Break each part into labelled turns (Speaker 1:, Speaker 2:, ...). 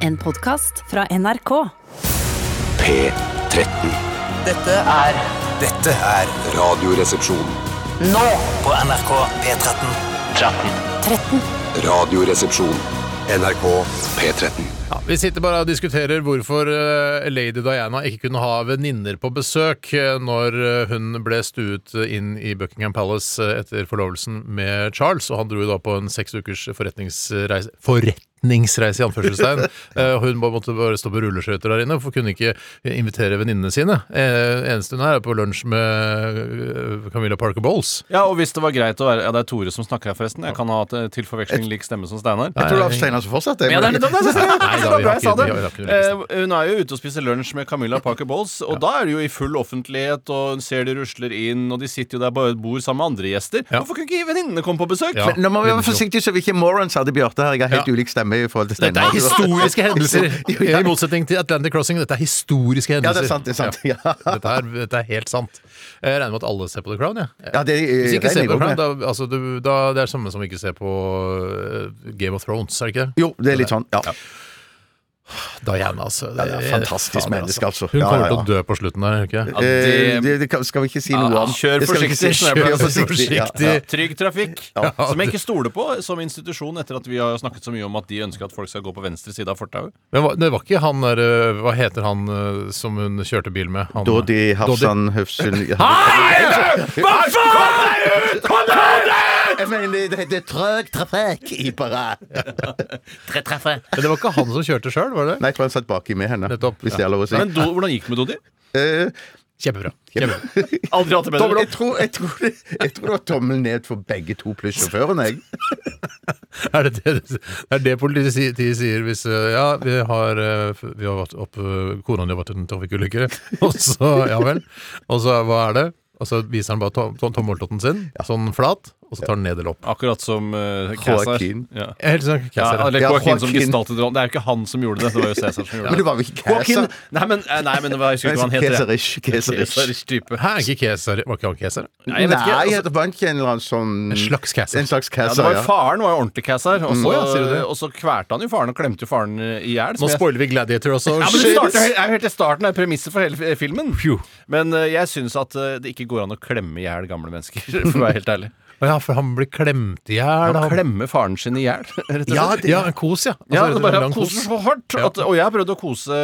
Speaker 1: En podkast fra NRK.
Speaker 2: P13.
Speaker 3: Dette er
Speaker 2: Dette er Radioresepsjon.
Speaker 3: nå på NRK P13. 13.
Speaker 2: Radioresepsjon. NRK P13.
Speaker 4: Ja, vi sitter bare og diskuterer hvorfor eh, Lady Diana ikke kunne ha venninner på besøk eh, når eh, hun ble stuet inn i Buckingham Palace eh, etter forlovelsen med Charles, og han dro jo da på en seks ukers forretningsreise Forretningsreise, i anførselstegn. Eh, og Hun bare måtte bare stå på rulleskøyter der inne, for kunne ikke eh, invitere venninnene sine. Eh, Eneste hun er, er på lunsj med eh, Camilla Parker Bowles.
Speaker 5: Ja, og hvis det var greit å være Ja, det er Tore som snakker her, forresten. Jeg kan ha til til forveksling lik stemme som Steinar.
Speaker 6: Jeg tror det er Steinar som fortsatte.
Speaker 5: Ja, det er nettopp det! det er
Speaker 4: Nei,
Speaker 5: Så
Speaker 4: da, vi
Speaker 5: bra
Speaker 4: har
Speaker 5: jeg sa
Speaker 4: ikke-
Speaker 5: det.
Speaker 4: vi har- vi har ikke noe
Speaker 5: Eh, Hun er jo ute og spiser lunsj med Camilla Parker Bowles, og da er det jo i full offentlighet, og hun ser de rusler inn, og de sitter jo der på et bord sammen med andre gjester.
Speaker 4: Ja.
Speaker 5: Hvorfor kunne ikke venninnene komme på besøk?
Speaker 4: Ja.
Speaker 6: Men nå må vi være forsiktige så vi ikke morons hadde Bjarte her. Jeg har helt
Speaker 4: Ja.
Speaker 6: ulik stemme i forhold til
Speaker 4: Dette
Speaker 6: Steinar.
Speaker 4: er historiske hendelser!
Speaker 6: Jo, ja.
Speaker 4: I motsetning til Atlantic Crossing. Dette er historiske
Speaker 6: Ja,
Speaker 4: hendelser.
Speaker 6: det er sant. det er sant Ja,
Speaker 4: Dette er, dette er helt sant. Jeg regner med at alle ser på The Crown. jeg.
Speaker 6: ja det eh,
Speaker 4: Hvis ikke
Speaker 6: regner
Speaker 4: ser
Speaker 6: jeg
Speaker 4: på The
Speaker 6: jo med.
Speaker 4: Crown, da, altså, du, da, det er samme som ikke ser på eh, Game of Thrones, er det ikke det?
Speaker 6: Jo, det er litt sånn. Ja.
Speaker 4: Diana, altså.
Speaker 6: Ja, det er fantastisk
Speaker 4: fader,
Speaker 6: menneske, altså.
Speaker 4: Hun
Speaker 6: Ja,
Speaker 4: kommer
Speaker 6: ja, ja.
Speaker 4: til å dø på slutten der, er hun ikke?
Speaker 5: Ja,
Speaker 6: Eh,
Speaker 5: det-
Speaker 6: det, det kan- skal vi ikke si noe
Speaker 5: Ja,
Speaker 6: om.
Speaker 5: kjør
Speaker 6: Det skal vi ikke si.
Speaker 5: forsiktig, Steinar.
Speaker 6: Kjør
Speaker 5: Kjør
Speaker 6: forsiktig. ja,
Speaker 4: forsiktig.
Speaker 6: ja.
Speaker 5: Trygg trafikk, som jeg ikke stoler på som institusjon, etter at vi har snakket så mye om at de ønsker at folk skal gå på venstre side av fortauet.
Speaker 4: Men hva- det var ikke han der eh, Hva heter han eh, som hun kjørte bil med? Han,
Speaker 6: Dodi Hafsan Høfsund Hva faen?! Jeg mener, det heter trøg trafikk i parat.
Speaker 4: Men det var ikke han som kjørte sjøl, var det?
Speaker 6: Nei, jeg tror han satt baki med henne.
Speaker 4: Nettopp.
Speaker 6: Hvis det er lov å si.
Speaker 5: Men do, hvordan gikk det med Dodi?
Speaker 6: Eh,
Speaker 4: Kjempebra. Kjempebra.
Speaker 5: Aldri hatt det bedre.
Speaker 6: jeg, tror, jeg, tror det, jeg tror det var tommel ned for begge to pluss sjåføren, jeg.
Speaker 4: Er det det, du- er det politiet sier- de sier hvis eh, Ja, vi har, eh, f- vi har vært opp, eh, Kona di har vært i en trafikkulykke, og så Ja vel. Og så hva er det? Og så viser han bare tom, tom, tommeltotten sin, sånn flat, og så tar han ned eller opp.
Speaker 5: Akkurat som uh,
Speaker 6: Joaquin.
Speaker 5: Ja.
Speaker 4: Jeg er Helt sånn,
Speaker 5: Ja,
Speaker 4: Kaiser.
Speaker 5: eller
Speaker 6: Ja,
Speaker 5: Joaquin som
Speaker 6: Joaquin.
Speaker 5: gestaltet rollen. Det er jo ikke han som gjorde det, det var jo Cæsar som gjorde
Speaker 6: Men det
Speaker 5: det.
Speaker 6: var vel ikke Kæsar?
Speaker 5: Joaquin- Nei, men, eh, nei, men det var, jeg husker ikke hva han heter. jeg.
Speaker 6: Kesarish. Kesarish.
Speaker 5: Kesarish-type.
Speaker 4: Hæ, er ikke Kaiser Var ikke han Kaiser?
Speaker 5: Nei,
Speaker 6: Nei,
Speaker 5: jeg vet ikke. Altså,
Speaker 6: det var ikke en eller annen sånn
Speaker 4: En slags Kaiser.
Speaker 6: En slags
Speaker 5: ja, det
Speaker 6: Kæsar,
Speaker 5: var
Speaker 6: ja.
Speaker 5: jo Faren var jo ordentlig Kæsar, og, så-
Speaker 4: Mm. Å, ja, sier du det?
Speaker 5: og så kverte han jo faren og klemte jo faren eh, i hjel.
Speaker 4: Nå
Speaker 5: som jeg-
Speaker 4: spoiler vi Gladiator også.
Speaker 5: Ja, men det
Speaker 4: Shit.
Speaker 5: starter, jo- er jo helt i starten, det er premisset for hele f- filmen. Men eh, jeg syns at eh, det ikke går an å klemme i hjel gamle mennesker, for å være helt ærlig.
Speaker 4: Å ja, for han blir klemt i hjel.
Speaker 5: Han
Speaker 4: han.
Speaker 5: klemmer faren sin i hjel, rett og slett.
Speaker 4: Ja, det- ja, en kos, ja.
Speaker 5: Ja,
Speaker 4: Altså,
Speaker 5: det bare
Speaker 4: lang
Speaker 5: koser så hardt. At, og jeg har prøvd å kose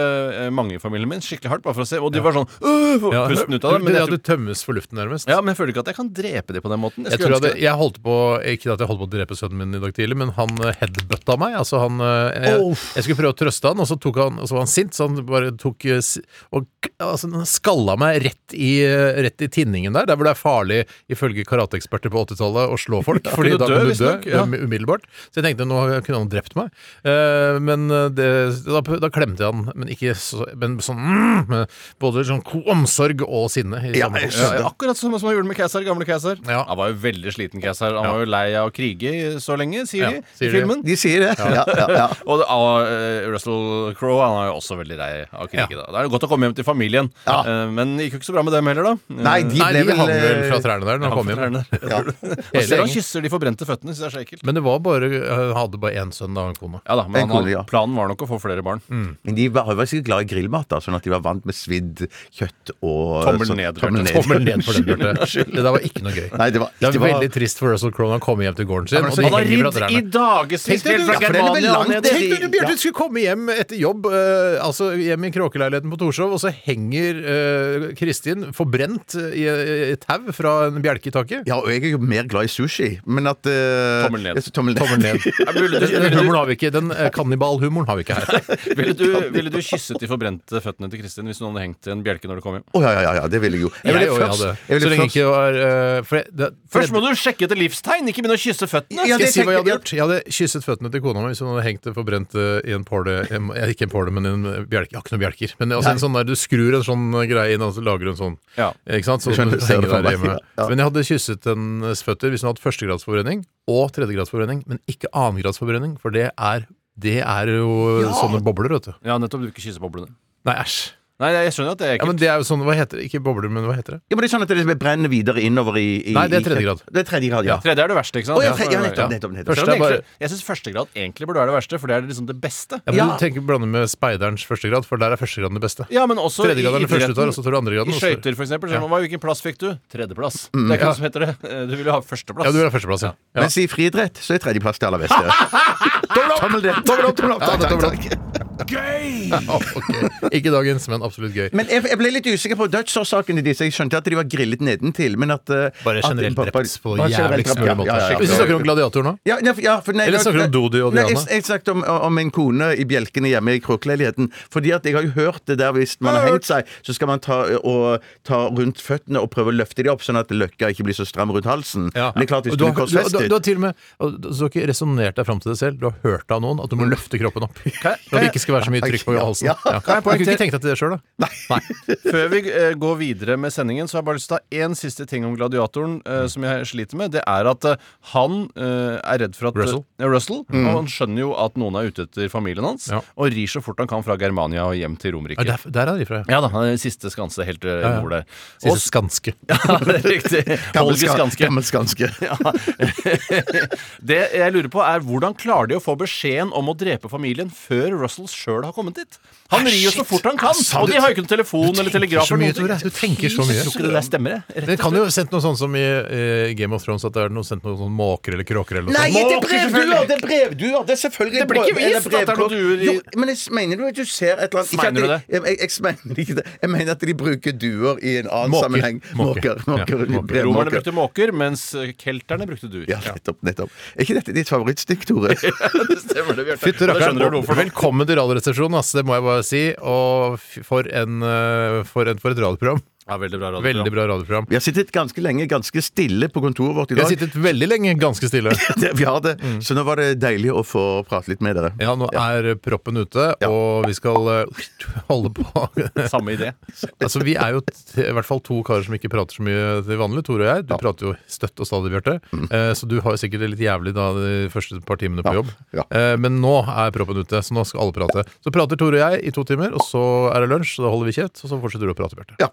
Speaker 5: eh, mange i familien min skikkelig hardt, bare for å se. Og de var sånn øh, får
Speaker 4: Ja,
Speaker 5: pusten ut av det.
Speaker 4: du-
Speaker 5: Men
Speaker 4: ja,
Speaker 5: jeg,
Speaker 4: du
Speaker 5: tror,
Speaker 4: tømmes for luften, nærmest.
Speaker 5: ja, men jeg føler ikke at jeg kan drepe dem på den måten. Jeg
Speaker 4: Jeg tror
Speaker 5: skulle
Speaker 4: jeg, hadde,
Speaker 5: ønske det.
Speaker 4: jeg holdt på Ikke at jeg holdt på å drepe sønnen min i dag tidlig, men han eh, headbutta meg. Altså han, eh, jeg, jeg skulle prøve å trøste han, og så, tok han, og så var han sint, så han bare tok eh, si- og, k- altså, Han skalla meg rett i, eh, rett i tinningen der, der hvor det er farlig, ifølge karateeksperter på 80-tallet, å slå folk. Fordi
Speaker 5: kunne
Speaker 4: da
Speaker 5: dø,
Speaker 4: kan du dø
Speaker 5: visstnok, ja.
Speaker 4: um- umiddelbart. Så jeg tenkte nå kunne han drept meg. Eh, men eh, det, da, da klemte jeg han, men ikke så, men sånn mm, med Både sånn ko- omsorg og sinne. i
Speaker 6: Ja,
Speaker 4: samme
Speaker 6: jeg
Speaker 4: hånd.
Speaker 5: Ja, ja, akkurat som, som han gjorde med Kæsar, gamle Kæsar.
Speaker 4: Ja.
Speaker 5: Han var jo veldig sliten Kæsar. Han
Speaker 4: Ja.
Speaker 5: var jo lei av å krige så lenge, sier
Speaker 4: Ja,
Speaker 5: de
Speaker 4: sier
Speaker 5: i
Speaker 4: de.
Speaker 5: filmen.
Speaker 6: De sier det. Ja, ja, ja.
Speaker 5: Og det- ah, eh, Russell Crowe han er jo også veldig lei av å krige.
Speaker 4: Ja.
Speaker 5: Da. Det er jo godt å komme hjem til familien,
Speaker 6: Ja.
Speaker 5: Eh, men det gikk jo ikke så bra med dem heller, da. Eh,
Speaker 6: Nei, de
Speaker 4: Nei,
Speaker 6: ble
Speaker 4: de
Speaker 6: vel
Speaker 4: hang vel
Speaker 6: eh,
Speaker 4: fra trærne der når han kom hjem.
Speaker 5: Trærne.
Speaker 6: ja.
Speaker 5: Jeg ser han
Speaker 4: gjengen.
Speaker 5: kysser de forbrente føttene, syns jeg er så ekkelt.
Speaker 4: Men det var bare Han hadde bare én sønn da, han kona.
Speaker 5: Ja da, men
Speaker 6: En
Speaker 5: han,
Speaker 6: kone, ja.
Speaker 5: planen var nok å få flere barn.
Speaker 6: Men de var, var sikkert glad i grillmat, da, sånn at de var vant med svidd kjøtt og
Speaker 5: Tommel
Speaker 6: sånn-
Speaker 5: ned,
Speaker 6: tommel
Speaker 5: Bjarte.
Speaker 6: ned.
Speaker 4: Tommel ned for den, Bjarte. Det der var ikke noe gøy.
Speaker 6: Nei, det var,
Speaker 4: Det er
Speaker 6: det var
Speaker 4: veldig trist for Russell Crowe når han kommer hjem til gården sin.
Speaker 6: men
Speaker 4: og
Speaker 6: så-
Speaker 4: de
Speaker 6: Han har
Speaker 4: henger fra trærne.
Speaker 5: dagevis
Speaker 4: Tenk deg du-
Speaker 6: Ja, for det er vel langt-
Speaker 4: Tenk deg du, Bjarte,
Speaker 6: Ja.
Speaker 4: du skulle komme hjem etter jobb, eh, altså hjem i kråkeleiligheten på Torshov, og så henger eh, Kristin forbrent i eh, i tau fra en bjelke i taket.
Speaker 6: Ja, og jeg er jo mer glad i sushi, men at eh,
Speaker 5: Tommel ned.
Speaker 6: ja, så Tommel ned.
Speaker 5: Ville
Speaker 4: Den den
Speaker 5: du,
Speaker 4: humoren har vi ikke. Den eh, kannibalhumoren har vi ikke her.
Speaker 5: ville, du, ville du kysset de forbrente føttene til Kristin hvis hun hadde hengt i en bjelke når du kom hjem?
Speaker 6: Å ja, ja, ja, ja, det ville jeg jo.
Speaker 4: Jeg
Speaker 6: ville
Speaker 4: òg
Speaker 6: først-
Speaker 4: hadde.
Speaker 6: jeg ville
Speaker 4: Så lenge
Speaker 6: først-
Speaker 4: ikke var eh, for jeg- det-
Speaker 5: Først må du sjekke etter livstegn, ikke begynne å kysse føttene!
Speaker 6: Ja,
Speaker 4: Skal jeg
Speaker 6: det
Speaker 4: si hva jeg hadde
Speaker 6: tenker
Speaker 4: gjort? Jeg hadde kysset føttene til kona mi hvis hun hadde hengt det forbrent eh, i en påle em- eh, Ikke en påle, men en eh, bjelke. Jeg har ikke noen bjelker. Men også en sånn der, du skrur en sånn eh, greie inn, og så lager du en sånn.
Speaker 5: Ja.
Speaker 4: Ikke sant? Så
Speaker 6: Jeg skjønner,
Speaker 4: du
Speaker 6: jeg ser det
Speaker 4: henger
Speaker 6: for
Speaker 4: der
Speaker 6: meg.
Speaker 4: hjemme.
Speaker 6: Ja.
Speaker 4: Men jeg hadde kysset hennes føtter hvis hun hadde førstegradsforbrenning og tredjegradsforbrenning, men ikke annengradsforbrenning, for det er, det er jo sånne bobler, vet du.
Speaker 5: Ja, nettopp. Du vil ikke kysse boblene.
Speaker 4: Nei, æsj.
Speaker 5: Nei, jeg skjønner at det er
Speaker 4: Ja,
Speaker 5: ekkelt.
Speaker 4: men det er jo sånn, hva heter det? Ikke bobler, men hva heter det?
Speaker 6: Ja, men det er sånn at det brenner videre innover i, i
Speaker 4: Nei, det er
Speaker 6: i-
Speaker 4: tredje grad.
Speaker 6: Det er tredje grad, ja.
Speaker 5: Tredje er det verste, ikke sant?
Speaker 6: Å, ja, tredje, ja, nettopp,
Speaker 5: ja.
Speaker 6: nettopp, nettopp.
Speaker 4: Første
Speaker 5: Skjønner
Speaker 4: er bare
Speaker 5: egentlig- Jeg syns førstegrad egentlig burde være det verste, for det er liksom det beste.
Speaker 4: ja, men
Speaker 6: Ja.
Speaker 4: Du tenker blande med speiderens førstegrad, for der er førstegraden det beste.
Speaker 5: Ja, men også
Speaker 4: Tredje grad er
Speaker 5: i
Speaker 4: det første
Speaker 5: idretten.
Speaker 4: du tar, og så tar du andre graden,
Speaker 5: I
Speaker 4: og så-
Speaker 5: skøyter, for eksempel. Så,
Speaker 4: Ja.
Speaker 5: hva, Hvilken plass fikk du? Tredjeplass. det er ikke noe som heter det. Eh, Du vil jo ha førsteplass.
Speaker 4: Ja, du vil ha førsteplass, ja. ja.
Speaker 6: Mens i friidrett så er tredjeplass det aller beste.
Speaker 4: Tommel opp!
Speaker 6: Tommel opp! Tommel opp, tommel opp.
Speaker 4: Ja,
Speaker 6: Takk,
Speaker 4: tommel
Speaker 6: takk, takk.
Speaker 4: Ja, ok. Ikke dagens, men absolutt gøy.
Speaker 6: Men jeg, jeg ble litt usikker på dødsårsaken i disse. Jeg skjønte at de var grillet nedentil, men at eh,
Speaker 4: Bare
Speaker 6: at-
Speaker 4: generelt
Speaker 6: bare-
Speaker 4: drept på
Speaker 6: bare generelt
Speaker 4: jævligst
Speaker 6: drept,
Speaker 4: mulig
Speaker 6: ja,
Speaker 4: måte.
Speaker 6: ja, ja,
Speaker 4: Hvis du
Speaker 6: ja.
Speaker 4: snakker om gladiator nå
Speaker 6: Ja, ja, ja, for nei,
Speaker 4: Eller
Speaker 6: da-
Speaker 4: snakker du om Dodi og
Speaker 6: nei,
Speaker 4: Diana?
Speaker 6: Jeg, jeg snakket om, om en kone i bjelkene hjemme i kråkeleiligheten. Fordi at jeg har jo hørt det der hvis man har hengt seg, så skal man ta, og, ta rundt føttene og prøve å løfte de opp, sånn at løkka ikke blir så stram rundt halsen. Men det er klart, hvis
Speaker 4: Og
Speaker 6: du
Speaker 4: du,
Speaker 6: blir
Speaker 4: har, du, har- du, har- du
Speaker 6: korsfestet
Speaker 4: har til og med og Du har ikke resonnert deg fram til det selv. Du har hørt av noen at du må løfte kroppen opp. For at det ikke skal være så mye trykk på
Speaker 6: Ja,
Speaker 4: halsen.
Speaker 6: ja.
Speaker 4: Mm. Ja. Kan jeg poengtere? Du kunne ikke tenkt deg til det sjøl, da? Nei.
Speaker 5: Før vi eh, går videre med sendingen, så har jeg bare lyst til å ta én siste ting om gladiatoren eh, som jeg sliter med. Det er at eh, han eh, er redd for at
Speaker 4: Russell. Mm.
Speaker 5: Ja, Russell Og han skjønner jo at noen er ute etter familien hans,
Speaker 4: Ja.
Speaker 5: og rir så fort han kan fra Germania og hjem til
Speaker 4: Ja,
Speaker 5: Romerike.
Speaker 4: der, der er de fra, ja.
Speaker 5: Ja da, han er siste skanse helt eh,
Speaker 4: ja.
Speaker 5: nord der.
Speaker 4: Sier
Speaker 5: Og-
Speaker 4: Skanske.
Speaker 5: ja, det er riktig.
Speaker 6: Gammel
Speaker 5: Holger
Speaker 6: ska-
Speaker 5: Skanske.
Speaker 6: Gammel skanske.
Speaker 5: Det jeg lurer på er Hvordan klarer de å få beskjeden om å drepe familien før Russell sjøl har kommet dit? Han rir jo så fort han kan,
Speaker 4: Altså,
Speaker 5: og de har jo ikke noen telefon eller telegraf.
Speaker 4: så
Speaker 5: eller
Speaker 4: mye,
Speaker 5: noen ting.
Speaker 4: Tore. Du tenker så mye.
Speaker 5: Jeg tror ikke det der stemmer, jeg.
Speaker 4: Men det kan jo ha sendt noe sånn som i eh, Game of Thrones, at det er noe sendt noe sånn måker eller kråker eller noe
Speaker 6: Nei,
Speaker 4: sånt.
Speaker 6: det er
Speaker 5: Måker,
Speaker 6: brevduer!
Speaker 5: selvfølgelig.
Speaker 6: Det er brevduer! Det er selvfølgelig
Speaker 5: Det blir ikke
Speaker 6: brev- eller
Speaker 5: vist at det er noen
Speaker 6: brevkort.
Speaker 5: duer i-
Speaker 6: Jo, men jeg mener du at du ser et eller annet ikke at
Speaker 5: Mener du
Speaker 6: de-
Speaker 5: det?
Speaker 6: Jeg, jeg, jeg mener ikke det. Jeg mener at de bruker duer i en annen
Speaker 4: Måker.
Speaker 6: sammenheng.
Speaker 4: Måker.
Speaker 6: Måker.
Speaker 4: Ja,
Speaker 6: måker,
Speaker 4: måker.
Speaker 6: brevmåker.
Speaker 5: Romerne brukte måker, mens kelterne brukte dur.
Speaker 6: Ja, nettopp. nettopp. Er ikke dette ditt favorittstikk, Tore?
Speaker 5: det stemmer det, Bjarte.
Speaker 4: Fytti
Speaker 5: Da skjønner du
Speaker 4: rakkeren.
Speaker 5: hvorfor.
Speaker 4: Velkommen til Radioresepsjonen, ass. Det må jeg bare si. Og f- for, en, eh, for, en, for et radioprogram.
Speaker 5: Ja, veldig bra radio.
Speaker 4: Veldig bra radioprogram.
Speaker 6: Vi har sittet ganske lenge, ganske stille på kontoret vårt i
Speaker 4: Vi har
Speaker 6: dag.
Speaker 4: sittet veldig lenge ganske stille.
Speaker 6: Det- Vi har det.
Speaker 5: Mm.
Speaker 6: Så nå var det deilig å få prate litt med dere.
Speaker 4: Ja, nå er proppen ute,
Speaker 6: Ja.
Speaker 4: og vi skal eh, holde på.
Speaker 5: Samme idé.
Speaker 4: altså, vi er jo t i hvert fall to karer som ikke prater så mye til vanlig, Tore og jeg. Du prater jo støtt og stadig, Bjarte. Eh, så du har jo sikkert det litt jævlig da de første par timene på
Speaker 6: Mm. Ja,
Speaker 4: jobb.
Speaker 6: ja.
Speaker 4: Eh, men nå er proppen ute, så nå skal alle prate. Så prater Tore og jeg i to timer, og så er det lunsj, så da holder vi kjeft, og så fortsetter du å prate, Bjarte.
Speaker 6: Ja.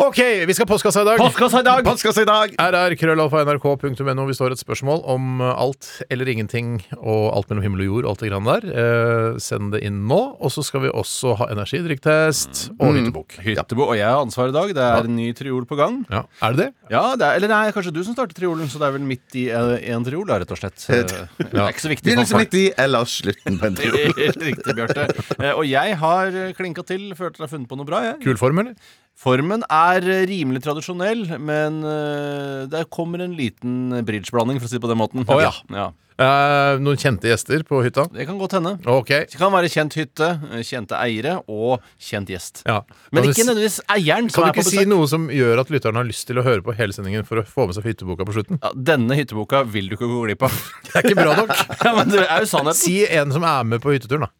Speaker 4: OK, vi skal postkassa i dag.
Speaker 5: Postkassa i dag!
Speaker 6: Postkassa i dag!
Speaker 4: rr.krøllalfa.nrk.no. Vi står et spørsmål om eh, alt eller ingenting og alt mellom himmel og jord og alt det grann der. Eh, send det inn nå. Og så skal vi også ha energidrikktest
Speaker 5: Mm.
Speaker 4: og hyttebok.
Speaker 5: Hyttebo og jeg har ansvar i dag. Det er en ny triol på gang.
Speaker 4: Ja. Er det det?
Speaker 5: Ja, det er, Eller nei, kanskje du som starter triolen, så det er vel midt i én triol, da, rett og slett. Eh, Det er ikke så viktig.
Speaker 6: Begynnelse
Speaker 4: liksom
Speaker 6: liksom midt i, eller slutten på en tur.
Speaker 5: Helt riktig, Bjarte. Eh, Og jeg har eh, klinka til. Følte jeg har funnet på noe bra. Jeg.
Speaker 4: Kul form, eller?
Speaker 5: Formen er eh, rimelig tradisjonell, men eh, der kommer en liten bridgeblanding, for å si det på den måten.
Speaker 4: Å, ja.
Speaker 5: ja.
Speaker 4: Eh, noen kjente gjester på hytta?
Speaker 5: Det kan godt hende.
Speaker 4: Ok.
Speaker 5: Det kan være kjent hytte, eh, kjente eiere og kjent gjest.
Speaker 4: Ja. Kan
Speaker 5: Men
Speaker 4: du
Speaker 5: ikke
Speaker 4: si-
Speaker 5: nødvendigvis eieren som
Speaker 4: Kan du
Speaker 5: er på
Speaker 4: ikke si
Speaker 5: besøk.
Speaker 4: noe som gjør at lytteren har lyst til å høre på hele sendingen for å få med seg hytteboka på slutten?
Speaker 5: Ja, denne hytteboka vil du ikke gå glipp av.
Speaker 4: Det er ikke bra nok.
Speaker 5: ja, men det er jo sannheten.
Speaker 4: Si en som er med på hytteturen, da.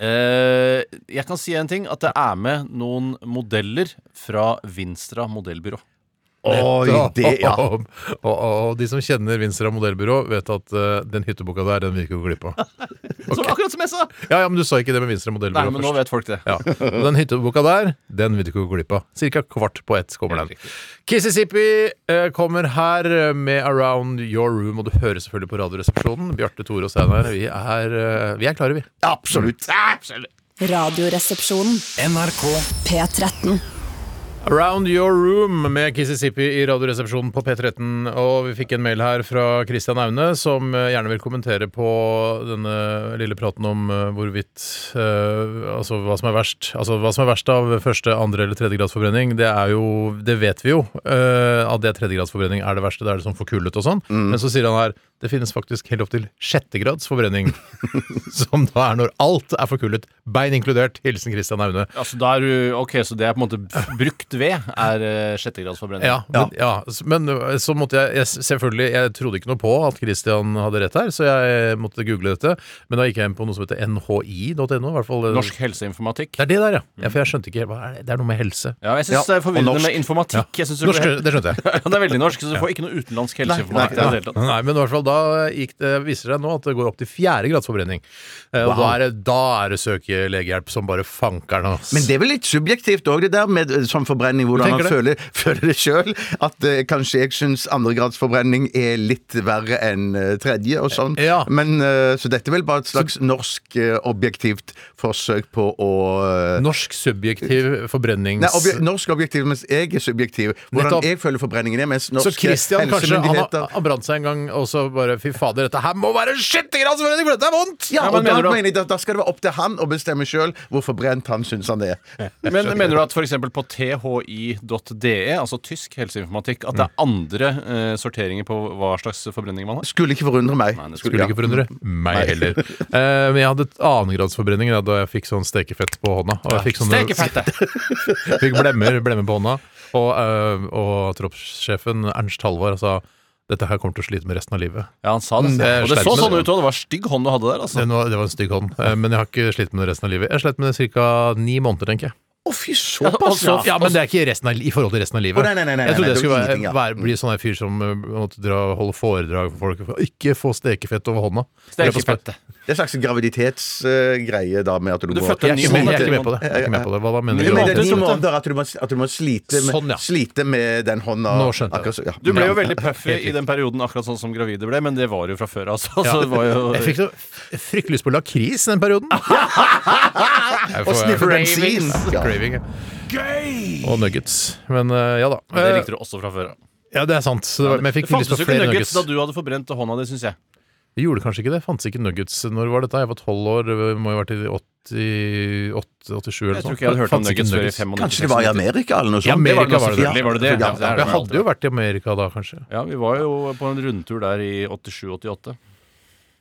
Speaker 5: Eh, jeg kan si en ting, at det er med noen modeller fra Vinstra modellbyrå.
Speaker 6: Oi, det ja.
Speaker 4: og, og, og de som kjenner Vinstra modellbyrå, vet at eh, den hytteboka der, den vil vi ikke gå glipp av.
Speaker 5: Som, akkurat som jeg sa!
Speaker 4: Ja, ja, men du sa ikke det med Vinstra
Speaker 5: Nei,
Speaker 4: modellbyrå
Speaker 5: men nå
Speaker 4: først.
Speaker 5: vet folk det.
Speaker 4: Ja. Og den hytteboka der, den vil du ikke gå glipp av. Cirka kvart på ett kommer den. Kississippi eh, kommer her eh, med Around Your Room, og du hører selvfølgelig på Radioresepsjonen. Bjarte, Tore og Steinar, vi er, eh, vi er klare, vi.
Speaker 6: Absolutt.
Speaker 1: Radioresepsjonen.
Speaker 3: NRK
Speaker 1: P13.
Speaker 4: Around Your Room med Kississippi i Radioresepsjonen på P13. Og vi fikk en mail her fra Christian Aune, som eh, gjerne vil kommentere på denne lille praten om eh, hvorvidt eh, Altså hva som er verst. Altså hva som er verst av første, andre eller tredje grads forbrenning, det er jo Det vet vi jo. eh, at det er tredje grads forbrenning er det verste. Det er det som forkullet og sånn. Men så sier han her det finnes faktisk helt opp til sjette grads forbrenning. som da er når alt er forkullet. Bein inkludert. Hilsen Christian Aune.
Speaker 5: Altså, da er du, ok, Så det er på en måte brukt røkt ved er eh, sjettegradsforbrenning.
Speaker 4: Ja, men, ja. s- men ø, så måtte jeg, jeg s- Selvfølgelig, jeg trodde ikke noe på at Christian hadde rett her, så jeg måtte google dette. Men da gikk jeg inn på noe som heter nhi.no. i hvert fall, ø,
Speaker 5: Norsk helseinformatikk.
Speaker 4: Det er det der, ja. ja for jeg skjønte ikke helt hva er det? det er noe med helse.
Speaker 5: Ja, jeg syns
Speaker 6: Ja,
Speaker 5: det er
Speaker 6: og
Speaker 5: forvirrende
Speaker 6: norsk.
Speaker 5: med informatikk. Jeg synes det,
Speaker 4: Norsk,
Speaker 5: blir-
Speaker 4: det skjønte jeg.
Speaker 5: ja, det er veldig norsk, så du får ikke noe utenlandsk helseinformatikk. i det hele tatt.
Speaker 4: Nei, men i hvert fall da gikk det, viser det seg nå at det går opp til fjerde grads forbrenning. Eh, Og da er det, da er det søke legehjelp som bare fanker den. ass.
Speaker 6: Men det er vel litt subjektivt òg, det der med eh, sånn forbrenning, hvordan
Speaker 4: tenker
Speaker 6: man føler, føler det sjøl. At eh, kanskje jeg syns andregradsforbrenning er litt verre enn eh, tredje og sånn.
Speaker 4: Ja.
Speaker 6: Men, eh, så dette er vel bare et slags norsk eh, objektivt forsøk på å eh,
Speaker 4: Norsk subjektiv forbrennings...
Speaker 6: Nei, obje norsk objektiv, mens jeg er subjektiv. Hvordan
Speaker 4: Nettopp.
Speaker 6: jeg føler forbrenningen er, mens
Speaker 4: Så
Speaker 6: norske
Speaker 4: Christian kanskje han har,
Speaker 6: helsemyndigheter
Speaker 4: har brant seg en gang og så bare Fy fader, dette her må være skyttergradsforening, for dette er vondt!
Speaker 6: ja,
Speaker 5: Ja, men
Speaker 6: og da
Speaker 5: mener du at-
Speaker 6: mener jeg at da skal det være opp til han å bestemme sjøl hvor forbrent han syns han er.
Speaker 5: Men mener du at f.eks. på thi.de, altså tysk helseinformatikk, at det er andre eh, sorteringer på hva slags forbrenning man har?
Speaker 6: Skulle ikke forundre meg.
Speaker 5: det
Speaker 4: Skulle ikke forundre meg heller. Eh, men jeg hadde et annengradsforbrenning da, da jeg fikk sånn stekefett på hånda. Og jeg fikk sånne
Speaker 5: Stekefettet!
Speaker 4: fikk blemmer, blemmer på hånda. Og, eh, og troppssjefen Ernst Halvard sa dette her kommer til å slite med resten av livet.
Speaker 5: Ja, han sa det.
Speaker 4: Det er
Speaker 5: Og det så
Speaker 4: slemt.
Speaker 5: sånn ut òg. Det var stygg hånd du hadde der, altså.
Speaker 4: Det var, det var en stygg hånd, eh, men jeg har ikke slitt med det resten av livet. Jeg har slitt med det ca. ni måneder, tenker jeg.
Speaker 6: Å, fy såpass,
Speaker 4: Ja,
Speaker 5: Altså,
Speaker 4: men det er ikke resten av, li- i forhold til resten av livet.
Speaker 6: Å, nei, nei, nei, nei,
Speaker 4: jeg trodde
Speaker 6: nei,
Speaker 4: jeg
Speaker 6: det
Speaker 4: skulle
Speaker 6: var
Speaker 4: være,
Speaker 6: ingenting, ja.
Speaker 4: være, bli sånn her fyr som eh, måtte dra, holde foredrag for folk. og Ikke få stekefett over hånda.
Speaker 5: Stekefettet.
Speaker 6: Det er en slags graviditetsgreie eh, da med at du,
Speaker 5: Du
Speaker 6: må
Speaker 5: fødte
Speaker 4: Jeg er
Speaker 5: Ni
Speaker 4: ikke med, jeg er
Speaker 5: måneder.
Speaker 4: ikke med på det. Jeg er ikke med på det. Hva da mener
Speaker 6: Jo,
Speaker 5: Ni
Speaker 6: men det er
Speaker 5: måneder,
Speaker 6: ni
Speaker 5: sånn.
Speaker 4: du?
Speaker 6: måneder at du må, at du må slite, med,
Speaker 4: Sånn, ja.
Speaker 6: slite med den hånda.
Speaker 4: Nå skjønte jeg
Speaker 6: akkurat så- ja.
Speaker 5: Du ble jo
Speaker 6: Ja.
Speaker 5: veldig puffy i den perioden, akkurat sånn som gravide ble, men det var jo fra før, altså. Så det var jo...
Speaker 4: Jeg fikk så fryktelig lyst på lakris i den perioden. Jeg
Speaker 6: Og
Speaker 4: får-
Speaker 6: sniffer bensin!
Speaker 4: Craving.
Speaker 6: Ja.
Speaker 4: Craving, ja. Og nuggets. Men eh, ja da.
Speaker 5: Men det
Speaker 4: Eh,
Speaker 5: likte du også fra før.
Speaker 4: Ja, det er sant. Så det var, men jeg
Speaker 5: Det
Speaker 4: fikk lyst
Speaker 5: fantes
Speaker 4: på
Speaker 5: jo ikke
Speaker 4: flere
Speaker 5: nuggets
Speaker 4: nuggets.
Speaker 5: da du hadde forbrent hånda di, syns jeg.
Speaker 4: Vi gjorde kanskje ikke det. Fantes ikke nuggets. Når var dette? Jeg var tolv år. Det må jo ha vært i 88 87 eller
Speaker 5: Jeg
Speaker 4: sånn.
Speaker 5: tror ikke jeg hadde hørt om
Speaker 4: Fantes ikke
Speaker 5: nuggets før i 95.
Speaker 6: Kanskje det var i Amerika eller noe sånt?
Speaker 4: I Amerika var det det.
Speaker 5: Selvfølgelig var det det.
Speaker 6: Ja,
Speaker 5: Ja, det er
Speaker 4: Vi
Speaker 5: det.
Speaker 4: hadde jo vært i Amerika da, kanskje.
Speaker 5: Ja, vi var jo på en rundtur der i 87-88.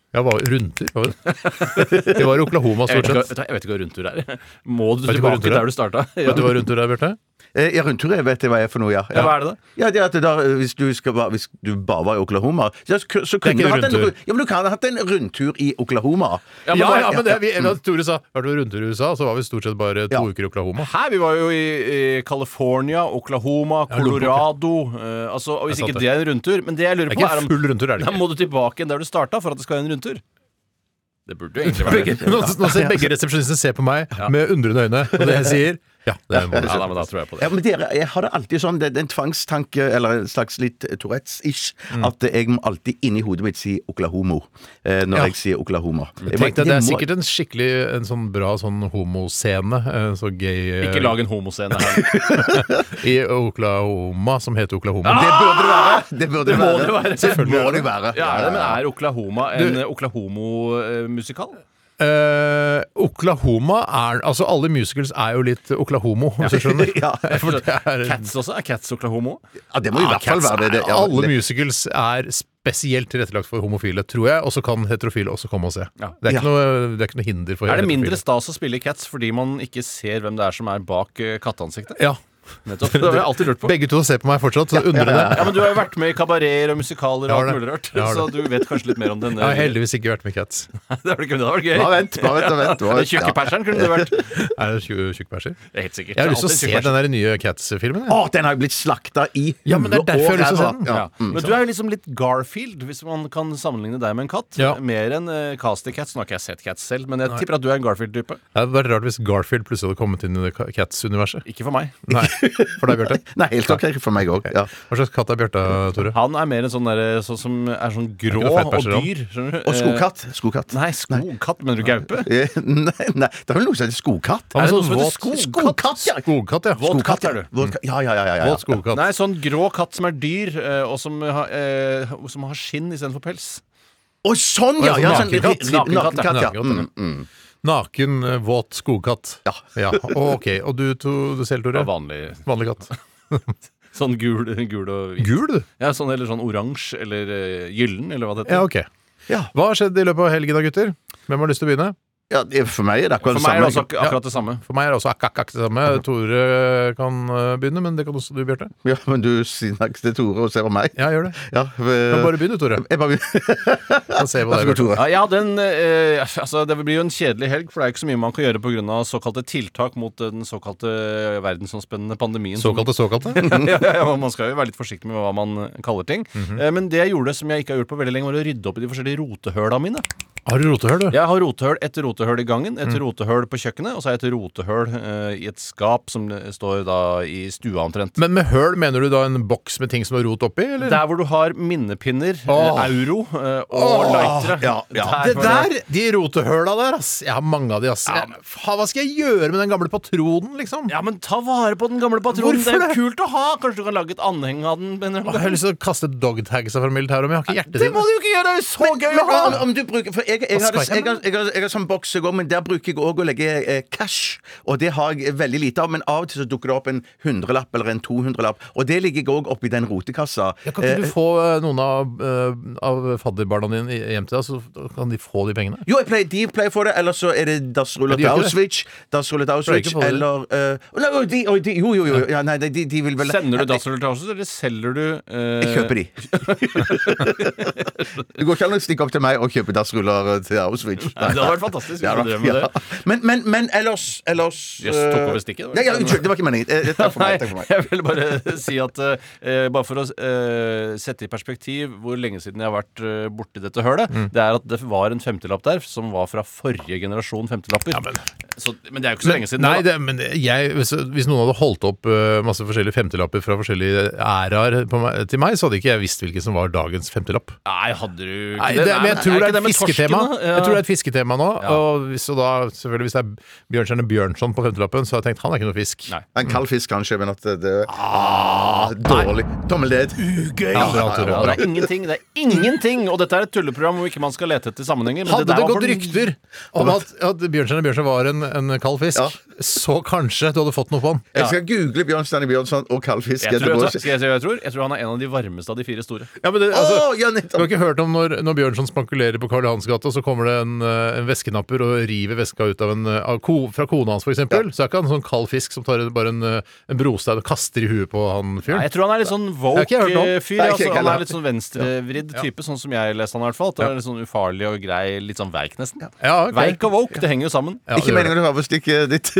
Speaker 4: Ja, var rundtur. var det? Vi var i Oklahoma
Speaker 5: Jeg,
Speaker 4: stort
Speaker 5: vet ikke
Speaker 4: sett.
Speaker 5: hva- jeg vet ikke hva rundtur er. Må du
Speaker 4: Vet du
Speaker 5: på
Speaker 4: hva
Speaker 5: rundtur
Speaker 4: rundtur er?
Speaker 5: der du starta?
Speaker 4: Vet du hva rundtur er, Bjarte?
Speaker 6: Eh, Ja, rundtur jeg vet jeg hva er for noe, ja.
Speaker 5: Ja, hva er det da?
Speaker 6: Ja, det er at det da, eh, hvis, du skal, bare- hvis du bare var i Oklahoma ja, så, ku- så kunne
Speaker 4: ikke
Speaker 6: du hatt en,
Speaker 4: rundtur.
Speaker 6: ru- ja, men du kan ha hatt en rundtur i Oklahoma.
Speaker 4: Ja,
Speaker 5: men da-
Speaker 4: ja, men det, vi, da Tore sa vært på rundtur i USA, så var vi stort sett bare to
Speaker 6: Ja.
Speaker 4: uker i Oklahoma.
Speaker 5: Hæ, vi var jo i, i California, Oklahoma,
Speaker 4: Ja, lommebok, ja.
Speaker 5: Colorado eh, altså, og Hvis
Speaker 4: Det er sant,
Speaker 5: ikke det er en rundtur Men det jeg lurer
Speaker 4: Det er
Speaker 5: på, er
Speaker 4: ikke
Speaker 5: om
Speaker 4: full rundtur, er det
Speaker 5: da
Speaker 4: ikke?
Speaker 5: må du tilbake igjen der du starta for at det skal være en rundtur. Det burde jo egentlig være det.
Speaker 4: Nå, nå ser begge resepsjonistene ser på meg med undrende øyne, og det jeg sier Ja, det må
Speaker 5: Ja, nei, men da tror jeg på det.
Speaker 6: Ja, men dere, Jeg har det alltid sånn, det, det er en tvangstanke, eller en slags litt Tourettes-ish, at jeg må alltid inni hodet mitt si Oklahomo eh, når
Speaker 4: Ja.
Speaker 6: jeg sier Oklahoma.
Speaker 4: Tenk
Speaker 6: Jeg må-
Speaker 4: deg, Det er
Speaker 6: jeg må-
Speaker 4: sikkert en skikkelig en sånn bra sånn homoscene. eh, Så gay eh,
Speaker 5: Ikke lag en homoscene her.
Speaker 4: I Oklahoma, som heter Oklahoma.
Speaker 6: Det burde det være! Det, burde det
Speaker 5: må
Speaker 6: være.
Speaker 5: det være.
Speaker 6: Selvfølgelig må det være.
Speaker 5: Ja, er det, men er Oklahoma en eh, Oklahomo-musikal?
Speaker 4: Eh, Oklahoma er Altså, alle musicals er jo litt Oklahomo, hvis du skjønner.
Speaker 6: Ja.
Speaker 4: For det er,
Speaker 5: Cats også? Er Cats Oklahomo?
Speaker 6: Ja, det må i
Speaker 4: Ah,
Speaker 6: hvert fall
Speaker 4: Cats
Speaker 6: være det. det
Speaker 4: er-
Speaker 6: ja,
Speaker 4: alle
Speaker 6: det-
Speaker 4: musicals er spesielt tilrettelagt for homofile, tror jeg. Og så kan heterofile også komme og se.
Speaker 5: Ja.
Speaker 4: Det, er
Speaker 6: Ja.
Speaker 4: ikke noe, det er ikke noe hinder for
Speaker 5: Er det
Speaker 4: heterofile.
Speaker 5: mindre stas å spille i Cats fordi man ikke ser hvem det er som er bak eh, katteansiktet?
Speaker 4: Ja.
Speaker 5: Nettopp. Det har jeg alltid lurt på.
Speaker 4: Begge to ser på meg fortsatt, så undrer det.
Speaker 5: Ja, men Du har jo vært med i kabareter og
Speaker 4: Jeg
Speaker 5: musikaler og
Speaker 4: har
Speaker 5: alt
Speaker 4: det.
Speaker 5: mulig rart.
Speaker 4: Jeg har
Speaker 5: Så
Speaker 4: det.
Speaker 5: du vet kanskje litt mer om denne.
Speaker 4: Jeg har heldigvis ikke vært med Cats.
Speaker 5: det var det ikke, men det var gøy.
Speaker 6: Bare vent, bare vent. bare vent, bare
Speaker 5: Den
Speaker 6: vent.
Speaker 5: tjukke
Speaker 6: Ja.
Speaker 5: perseren kunne du vært. Jeg
Speaker 4: Er det tju- tjukkbæsjer?
Speaker 5: er helt sikker.
Speaker 4: Jeg har lyst til å
Speaker 5: Alltid
Speaker 4: se
Speaker 5: tjukk
Speaker 4: den der nye Cats-filmen.
Speaker 6: Å,
Speaker 4: jeg.
Speaker 6: den har jo blitt slakta i
Speaker 4: Ja, Mm. men det er
Speaker 6: huet
Speaker 4: derfor jeg har
Speaker 6: og
Speaker 4: lyst til å se
Speaker 6: ræva.
Speaker 4: den.
Speaker 6: Ja.
Speaker 5: Ja. Men du er jo liksom litt Garfield, hvis man kan sammenligne deg med en katt.
Speaker 4: Ja.
Speaker 5: Mer enn uh, Casty Cats. Nå har ikke jeg sett Cats selv, men jeg tipper at du er en Garfield-type.
Speaker 4: Det hadde vært rart hvis Garfield plutselig hadde kommet inn i det Cats-universet.
Speaker 5: Ikke for meg.
Speaker 4: Nei, for deg, Bjarte.
Speaker 6: Nei, helt ok for meg òg. Ja.
Speaker 4: Hva slags katt er Bjarte, Tore?
Speaker 5: Han er mer en sånn derre sånn som er sånn grå
Speaker 4: noe
Speaker 5: og
Speaker 4: fettperser, han.
Speaker 5: dyr. Skjønner du?
Speaker 6: Og skogkatt.
Speaker 5: Eh,
Speaker 6: skogkatt.
Speaker 5: Nei, skogkatt. Mener du gaupe?
Speaker 6: Eh, Nei, nei, det er vel noe som heter skogkatt?
Speaker 4: Han
Speaker 5: Er
Speaker 4: er
Speaker 5: det noe
Speaker 4: sånn
Speaker 5: som heter
Speaker 4: våt
Speaker 5: skogkatt?
Speaker 4: skogkatt, ja. Skogkatt, ja.
Speaker 5: Våt katt er du.
Speaker 6: Våt katt, Ja, ja, ja. ja, ja.
Speaker 4: Våt skogkatt.
Speaker 5: Nei, sånn grå katt som er dyr, eh, og som, har- eh, som har skinn istedenfor pels.
Speaker 6: Å, sånn, ja!
Speaker 4: Og
Speaker 6: ja
Speaker 4: sånn
Speaker 6: sånn, ri-
Speaker 4: nakenkatt.
Speaker 5: Nakenkatt, ja.
Speaker 6: ri- Nakenkatt, ja.
Speaker 4: Nakenkatt, ja.
Speaker 6: Mm, mm.
Speaker 4: Naken, eh, våt skogkatt.
Speaker 6: Ja.
Speaker 4: Og, ok, og du, to, du selv, Tore?
Speaker 5: Ja, vanlig.
Speaker 4: Vanlig katt.
Speaker 5: Sånn gul, gul og hvit.
Speaker 4: Gul, du?
Speaker 5: Ja, sånn, eller sånn oransje eller eh, gyllen, eller hva det heter.
Speaker 4: Ja, ok.
Speaker 6: Ja.
Speaker 4: Hva har skjedd i løpet av helgen da, gutter? Hvem har lyst til å begynne?
Speaker 6: Ja, det- for meg er det
Speaker 5: For
Speaker 6: akkurat det
Speaker 5: meg er det også
Speaker 6: samme.
Speaker 5: ak akkurat det samme.
Speaker 4: For meg er det også akk-akk det samme. Tore kan eh, begynne, men det kan også du, Bjarte.
Speaker 6: Ja, men du sier takk til Tore og ser på meg.
Speaker 4: Ja, gjør det.
Speaker 6: Ja, Eh,
Speaker 4: Men bare begynn du, Tore.
Speaker 6: Jeg bare begynner.
Speaker 4: Da ser vi hva
Speaker 6: Vær så
Speaker 4: det
Speaker 6: god,
Speaker 5: Ja,
Speaker 6: Tore.
Speaker 5: jeg hadde en, eh, altså, det blir jo en kjedelig helg, for det er ikke så mye man kan gjøre pga. såkalte tiltak mot den såkalte verdensomspennende pandemien. som-
Speaker 4: Såkalte, såkalte.
Speaker 5: ja, ja, ja, man skal jo være litt forsiktig med hva man kaller ting.
Speaker 4: Mhm.
Speaker 5: Eh, Men det jeg gjorde som jeg ikke har gjort på veldig lenge, var å rydde opp i de forskjellige rotehøla mine.
Speaker 4: Har du rotehull, du?
Speaker 5: Jeg har rotehull etter rotehull i gangen, et
Speaker 4: Mhm.
Speaker 5: rotehull på kjøkkenet, og så har jeg et rotehull eh, i et skap som står da i stua omtrent.
Speaker 4: Men med høl mener du da en boks med ting som er rot oppi, eller?
Speaker 5: Der hvor du har minnepinner, eh,
Speaker 4: Åh.
Speaker 5: euro eh, og lightere.
Speaker 6: ja, ja.
Speaker 4: Det
Speaker 5: var
Speaker 4: der, De rotehøla der, ass. Jeg har mange av de, ass. Jeg, faen, hva skal jeg gjøre med den gamle patronen, liksom?
Speaker 5: Ja, men ta vare på den gamle patronen.
Speaker 4: Hvorfor
Speaker 5: det er
Speaker 4: det?
Speaker 5: jo kult å ha. Kanskje du kan lage et anheng av den? men-
Speaker 4: Jeg har lyst til å kaste dogtagsa fra militæret, men jeg har ikke hjerte til det.
Speaker 5: jo ikke gjøre! Det er jo så
Speaker 6: Men om, om du bruker For jeg, jeg,
Speaker 4: Hva
Speaker 6: har det-
Speaker 4: skal
Speaker 6: jeg,
Speaker 4: jeg-
Speaker 6: har- jeg, har- jeg har sånn boks jeg går, men der bruker jeg òg å legge eh, cash. Og det har jeg veldig lite av, men av og til så dukker det opp en hundrelapp eller en 200-lapp, og det ligger jeg òg oppi den rotekassa.
Speaker 4: Ja, kan ikke du få eh, noen av, eh, av fadderbarna dine hjem til deg, så kan de få de pengene?
Speaker 6: Jo, jeg pleier, de pleier å få det, eller så er det Das
Speaker 4: Ja,
Speaker 6: Rullet
Speaker 4: de gjør ikke det.
Speaker 6: Auschwitz. Das Rullet Auschwitz,
Speaker 4: ikke å få det.
Speaker 6: eller eh, å, nei, å, de, å, de, Jo, jo, jo. Ja, nei, de, de vil vel
Speaker 5: Sender du dassrulletasjer, eller selger du eh,
Speaker 6: Jeg kjøper de. det går ikke an å stikke opp til meg og kjøpe dassruller til Auschwitz.
Speaker 5: Nei, det hadde vært fantastisk hvis
Speaker 6: Ja,
Speaker 5: du
Speaker 6: da,
Speaker 5: drev med
Speaker 6: ja.
Speaker 5: det.
Speaker 6: Men, men, men ellers, ellers
Speaker 5: Jøss, tok
Speaker 6: eh,
Speaker 5: over stikket, det var
Speaker 6: Ja, ja, unnskyld, det var ikke meningen. Eh, Takk for
Speaker 5: Nei,
Speaker 6: meg. Takk for meg.
Speaker 5: jeg vil bare si at eh, bare for å eh, sette i perspektiv hvor lenge siden jeg har vært eh, borti dette hølet,
Speaker 4: Mm.
Speaker 5: det er at det var en femtilapp der som var fra forrige generasjon femtilapper. så, men det er jo ikke så lenge siden.
Speaker 4: Nei,
Speaker 5: nå, da.
Speaker 4: det, men det- jeg, hvis, hvis noen hadde holdt opp eh, masse forskjellige femtelapper fra forskjellige æraer på meg- til meg, så hadde ikke jeg visst hvilken som var dagens femtelapp.
Speaker 5: Nei, hadde du ikke
Speaker 4: Nei, det, men jeg tror det er
Speaker 5: ikke
Speaker 4: et
Speaker 5: med torsken,
Speaker 4: fisketema.
Speaker 5: da? Ja.
Speaker 4: Jeg tror det er et fisketema nå. Og hvis, så da, selvfølgelig hvis det er Bjørnstjerne Bjørnson på femtelappen, så har jeg tenkt han er ikke noe fisk.
Speaker 5: Nei.
Speaker 6: En kald fisk, kanskje, men at eh, det ah, Dårlig. Tommel ned. Ugøy.
Speaker 4: Ja, bra, Tore,
Speaker 5: Ja,
Speaker 4: bra.
Speaker 5: det er ingenting. Det er ingenting! Og dette er et tulleprogram hvor ikke man skal lete etter sammenhenger. men
Speaker 4: Hadde det,
Speaker 5: der var
Speaker 4: gått
Speaker 5: for-
Speaker 4: rykter om at, at Bjørnstjerne Bjørnson var en, en kald fisk, så kanskje du hadde fått noe på han.
Speaker 6: Jeg skal google Bjørnstjerne Bjørnson og kald fisk.
Speaker 5: Jeg tror,
Speaker 6: etterpå.
Speaker 5: jeg, tror, jeg, tror, jeg tror han er en av de varmeste av de fire store.
Speaker 4: Ja, men det,
Speaker 6: Å,
Speaker 4: altså,
Speaker 6: ja,
Speaker 4: du har
Speaker 6: nettopp.
Speaker 4: ikke hørt om når, når Bjørnson spankulerer på Karl Johans gata, så kommer det en, eh, en vesknapper og river veska ut av en, eh, av ko, fra kona hans, f.eks. eksempel Så er ikke han en sånn kald fisk som tar en- bare en, eh, en brostein og kaster i huet på han fyren.
Speaker 5: Nei, jeg tror han er litt sånn
Speaker 4: Det har ikke jeg hørt om.
Speaker 5: woke-fyr.
Speaker 6: Nei, ikke
Speaker 5: Altså,
Speaker 6: jeg
Speaker 5: han
Speaker 6: heller.
Speaker 5: er litt sånn venstrevridd type, sånn som jeg leste han i hvert fall. At han er litt sånn ufarlig og grei, litt sånn veik nesten.
Speaker 4: Ja, ok.
Speaker 5: Veik og woke, det henger jo sammen.
Speaker 4: Ja, det
Speaker 6: Ikke
Speaker 4: gjør det.
Speaker 6: meningen å høre på stikket ditt.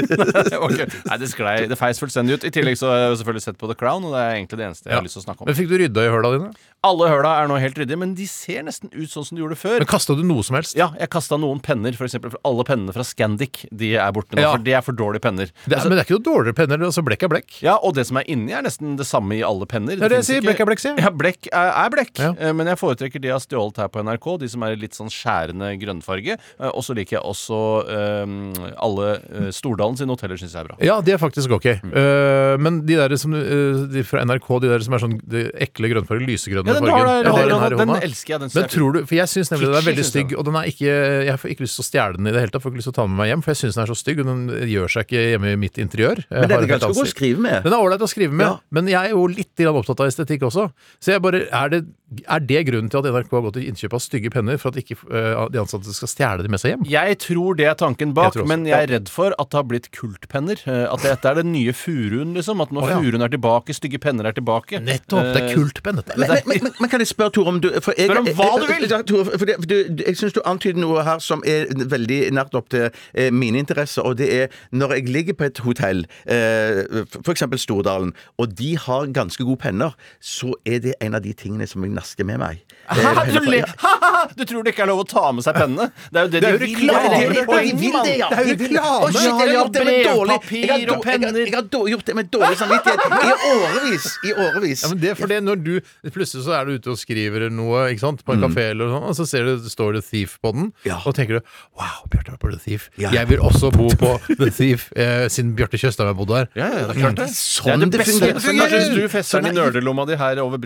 Speaker 5: Ok. Nei, det sklei. Det feis fullstendig ut. I tillegg så har jeg jo selvfølgelig sett på The Crown, og det er egentlig det eneste jeg
Speaker 4: Ja.
Speaker 5: har lyst til å snakke om.
Speaker 4: Men fikk du rydda i høla dine?
Speaker 5: Alle høla er nå helt ryddige, men de ser nesten ut sånn som de gjorde før.
Speaker 4: Men kasta du noe som helst?
Speaker 5: Ja, jeg kasta noen penner, for eksempel. For alle pennene fra Scandic de er borte nå.
Speaker 4: Ja.
Speaker 5: For de er for dårlige penner.
Speaker 4: Det er,
Speaker 5: Altså,
Speaker 4: men det er ikke noe dårligere penner. Altså, blekk er blekk.
Speaker 5: ja, Og det som er inni, er nesten det samme i alle penner.
Speaker 4: Det er det jeg
Speaker 5: finnes
Speaker 4: sier,
Speaker 5: ikke-
Speaker 4: blekk er blekk, sier jeg.
Speaker 5: Ja, blekk er, er blekk.
Speaker 4: Ja.
Speaker 5: Eh, Men jeg foretrekker de jeg har stjålet her på NRK, de som er i litt sånn skjærende grønnfarge. Eh, Og så liker jeg også eh, alle eh, Stordalen sine hoteller, syns jeg er bra.
Speaker 4: Ja, de er faktisk ok.
Speaker 5: Mm.
Speaker 4: Eh, men de der som, eh, de fra NRK, de der som er sånn de ekle grønnfarge, lysegrønne
Speaker 5: Ja, den
Speaker 4: fargen
Speaker 5: har du her i
Speaker 4: Ja,
Speaker 5: hånda.
Speaker 4: her i
Speaker 5: Den
Speaker 4: hånda.
Speaker 5: elsker jeg, den synes
Speaker 4: Men
Speaker 5: jeg er
Speaker 4: tror du, for jeg syns nemlig den er
Speaker 5: Kitschy,
Speaker 4: veldig
Speaker 5: synes jeg.
Speaker 4: stygg, og den er ikke Jeg får ikke lyst til å stjele den i det hele tatt. Får ikke lyst til å ta den med meg hjem, for jeg syns den er så stygg, og den gjør seg ikke hjemme i mitt interiør. Jeg
Speaker 6: Men
Speaker 4: har en
Speaker 6: den er
Speaker 4: helt
Speaker 6: ganske
Speaker 4: annen
Speaker 6: god å
Speaker 4: stil.
Speaker 6: skrive med.
Speaker 4: Den er ålreit å skrive med,
Speaker 6: Ja.
Speaker 4: men jeg er jo litt grann opptatt av estetikk også. Så jeg bare, er det, er det grunnen til at NRK har gått til innkjøp av stygge penner, for at ikke eh, de ansatte skal stjele de med seg hjem?
Speaker 5: Jeg tror det er tanken bak,
Speaker 4: Jeg tror også.
Speaker 5: men jeg er redd for at det har blitt kultpenner. Eh, At dette er den nye furuen, liksom. At når
Speaker 4: Å, ja.
Speaker 5: furuen er tilbake, stygge penner er tilbake. Eh,
Speaker 4: Nettopp! Det er kultpenn, dette.
Speaker 6: Men, men, men, men kan jeg spørre Tore om du for jeg,
Speaker 5: Spør om hva du vil!
Speaker 6: Ja, Tore, for det, for du, du- jeg syns du antyder noe her som er veldig nært opp til eh, mine interesser, og det er når jeg ligger på et hotell, eh, f.eks. Stordalen, og de har ganske gode penner, så er det en av de tingene som jeg nasker med meg. Eh,
Speaker 5: Hæ,
Speaker 6: penner
Speaker 5: du,
Speaker 6: fra-
Speaker 5: le-
Speaker 6: ja.
Speaker 5: Haha, du tror det ikke er lov å ta med seg pennene? Det er jo det,
Speaker 4: Det er jo
Speaker 5: de vil.
Speaker 4: reklame.
Speaker 5: Det er
Speaker 4: Det
Speaker 5: det
Speaker 4: er
Speaker 5: de vil, mann.
Speaker 6: det, ja! Det er reklame!
Speaker 5: Å, shit, jeg har gjort det med dårlig- jeg har do- jeg har- jeg
Speaker 6: gjort det med dårlig samvittighet i årevis. I årevis.
Speaker 4: Ja, men det er fordi når du Plutselig så er du ute og skriver noe ikke sant, på en kafé, eller noe sånt, og så ser du, det står det Thief på den,
Speaker 6: Mm. Ja.
Speaker 4: og tenker du Wow, Bjarte var på The Thief.
Speaker 6: Ja.
Speaker 4: Jeg vil også bo på The Thief, eh, siden Bjarte Tjøstheim har bodd der.
Speaker 5: Ja, ja, det er klart det. Det er det
Speaker 4: sånn
Speaker 5: beste.
Speaker 6: sånn fungerer.
Speaker 5: Men da syns du fester den i
Speaker 6: Sånn er-
Speaker 5: nerdelomma di her over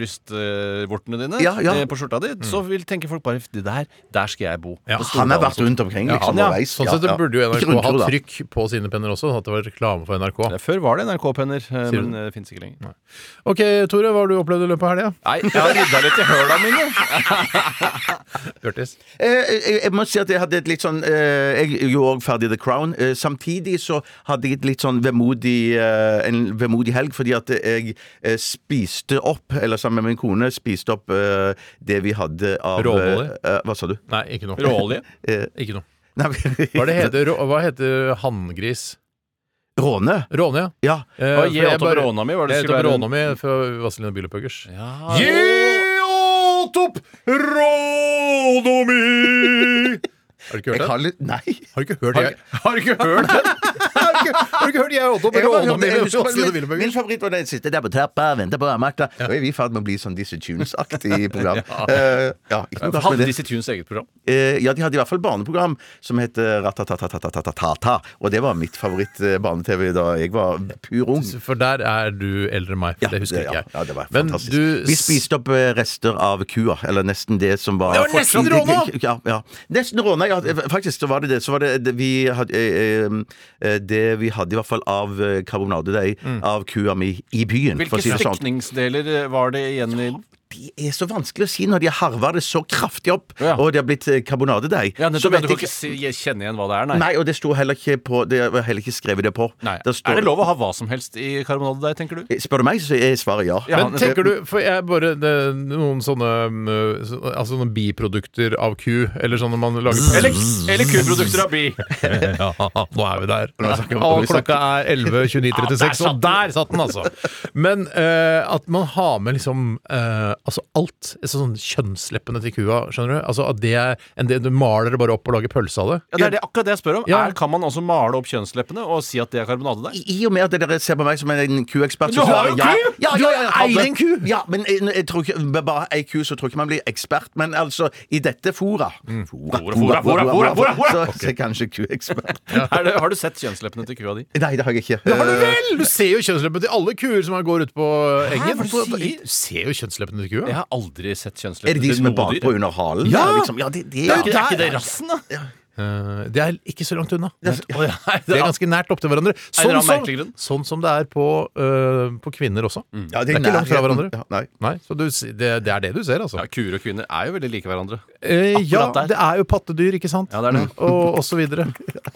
Speaker 5: brystvortene dine,
Speaker 6: Ja, ja.
Speaker 5: eh, på skjorta di, så vil tenke folk bare Det der, der skal jeg bo.
Speaker 4: Ja,
Speaker 5: På
Speaker 6: Han har
Speaker 5: Stordalen.
Speaker 6: vært rundt omkring, liksom,
Speaker 5: Ja, han, ja.
Speaker 6: underveis.
Speaker 4: Sånn sett
Speaker 6: Ja, ja.
Speaker 4: burde jo
Speaker 6: Ikke
Speaker 4: NRK
Speaker 6: rundt
Speaker 4: ha
Speaker 6: hodet, da.
Speaker 4: trykk på sine penner også, sånn at det var reklame for NRK.
Speaker 5: Ja, Før var det NRK-penner,
Speaker 4: Sier
Speaker 5: eh,
Speaker 4: du?
Speaker 5: men eh, det fins ikke lenger.
Speaker 4: Ok, Tore, hva har du opplevd i løpet av helga?
Speaker 5: Nei, jeg har rydda litt i høla mine.
Speaker 4: Bjørtis?
Speaker 6: Eh, jeg, jeg må si at jeg hadde et litt sånn eh, Jeg gjorde også ferdig The Crown. Eh, samtidig så hadde jeg et litt sånn vemodig eh, en vemodig helg, fordi at jeg eh, spiste opp, eller sammen med min kone, spiste opp eh, det vi hadde av
Speaker 4: Råolje?
Speaker 6: eh, eh, hva sa du?
Speaker 4: Nei, ikke noe.
Speaker 5: Råolje.
Speaker 6: Eh,
Speaker 4: Ikke noe.
Speaker 6: nei,
Speaker 4: Hva, er det heter, rå- hva heter hanngris?
Speaker 6: Råne.
Speaker 4: Råne, ja.
Speaker 6: Ja.
Speaker 4: Eh,
Speaker 5: Og gi
Speaker 4: for jeg
Speaker 5: åt opp
Speaker 4: bare-
Speaker 5: råna mi, var det
Speaker 4: Jeg
Speaker 5: det
Speaker 4: heter
Speaker 5: skulle være.
Speaker 4: råna mi fra Vazelina Bilopphøggers.
Speaker 5: Ja.
Speaker 4: Gi åt opp råna mi! Har du ikke hørt
Speaker 6: Jeg
Speaker 4: det?
Speaker 6: har litt Nei.
Speaker 4: Har du ikke hørt
Speaker 5: Har-
Speaker 4: jeg- Har du ikke hørt det? Har du ikke, har du ikke hørt jeg åt opp
Speaker 6: Jeg har bare
Speaker 4: råna
Speaker 6: hørt
Speaker 4: mi
Speaker 6: det, jeg
Speaker 4: fra
Speaker 6: husker
Speaker 4: Vazelina
Speaker 6: bare Min, min
Speaker 4: Bilopphøggers?
Speaker 6: favoritt var den siste der på trappa, venter på Martha. Og er vi i ferd med å bli sånn Dizzie Tunes-aktig program? Eh, ja, ikke noe galt
Speaker 5: Hadde
Speaker 6: med det.
Speaker 5: Dizzie Tunes eget program?
Speaker 6: Eh, ja, de hadde i hvert fall barneprogram som het Ratatatatata. Og det var mitt favoritt-barne-TV da jeg var pur ung.
Speaker 4: For der er du eldre enn meg. For
Speaker 6: Ja,
Speaker 4: det husker
Speaker 6: det-
Speaker 4: ikke
Speaker 6: ja,
Speaker 4: jeg.
Speaker 6: ja, det var
Speaker 4: Men
Speaker 6: fantastisk.
Speaker 4: du
Speaker 6: Vi spiste opp eh, rester av kua, eller nesten det som var
Speaker 4: Det var nesten råna!
Speaker 6: Ja, ja. Nesten råna, ja. Faktisk så var det det. Så var det, det vi hadde eh, eh, Det vi hadde i hvert fall av eh, karbonadedeig av kua mi i byen, for
Speaker 5: Mm. Hvilke
Speaker 6: å si det sånn.
Speaker 5: strekningsdeler eh, var det igjen i den?
Speaker 6: De er så vanskelig å si når de har harva det så kraftig opp,
Speaker 5: Ja.
Speaker 6: og det har blitt eh, karbonadedeig.
Speaker 5: Ja,
Speaker 6: så
Speaker 5: nettopp, men du kan ikke si, kjenne igjen hva det er, nei.
Speaker 6: Nei, og det sto heller ikke på Det var heller ikke skrevet det på.
Speaker 5: Nei.
Speaker 6: Der står- Eh,
Speaker 5: Er det lov å ha hva som helst i karbonadedeig, tenker du?
Speaker 6: Spør du meg, så er svaret ja.
Speaker 5: Ja,
Speaker 4: Men tenker du, for jeg bare det, er Noen sånne mm, så- Altså sånne biprodukter av ku, eller sånn når man
Speaker 6: Mm.
Speaker 4: lager
Speaker 5: Eller, eller kuprodukter av bi.
Speaker 4: Ja, nå er vi der.
Speaker 6: snakker vi om-
Speaker 4: Og
Speaker 6: vi snakker-
Speaker 4: klokka er 11.29.36, og der satt den, altså! Men eh, at man har med liksom eh, Altså alt. Altså Sånn kjønnsleppene til kua, skjønner du? Altså at det er en del, Du maler det bare opp og lager pølse av det.
Speaker 5: Ja, det er det, akkurat det jeg spør om.
Speaker 4: Ja.
Speaker 5: Er, kan man også male opp kjønnsleppene og si at det er karbonadedeig?
Speaker 6: I i og med at dere ser på meg som en
Speaker 5: Men
Speaker 6: kuekspert
Speaker 5: du
Speaker 6: så
Speaker 5: har jo
Speaker 6: svarer ja.
Speaker 5: ku!
Speaker 6: Ja,
Speaker 4: Du
Speaker 6: ja,
Speaker 4: har
Speaker 6: ja,
Speaker 4: jo
Speaker 6: alle-
Speaker 4: eid en ku!
Speaker 6: Ja, men jeg, jeg tror ikke med Bare ei ku, så tror jeg ikke man blir ekspert. Men altså, i dette fora
Speaker 4: Mm.
Speaker 6: Fora,
Speaker 5: fora, fora, fora, fora.
Speaker 6: Så, så kanskje kuekspert.
Speaker 5: Er det, har du sett kjønnsleppene til kua di?
Speaker 6: Nei, det har jeg ikke. Eh,
Speaker 4: Har du vel! Du ser jo kjønnsleppene til alle kuer som går ute på engen.
Speaker 5: Hva er det du sier?
Speaker 4: Du ser jo kjønnsleppene til
Speaker 5: Jeg
Speaker 4: kua.
Speaker 5: har aldri sett kjønnsleppene
Speaker 6: Er det de som er
Speaker 5: til noe dyr.
Speaker 6: bakpå under halen?
Speaker 4: Ja!
Speaker 6: Ja, liksom, ja, det, det,
Speaker 5: Er ikke-
Speaker 6: ja.
Speaker 5: er ikke det rassen, da?
Speaker 4: Eh, Det er ikke så langt unna.
Speaker 5: Å, ja, nei,
Speaker 4: De er ganske nært opptil hverandre. Sånn
Speaker 5: eller annen
Speaker 4: som,
Speaker 5: merkelig grunn.
Speaker 4: sånn som det er på, øh, på kvinner også.
Speaker 6: Ja,
Speaker 4: Det er ikke langt fra
Speaker 6: nærheten.
Speaker 4: hverandre.
Speaker 6: Ja, nei.
Speaker 4: Nei, så du, s- det, det er det du ser, altså.
Speaker 5: Ja, Kuer og kvinner er jo veldig like hverandre. Mm.
Speaker 4: Eh, ja,
Speaker 5: akkurat der.
Speaker 4: det er jo pattedyr, ikke sant?
Speaker 5: Ja, det er det.
Speaker 4: Og, og så videre.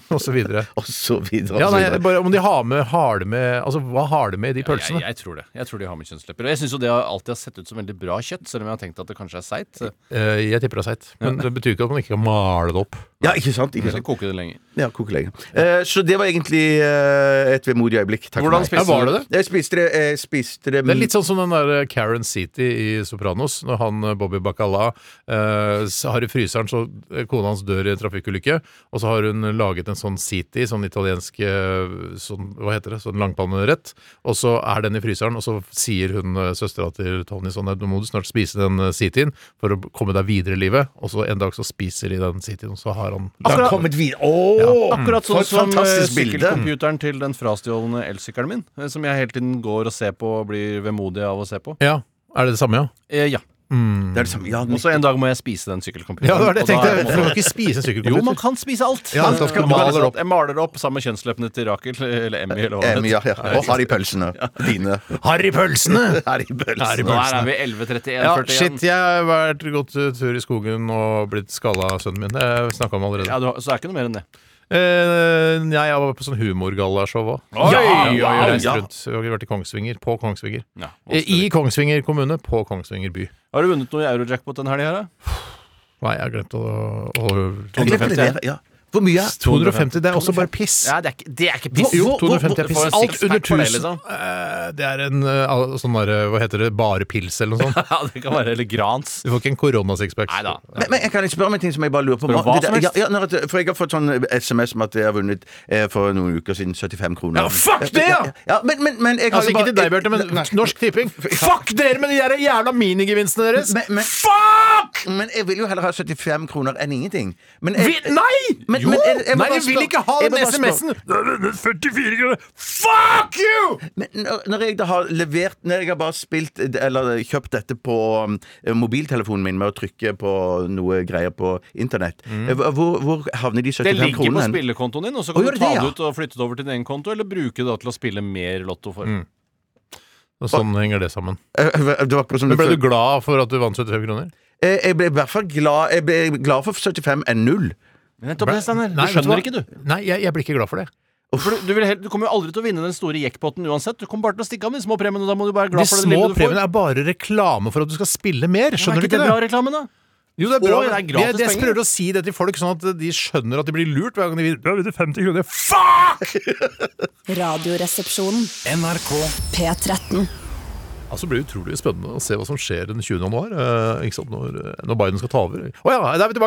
Speaker 4: Og så videre.
Speaker 6: Og så videre.
Speaker 4: Ja,
Speaker 6: Og så
Speaker 4: nei,
Speaker 6: videre.
Speaker 4: bare om de har med, har det med Altså, hva har det med i de
Speaker 5: Jeg,
Speaker 4: pølsene?
Speaker 5: jeg tror det. Jeg tror de har med kjønnslepper. Og jeg syns jo det har alltid har sett ut som veldig bra kjøtt, selv om jeg har tenkt at det kanskje er seigt.
Speaker 4: Eh, jeg tipper det er seigt. Men det betyr ikke at man ikke kan male det opp.
Speaker 6: ja, ikke sant? Ikke
Speaker 5: Eller
Speaker 6: sant?
Speaker 5: koke det lenger.
Speaker 6: Ja, kokelege. Eh, så det var egentlig eh, et vemodig øyeblikk. Takk
Speaker 5: Hvordan
Speaker 6: for meg.
Speaker 5: spiste
Speaker 4: Ja, var du det?
Speaker 6: Jeg spiste det, jeg spiste det,
Speaker 4: Det er litt sånn som den der Karen City i Sopranos. Når han eh, Bobby Bacala eh, s- har i fryseren, så eh, kona hans dør i en trafikkulykke. Og så har hun laget en sånn City, sånn italiensk eh, sånn, Hva heter det? Sånn langpannerett. Og så er den i fryseren, og så sier hun eh, søstera til Tony sånn at nå må du snart spise den eh, Cityen for å komme deg videre i livet. Og så en dag så spiser de den Cityen, og så har han
Speaker 6: Da har han kommet videre. Åh!
Speaker 5: Akkurat
Speaker 6: For
Speaker 5: sånn
Speaker 6: et
Speaker 5: som eh,
Speaker 6: fantastisk bilde.
Speaker 5: sykkelcomputeren til den frastjålne elsykkelen min, eh, som jeg hele tiden går og ser på og blir vemodig av å se på.
Speaker 4: Ja, er det det samme, ja?
Speaker 5: Eh, ja.
Speaker 6: Det er det samme. Ja,
Speaker 5: Og så en dag må jeg spise den sykkelcomputeren.
Speaker 4: Ja, det var det jeg
Speaker 5: og da er
Speaker 4: tenkte. Du
Speaker 5: det på en
Speaker 4: kan
Speaker 5: måte-
Speaker 4: ikke spise en
Speaker 5: Jo, man
Speaker 4: sykkelkomputer.
Speaker 5: kan spise alt.
Speaker 4: Ja, man skal
Speaker 5: Jeg
Speaker 4: male det
Speaker 5: maler
Speaker 4: opp.
Speaker 5: Jeg maler det opp sammen med kjønnsleppene til Rakel, eller Emmy, eller hva
Speaker 6: Eh,
Speaker 5: det
Speaker 6: men ja, ja. Og har de pølsene. Dine.
Speaker 4: Harrypølsene! Har
Speaker 6: Har de
Speaker 4: de
Speaker 5: Nå
Speaker 6: pølsene.
Speaker 4: pølsene?
Speaker 5: er vi 11.31.
Speaker 4: Ja,
Speaker 5: 41.
Speaker 4: shit, jeg har vært gått eh, tur i skogen og blitt skalla av sønnen min. Det har jeg snakka om allerede.
Speaker 5: Ja, du har, så er det ikke noe mer enn det.
Speaker 4: Eh, nei, jeg var på sånn humorgallashow òg.
Speaker 5: Oi,
Speaker 4: Vi
Speaker 5: wow,
Speaker 4: har reist
Speaker 6: ja.
Speaker 4: rundt. Vi har vært i Kongsvinger. På Kongsvinger.
Speaker 5: Ja,
Speaker 4: Eh, I Kongsvinger kommune. På Kongsvinger by.
Speaker 5: Har du vunnet noe i Eurojackpot denne helga?
Speaker 4: Nei, jeg har glemt å, å
Speaker 6: Jeg glemte det. Ja. Hvor mye? er-
Speaker 4: 250. Det er også bare piss.
Speaker 5: Ja, det er ikke, det er ikke
Speaker 4: Jo,
Speaker 5: piss.
Speaker 4: Jo,
Speaker 6: hvor-
Speaker 4: 250 er
Speaker 5: hvor-
Speaker 4: piss.
Speaker 5: får en
Speaker 4: Alt
Speaker 5: sixpack
Speaker 4: under
Speaker 5: for det,
Speaker 4: 1000.
Speaker 5: liksom?
Speaker 4: Eh, Det er en eh, al- sånn derre Hva heter det? Bare pils, eller noe sånt.
Speaker 5: Ja, det kan være Eller Grans.
Speaker 4: Du får ikke en koronasixpack. Altså,
Speaker 5: Nei da.
Speaker 6: Men, men jeg kan ikke spørre om en ting som jeg bare lurer på.
Speaker 5: Spør om hva
Speaker 6: Det der-
Speaker 5: som helst.
Speaker 6: Ja, ja, nei, at- for jeg har fått sånn SMS om at jeg har vunnet eh, for noen uker siden 75 kroner.
Speaker 4: Ja, fuck det, ja!
Speaker 6: ja men, men, men jeg har
Speaker 4: Altså
Speaker 6: jo
Speaker 4: ikke
Speaker 6: bare-
Speaker 4: til deg, Bjarte, men
Speaker 6: Nei.
Speaker 4: Norsk Tipping. Fuck dere med de der jævla minigevinstene deres!
Speaker 6: Men- men-
Speaker 4: Fuck!
Speaker 6: Men jeg vil jo heller ha 75 kroner enn ingenting. Men jeg,
Speaker 4: Vi, nei!
Speaker 6: Men men-
Speaker 4: jo!
Speaker 6: men jeg- jeg må
Speaker 4: Nei,
Speaker 6: bare
Speaker 4: jeg vil
Speaker 6: spørre-
Speaker 4: ikke ha
Speaker 6: jeg må
Speaker 4: den
Speaker 6: bare spørre-
Speaker 4: SMS-en! Det er denne 44 kroner! Fuck you!
Speaker 6: Men når når jeg da har levert Når jeg har bare spilt eller kjøpt dette på um, mobiltelefonen min med å trykke på noe greier på internett, eh, hvor, hvor havner de
Speaker 5: Det
Speaker 6: 75
Speaker 5: ligger på
Speaker 6: kronene? hen?
Speaker 5: spillekontoen din, og så
Speaker 6: Å,
Speaker 5: kan du
Speaker 6: gjør det
Speaker 5: ta
Speaker 6: det,
Speaker 5: det
Speaker 6: ja?
Speaker 5: ut og flytte det over til din egen konto, eller bruke det da til å spille mer lotto for.
Speaker 4: Mm. Og sånn henger det sammen.
Speaker 6: Eh, Det var akkurat som
Speaker 4: Men ble
Speaker 6: følte-
Speaker 4: du glad for at du vant 75 kroner?
Speaker 6: Eh, Jeg ble i hvert fall glad Jeg ble glad for 75 enn null.
Speaker 5: Nettopp det, Steinar. Du
Speaker 4: Nei, vet
Speaker 5: skjønner
Speaker 4: hva?
Speaker 5: ikke, du.
Speaker 4: Nei, jeg, jeg blir ikke glad for det.
Speaker 5: For du, du, vil helt, du kommer jo aldri til å vinne den store jackpoten uansett. Du kommer bare til å stikke av med de små premiene. og Da må du være
Speaker 4: De
Speaker 5: glad for det
Speaker 4: små
Speaker 5: lille du får.
Speaker 4: premiene er bare reklame for at du skal spille mer. Skjønner du ikke det?
Speaker 5: bra reklame, da?
Speaker 4: Jo, det er
Speaker 5: Og
Speaker 4: bra.
Speaker 5: det
Speaker 4: men
Speaker 5: er gratis
Speaker 4: jeg, jeg
Speaker 5: penger.
Speaker 4: prøver å si det til folk, sånn at de skjønner at de blir lurt hver gang de vil. Bra, vil du 50 kroner? Fuck!
Speaker 1: Radioresepsjonen.
Speaker 3: NRK
Speaker 1: P13.
Speaker 4: Altså, det blir utrolig spennende å se hva som skjer den 20. januar. eh, ikke sant? Når, eh, når Biden skal ta over. Å ja, da er vi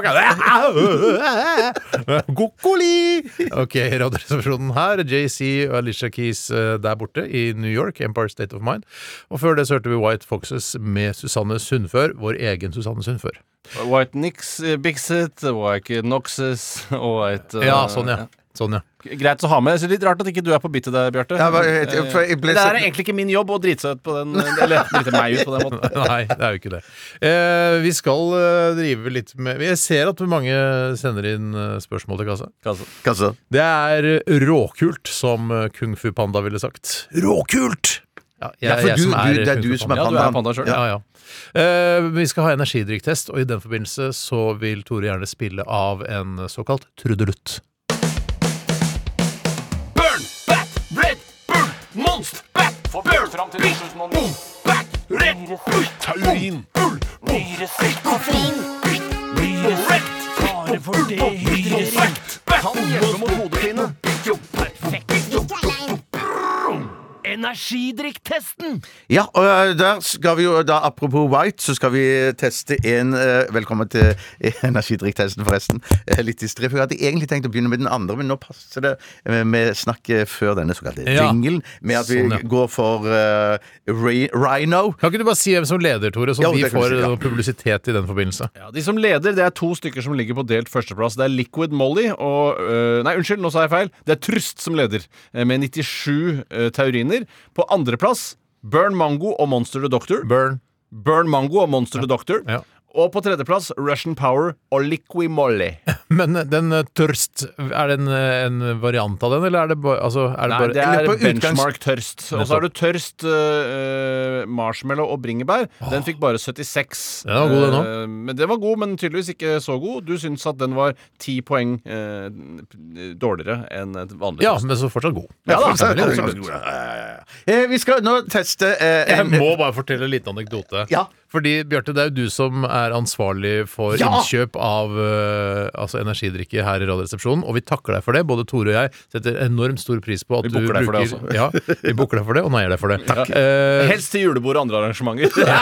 Speaker 4: tilbake! Gokkoli! Ok, Radioresepsjonen her. JC og Alicia Keys eh, der borte i New York. Empire State of Mind. Og før det så hørte vi White Foxes med Susanne Sundfør. Vår egen Susanne Sundfør.
Speaker 5: White Nix, eh, Bixit, White Noxes og et eh,
Speaker 4: Ja, sånn, ja. Sånn, ja.
Speaker 5: Greit å ha med. Så litt rart at ikke du er på bittet der, Bjarte.
Speaker 6: Ja, hva- jeg- for jeg ble
Speaker 5: Eh, det
Speaker 6: så-
Speaker 5: er egentlig ikke min jobb å drite seg ut på den Eller drite meg ut på den måten.
Speaker 4: Nei, det er jo ikke det. Eh, vi skal eh, drive litt med Jeg ser at mange sender inn eh, spørsmål til kassa.
Speaker 5: Altså,
Speaker 6: Kassa.
Speaker 4: Det er råkult, som eh, Kung Fu Panda ville sagt. Råkult! Ja, jeg,
Speaker 6: Ja, for
Speaker 4: jeg
Speaker 6: du-
Speaker 4: som er
Speaker 6: du- det
Speaker 4: Kung
Speaker 6: er du
Speaker 4: Fu
Speaker 6: som
Speaker 4: Panda.
Speaker 6: er
Speaker 5: Ja, du er
Speaker 6: Pandaen.
Speaker 5: panda sjøl.
Speaker 4: Ja, ja. Eh, vi skal ha energidrikktest, og i den forbindelse så vil Tore gjerne spille av en såkalt trudelutt.
Speaker 7: Burn, bat, red, burn, monst, bat, for burn, big, boom, bat, red, burn, taurin, bull, boom, big, koffein, big, boom, red, fare for dehydrering, kan hjelpe mot hodepine. Energidrikktesten!
Speaker 6: Ja, og eh, der skal vi jo da, apropos White, så skal vi teste en eh, Velkommen til energidrikktesten, forresten. Eh, Litt distré. For jeg hadde egentlig tenkt å begynne med den andre, men nå passer det eh, med snakket før denne såkalte
Speaker 4: Ja.
Speaker 6: jinglen, med at vi
Speaker 4: Sånn, ja.
Speaker 6: går for eh, Ri- Rhino.
Speaker 4: Kan ikke du bare si hvem som leder, Tore, så
Speaker 6: Jo,
Speaker 4: de
Speaker 6: det kan
Speaker 4: får
Speaker 6: vi si, ja.
Speaker 4: eh, publisitet i den forbindelse?
Speaker 5: Ja, de som leder, det er to stykker som ligger på delt førsteplass. Det er Liquid Molly og øh, Nei, unnskyld, nå sa jeg feil. Det er Trust som leder, eh, med 97 øh, tauriner. På andreplass Burn Mango og Monster the Doctor.
Speaker 4: Burn.
Speaker 5: Burn Mango og Monster the Doctor.
Speaker 4: Ja.
Speaker 5: Og på tredjeplass Russian Power og Liquid Molly.
Speaker 4: Men eh, den eh, tørst, er det en, eh, en variant av den, eller er det bare, altså, er det
Speaker 5: Nei,
Speaker 4: bare
Speaker 5: det er
Speaker 6: eller på utgangs-
Speaker 5: benchmark tørst. Og så har du tørst øh, øh, marshmallow og bringebær. Den fikk bare 76.
Speaker 4: Den var god, den også.
Speaker 5: Øh, men den var god, men tydeligvis ikke så god. Du syns at den var ti poeng øh, p- dårligere enn et vanlig
Speaker 4: Ja,
Speaker 5: tørst.
Speaker 4: men så fortsatt god.
Speaker 5: Ja, da.
Speaker 4: Fortsatt veldig god.
Speaker 6: Eh, Vi skal nå teste eh,
Speaker 4: Jeg
Speaker 6: en
Speaker 4: må bare fortelle en liten anekdote.
Speaker 6: Ja.
Speaker 4: Fordi, Bjarte, det er jo du som er ansvarlig for
Speaker 6: Ja!
Speaker 4: innkjøp av eh, altså energidrikke her i Radioresepsjonen, og vi takker deg for det. Både Tore og jeg setter enormt stor pris på at
Speaker 5: Vi
Speaker 4: du
Speaker 5: booker deg for
Speaker 4: bruker
Speaker 5: det,
Speaker 4: Ja, vi booker deg for det, og neier deg for det. Eh,
Speaker 5: Helst til julebord og andre arrangementer.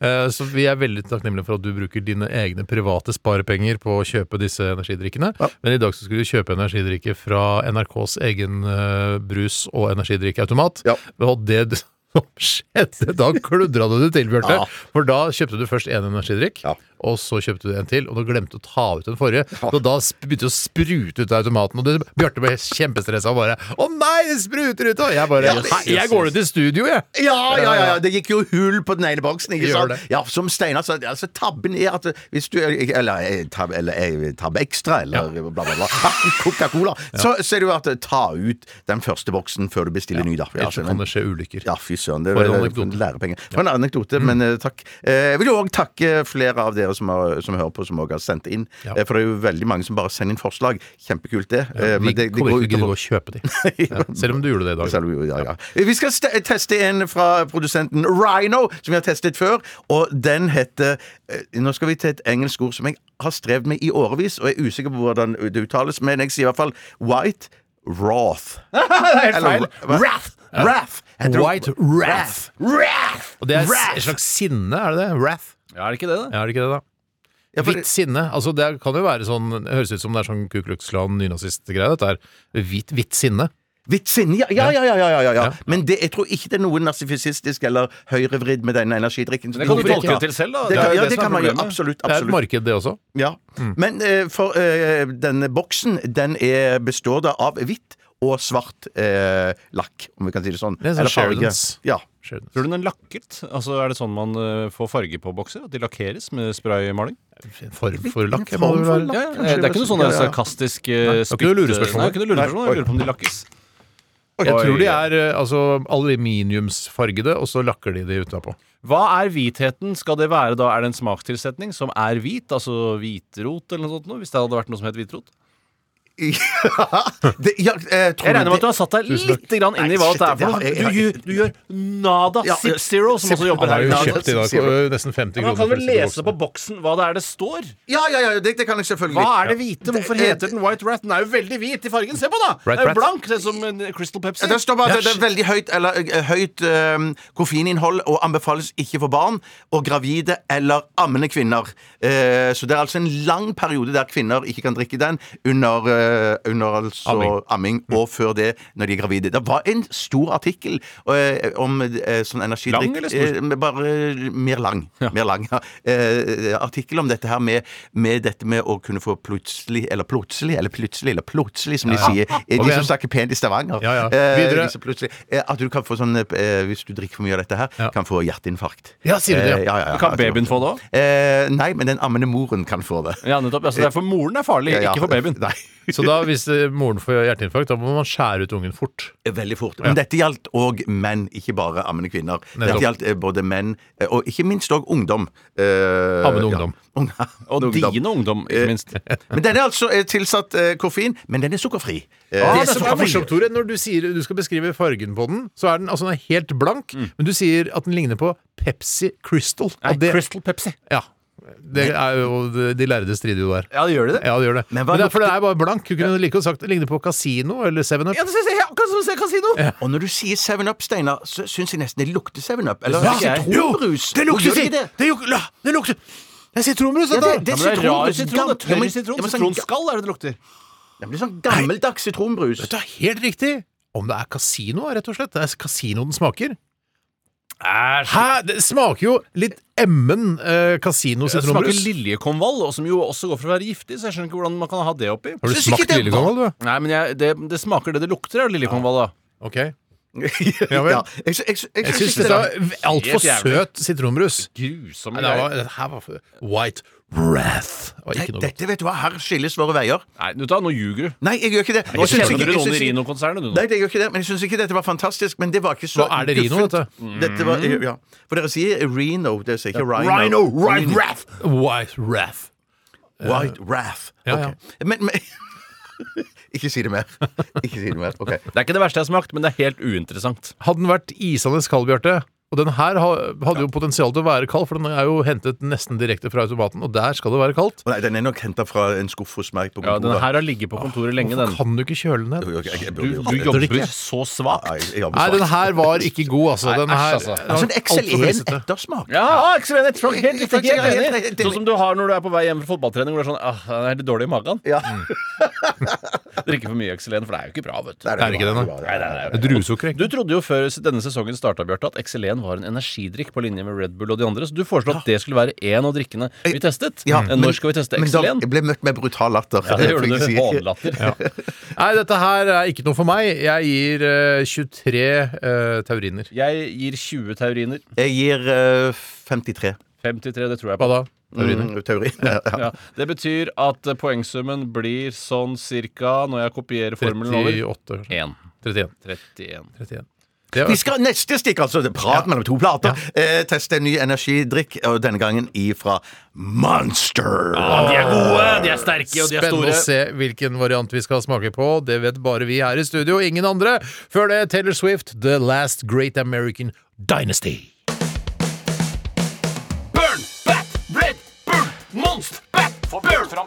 Speaker 4: eh, så vi er veldig takknemlige for at du bruker dine egne private sparepenger på å kjøpe disse energidrikkene. Men i dag så skulle du kjøpe energidrikke fra NRKs egen eh, brus- og energidrikkeautomat.
Speaker 6: Ja.
Speaker 4: Og det d- som skjedde, da kludra du det til, Bjarte. For da kjøpte du først én energidrikk,
Speaker 6: Ja.
Speaker 4: og så kjøpte du en til, og du glemte å ta ut den forrige. Så da sp- begynte det å sprute ut av automaten, og det, Bjarte ble kjempestressa og bare 'Å nei, det spruter ut!' Og jeg bare
Speaker 6: Ja,
Speaker 4: «Nei, 'Jeg går ned til studio, jeg'.
Speaker 6: Ja, ja, ja, ja, det gikk jo hull på den ene boksen. Ikke
Speaker 4: Gjør
Speaker 6: sant?
Speaker 4: det.
Speaker 6: Ja, som Steinar sa, altså, tabben er at hvis du Eller eh, tab, eller eh, tab extra, eller bla, bla, bla. Coca-Cola. Så, så er det jo at eh, ta ut den første boksen før du bestiller ny, da. Ja,
Speaker 4: Ellers så kan det skje ulykker.
Speaker 6: ja, fy søren. Det
Speaker 4: For
Speaker 6: var
Speaker 4: en
Speaker 6: en
Speaker 4: anekdote. Mm.
Speaker 6: lærepenger. For en anekdote, men eh, takk. Eh, Jeg vil jo òg takke flere av dere som, har, som hører på, som også har sendt inn.
Speaker 4: Ja.
Speaker 6: Eh, For det er jo veldig mange som bare sender inn forslag. Kjempekult, det. Eh,
Speaker 4: Vi
Speaker 6: men det, det
Speaker 4: kommer
Speaker 6: går
Speaker 4: ikke til å
Speaker 6: utover
Speaker 4: gå og kjøpe de. Ja, selv om du gjorde det i dag.
Speaker 6: Selv om vi- ja, ja. Vi skal ste- teste en fra produsenten Rhino, som vi har testet før. Og den heter eh, Nå skal vi til et engelsk ord som jeg har strevd med i årevis, og jeg er usikker på hvordan det uttales, men jeg sier i hvert fall White Roth.
Speaker 5: det er helt feil.
Speaker 6: Eller hva? Wrath! Wrath! Heter det-
Speaker 4: White Wrath.
Speaker 6: Wrath!
Speaker 4: Og det er
Speaker 6: Wrath!
Speaker 4: et slags sinne, er det det? Wrath.
Speaker 5: Ja, er det ikke det, da?
Speaker 4: Ja, er det ikke det, da?
Speaker 6: Ja, for-
Speaker 4: Hvitt sinne. altså Det kan jo være sånn Det høres ut som det er sånn Ku Klux Klan nynazistgreie, dette her. Hvitt, hvitt sinne.
Speaker 6: Hvitt sinne, ja ja ja, ja, ja, ja, ja, ja.
Speaker 4: Ja.
Speaker 6: Men det, jeg tror ikke det er noe narsifisistisk eller høyrevridd med denne energidrikken.
Speaker 5: Det kan du
Speaker 6: Hvorfor
Speaker 5: tolke
Speaker 6: ikke?
Speaker 5: det til selv, da.
Speaker 6: Det kan, ja,
Speaker 5: som
Speaker 6: det
Speaker 5: er
Speaker 6: kan man gjøre.
Speaker 5: problemet.
Speaker 6: Absolutt.
Speaker 4: Det er et
Speaker 6: absolutt
Speaker 4: marked, det også.
Speaker 6: ja.
Speaker 4: Mm.
Speaker 6: Men eh, for eh, denne boksen, den er, består da av hvitt og svart eh, lakk, om vi kan si det sånn.
Speaker 4: Det er sånn
Speaker 6: Eller farge.
Speaker 4: Sheridans.
Speaker 6: Ja.
Speaker 4: Skjønner.
Speaker 5: Tror du den lakket? Altså, Er det sånn man eh, får farge på bokser? At de lakkeres med spraymaling?
Speaker 4: En form for lakk.
Speaker 6: En
Speaker 4: må
Speaker 6: form
Speaker 4: det
Speaker 6: for
Speaker 4: vel være.
Speaker 6: lakk.
Speaker 5: Ja,
Speaker 6: kanskje
Speaker 5: ja, det er ikke noe sånn
Speaker 6: Ja,
Speaker 5: eh,
Speaker 6: ja, ja.
Speaker 5: sarkastisk
Speaker 4: Nei,
Speaker 5: eh,
Speaker 4: det er ikke noe lurespørsmål.
Speaker 5: Nei, det er ikke noe lurespørsmål. Jeg lurer på om de lakkes.
Speaker 4: Jeg
Speaker 5: Oi.
Speaker 4: tror de er eh, altså, aluminiumsfargede, og så lakker de de utapå.
Speaker 5: Hva er hvitheten? Skal det være da, Er det en smakstilsetning som er hvit? Altså hvitrot eller noe sånt? noe, Hvis det hadde vært noe som het hvitrot?
Speaker 6: Det, ja, jeg, tror
Speaker 5: Jeg regner med at du
Speaker 6: det-
Speaker 5: har satt deg litt grann inn
Speaker 6: Nei,
Speaker 5: i hva
Speaker 6: shit,
Speaker 5: det er for noe.
Speaker 6: det har
Speaker 5: Du,
Speaker 6: jeg-
Speaker 5: gjør- du gjør Nada
Speaker 6: Ja,
Speaker 5: Sip Zero, som også jobber
Speaker 4: Han har
Speaker 5: her.
Speaker 4: jo
Speaker 6: Ja,
Speaker 4: kjøpt i dag
Speaker 6: sier
Speaker 4: for
Speaker 6: du.
Speaker 4: eh, nesten 50
Speaker 5: Man
Speaker 4: kroner.
Speaker 5: kan
Speaker 4: for
Speaker 5: vel
Speaker 4: disse
Speaker 5: lese på
Speaker 4: boksene.
Speaker 5: boksen hva det er det står?
Speaker 6: Ja, ja, ja, det, det kan jeg selvfølgelig.
Speaker 5: Hva er det hvite? Hvorfor
Speaker 6: Det-
Speaker 5: heter den White Rat? Den er jo veldig hvit i fargen. Se på den!
Speaker 4: Right
Speaker 5: Den er
Speaker 4: Rat.
Speaker 5: jo blank, det er som en Crystal Pepsi.
Speaker 6: Det står bare at det er veldig høyt, eller, eh, høyt eh, koffeininnhold og anbefales ikke for barn og gravide eller ammende kvinner. Eh, så det er altså en lang periode der kvinner ikke kan drikke den under, eh, under altså amming.
Speaker 4: Amming.
Speaker 5: Mm.
Speaker 6: og før det når de er gravide. Det var en stor artikkel eh, om eh, sånn energidrikk
Speaker 5: Lang eller stor?
Speaker 6: Eh, bare eh, mer lang. Mer lang ja. eh, artikkel om dette her med, med dette med å kunne få plutselig, eller plutselig, eller plutselig, eller plutselig, som de sier. Eh,
Speaker 4: Kom
Speaker 6: De som
Speaker 4: igjen.
Speaker 6: snakker pent i Stavanger.
Speaker 4: Ja, ja.
Speaker 6: Eh,
Speaker 4: Videre.
Speaker 6: hvis det plutselig- eh, At du kan få sånn eh, Hvis du drikker for mye av dette her,
Speaker 4: Ja.
Speaker 6: kan få hjerteinfarkt.
Speaker 4: Ja, sier du det, ja.
Speaker 6: Eh, ja, ja, ja.
Speaker 5: Kan babyen få det òg?
Speaker 6: Eh, nei, men den ammende moren kan få det.
Speaker 5: Ja, nettopp. Altså, det er for moren er farlig,
Speaker 6: Ja, ja.
Speaker 5: ikke for babyen.
Speaker 6: Nei,
Speaker 4: Så da, hvis eh, moren får hjerteinfarkt, da må man skjære ut ungen fort.
Speaker 6: veldig fort. Men dette gjaldt òg menn, ikke bare ammende kvinner. Dette
Speaker 4: Nettopp.
Speaker 6: gjaldt eh, både menn eh, og ikke minst òg ungdom. Eh,
Speaker 4: Ammende ungdom.
Speaker 6: Ja. Ung-
Speaker 5: Og
Speaker 6: ammende ungdom.
Speaker 5: dine ungdom, ikke minst.
Speaker 6: Men den er altså eh, tilsatt eh, koffein, men den er sukkerfri. Eh,
Speaker 5: Ah,
Speaker 4: Det
Speaker 5: det er
Speaker 4: som
Speaker 5: så
Speaker 4: er
Speaker 5: mye.
Speaker 4: morsomt, Tore, når du sier du skal beskrive fargen på den, så er den altså den er helt blank, men du sier at den ligner på Pepsi Crystal.
Speaker 5: Mm. Nei,
Speaker 4: og det,
Speaker 5: Crystal Pepsi.
Speaker 4: ja, det er jo det- De lærde strider jo der.
Speaker 5: Ja, det gjør de det?
Speaker 4: Ja, det gjør det.
Speaker 6: Men
Speaker 4: Men
Speaker 6: hva
Speaker 4: det er, for det er bare blank. Du kunne like godt sagt det ligner på kasino eller 7-Up.
Speaker 5: Ja, det ser- ser akkurat som å se kasino!
Speaker 6: Og når du sier 7-Up, Steinar, så syns jeg nesten det lukter 7-Up. Eller
Speaker 5: synes ikke jeg.
Speaker 6: sitronbrus.
Speaker 4: det lukter
Speaker 6: Gjør ikke
Speaker 4: sitt- det luk- la, det lukter Det er sitronbrus,
Speaker 6: Ja,
Speaker 4: dette!
Speaker 6: det-
Speaker 5: Ja, men det er rar sitron.
Speaker 6: sitronbrus,
Speaker 5: det er
Speaker 6: ja,
Speaker 5: Tørr
Speaker 6: men-
Speaker 5: sitron.
Speaker 6: ja, men sånn-
Speaker 5: Sitronskall er det det lukter.
Speaker 6: Det blir sånn gammeldags sitronbrus.
Speaker 4: Dette er helt riktig! Om det er kasino, rett og slett. Det er kasino den smaker. Hæ? Det smaker jo litt emmen eh,
Speaker 5: Det smaker
Speaker 4: kasino-sitronbrus.
Speaker 5: liljekonvall, og som jo også går for å være giftig, så jeg skjønner ikke hvordan man kan ha det oppi.
Speaker 4: Har du
Speaker 6: Synes
Speaker 4: smakt
Speaker 6: ikke det var-
Speaker 4: lillekonvall, du?
Speaker 5: Nei, men jeg, det, det smaker det det lukter av liljekonvall, da.
Speaker 4: Ok. Ja vel.
Speaker 6: jeg, sy- jeg, sy- jeg
Speaker 4: Jeg
Speaker 6: syns
Speaker 4: syns dette var altfor
Speaker 5: Helt jævlig.
Speaker 4: søt sitronbrus.
Speaker 5: Grusomme
Speaker 4: Nei, det
Speaker 5: greier.
Speaker 4: var, det her var for- White Wrath. Det var ikke noe godt.
Speaker 6: Dette vet du hva, her skilles våre veier.
Speaker 5: Nei, vet du hva, nå ljuger du.
Speaker 6: Nei, jeg gjør ikke det. Og
Speaker 5: Nå
Speaker 6: jeg syns
Speaker 5: kjenner
Speaker 6: ikke-
Speaker 5: du
Speaker 6: jeg
Speaker 5: noen i
Speaker 6: syns ikke-
Speaker 5: Rino-konsernet, du nå.
Speaker 6: Nei, det gjør ikke det, men jeg syns ikke dette var fantastisk. Men det var ikke så
Speaker 4: Hva er det Rhino,
Speaker 6: guffent. Mm.
Speaker 4: dette?
Speaker 6: Dette var, ja. For dere sier Reno, dere sier ikke Rhino.
Speaker 4: White Wrath! White Wrath.
Speaker 6: White Raff.
Speaker 4: Ja,
Speaker 6: Ok.
Speaker 4: ja.
Speaker 6: Men, men Ikke si det mer. Ikke si det mer. Ok.
Speaker 5: Det er ikke det verste jeg har smakt, men det er helt uinteressant.
Speaker 4: Hadde den vært isende kald, Bjarte og den her ha- hadde jo potensial til å være kald, for den er jo hentet nesten direkte fra automaten, og der skal det være kaldt.
Speaker 6: Å nei, den er nok henta fra en skuff hos meg på
Speaker 5: Ja, Den
Speaker 6: kontoret.
Speaker 5: her har ligget på kontoret lenge, den.
Speaker 4: Kan du ikke kjøle den ned?
Speaker 6: Jo, jo, jeg- jeg
Speaker 5: Du,
Speaker 6: burde gjort
Speaker 5: du
Speaker 6: det.
Speaker 5: jobber så svakt.
Speaker 6: Nei, jeg jobber
Speaker 4: Nei,
Speaker 6: svart.
Speaker 4: den her var ikke god, altså. Den
Speaker 5: Nei,
Speaker 4: her
Speaker 5: æsj, altså.
Speaker 4: den var
Speaker 6: Altså en
Speaker 4: alt for
Speaker 6: XL1
Speaker 4: brusete.
Speaker 6: ettersmak.
Speaker 5: Ja, XVN, jeg tror helt riktig.
Speaker 6: Faktisk, jeg er
Speaker 5: Helt
Speaker 6: helt
Speaker 5: enig.
Speaker 6: enig.
Speaker 5: Sånn som du har når du er på vei hjem fra fotballtrening og du er sånn ah, jeg er litt dårlig i magen.
Speaker 6: Ja.
Speaker 4: Mm.
Speaker 5: Drikke for mye XLN, for det er jo ikke bra, vet du.
Speaker 4: Er det ikke den, da?
Speaker 5: Nei, nei, nei.
Speaker 4: Druesukker,
Speaker 5: Du
Speaker 4: ikke?
Speaker 5: trodde jo før denne sesongen starta, Bjarte, at XLN var en energidrikk på linje med Red Bull og de andre, så du foreslo at det skulle være én av drikkene vi testet.
Speaker 6: Ja, men-
Speaker 5: Når skal vi teste
Speaker 6: Men da
Speaker 5: XLN?
Speaker 6: jeg ble møtt med brutal latter.
Speaker 5: Ja, det gjorde
Speaker 6: fikk
Speaker 5: du.
Speaker 6: jeg si.
Speaker 5: Hånlatter.
Speaker 4: Nei, dette her er ikke noe for meg. Jeg gir eh, 23 eh, tauriner.
Speaker 5: Jeg gir 20 tauriner.
Speaker 6: Jeg gir eh, 53.
Speaker 5: 53, det tror jeg på.
Speaker 4: Hva da? Tauriner?
Speaker 6: Mm, teori. Ja, ja.
Speaker 5: Ja, det betyr at eh, poengsummen blir sånn cirka, når jeg kopierer formelen over
Speaker 4: 38, kanskje.
Speaker 5: 1.
Speaker 4: 31.
Speaker 5: 31.
Speaker 4: 31. Det
Speaker 6: Vi
Speaker 4: var,
Speaker 6: skal neste stikk, altså. det er Prat mellom to plater. Eh, teste en ny energidrikk, og denne gangen ifra Monster.
Speaker 5: de er gode, de er sterke, og de er
Speaker 4: Eh, Spennende
Speaker 5: store.
Speaker 4: å se hvilken variant vi skal smake på. Det vet bare vi her i studio, ingen andre. Før det, Taylor Swift, The Last Great American Dynasty.
Speaker 7: Burn, bat, red, burn, monst, bat, for burn fram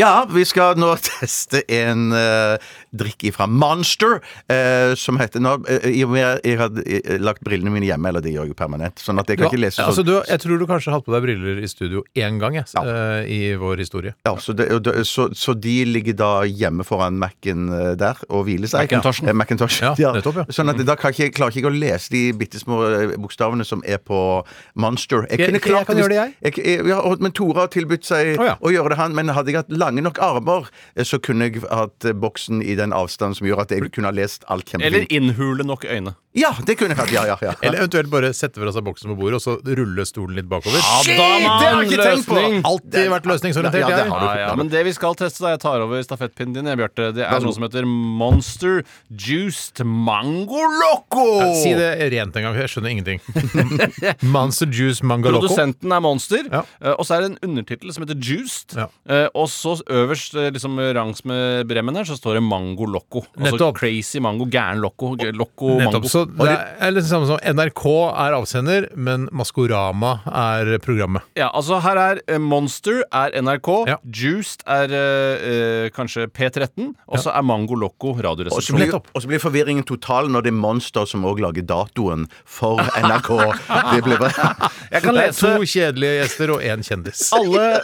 Speaker 6: Ja, vi skal nå teste en eh, drikk ifra Monster, eh, som heter nå, eh, I og med at jeg hadde eh, lagt brillene mine hjemme, eller det gjør jeg jo permanent, sånn at jeg kan
Speaker 4: Du har-
Speaker 6: ikke lese sånn.
Speaker 4: altså, du, jeg tror du kanskje har hatt på deg briller i studio én gang jeg, s- eh, i vår historie.
Speaker 6: Ja, så, det, og det- så, så de ligger da hjemme foran Mac-en eh, der og hviler seg.
Speaker 5: Macintoshen.
Speaker 6: Eh, Macintosh,
Speaker 4: Ja, nettopp, ja. Mm.
Speaker 6: Sånn at da kan ikke, jeg- klarer ikke jeg å lese de bitte små eh, bokstavene som er på Monster.
Speaker 4: Jeg- jeg kan
Speaker 6: hvis-
Speaker 4: gjøre det,
Speaker 6: jeg- eh, ja, og- men Tore har tilbudt seg
Speaker 4: Å, ja.
Speaker 6: å gjøre det, han. Men hadde jeg hatt lange nok armer, eh, så kunne jeg hatt eh, boksen i den avstanden som gjør at jeg kunne ha lest alt
Speaker 5: Eller
Speaker 6: kjempefint.
Speaker 5: innhule nok øyne.
Speaker 6: Ja, det kunne jeg hatt. Ja, ja, ja.
Speaker 4: Eller eventuelt bare sette fra seg boksen på bordet og så rulle stolen litt bakover.
Speaker 6: Shit, det har jeg ikke tenkt på!
Speaker 5: Løsning.
Speaker 4: Alltid vært løsningsorientert,
Speaker 6: Ja, ja, det
Speaker 4: jeg.
Speaker 6: har du.
Speaker 5: Ja, ja, men det vi skal teste, da, jeg tar over stafettpinnen din, jeg, Bjarte, det er noe som heter Monster Juiced Mango Loco.
Speaker 4: Si det rent en gang, jeg skjønner ingenting. Monster Juice Manga Loco.
Speaker 5: Produsenten er Monster,
Speaker 4: Ja.
Speaker 5: eh, og så er det en undertittel som heter Juiced.
Speaker 4: Ja.
Speaker 5: eh, Og så øverst, eh, liksom rangs med bremmen her, så står det Mango Loco. Altså
Speaker 4: Nettopp.
Speaker 5: Crazy Mango, gæren Loco. g- Loco
Speaker 4: Nettopp,
Speaker 5: Mango.
Speaker 4: så det er litt det samme som NRK er avsender, men Maskorama er programmet.
Speaker 5: Ja, altså her er eh, Monster er NRK,
Speaker 4: Ja.
Speaker 5: Juiced er eh, eh, kanskje P13, og så er Mango Loco
Speaker 6: Og så blir,
Speaker 5: Radioresepsjonen.
Speaker 6: og så blir forvirringen total når det er Monster som òg lager datoen for NRK. Det blir bare
Speaker 5: Jeg kan
Speaker 4: Det er
Speaker 5: lese
Speaker 4: to kjedelige gjester og én kjendis.
Speaker 5: Alle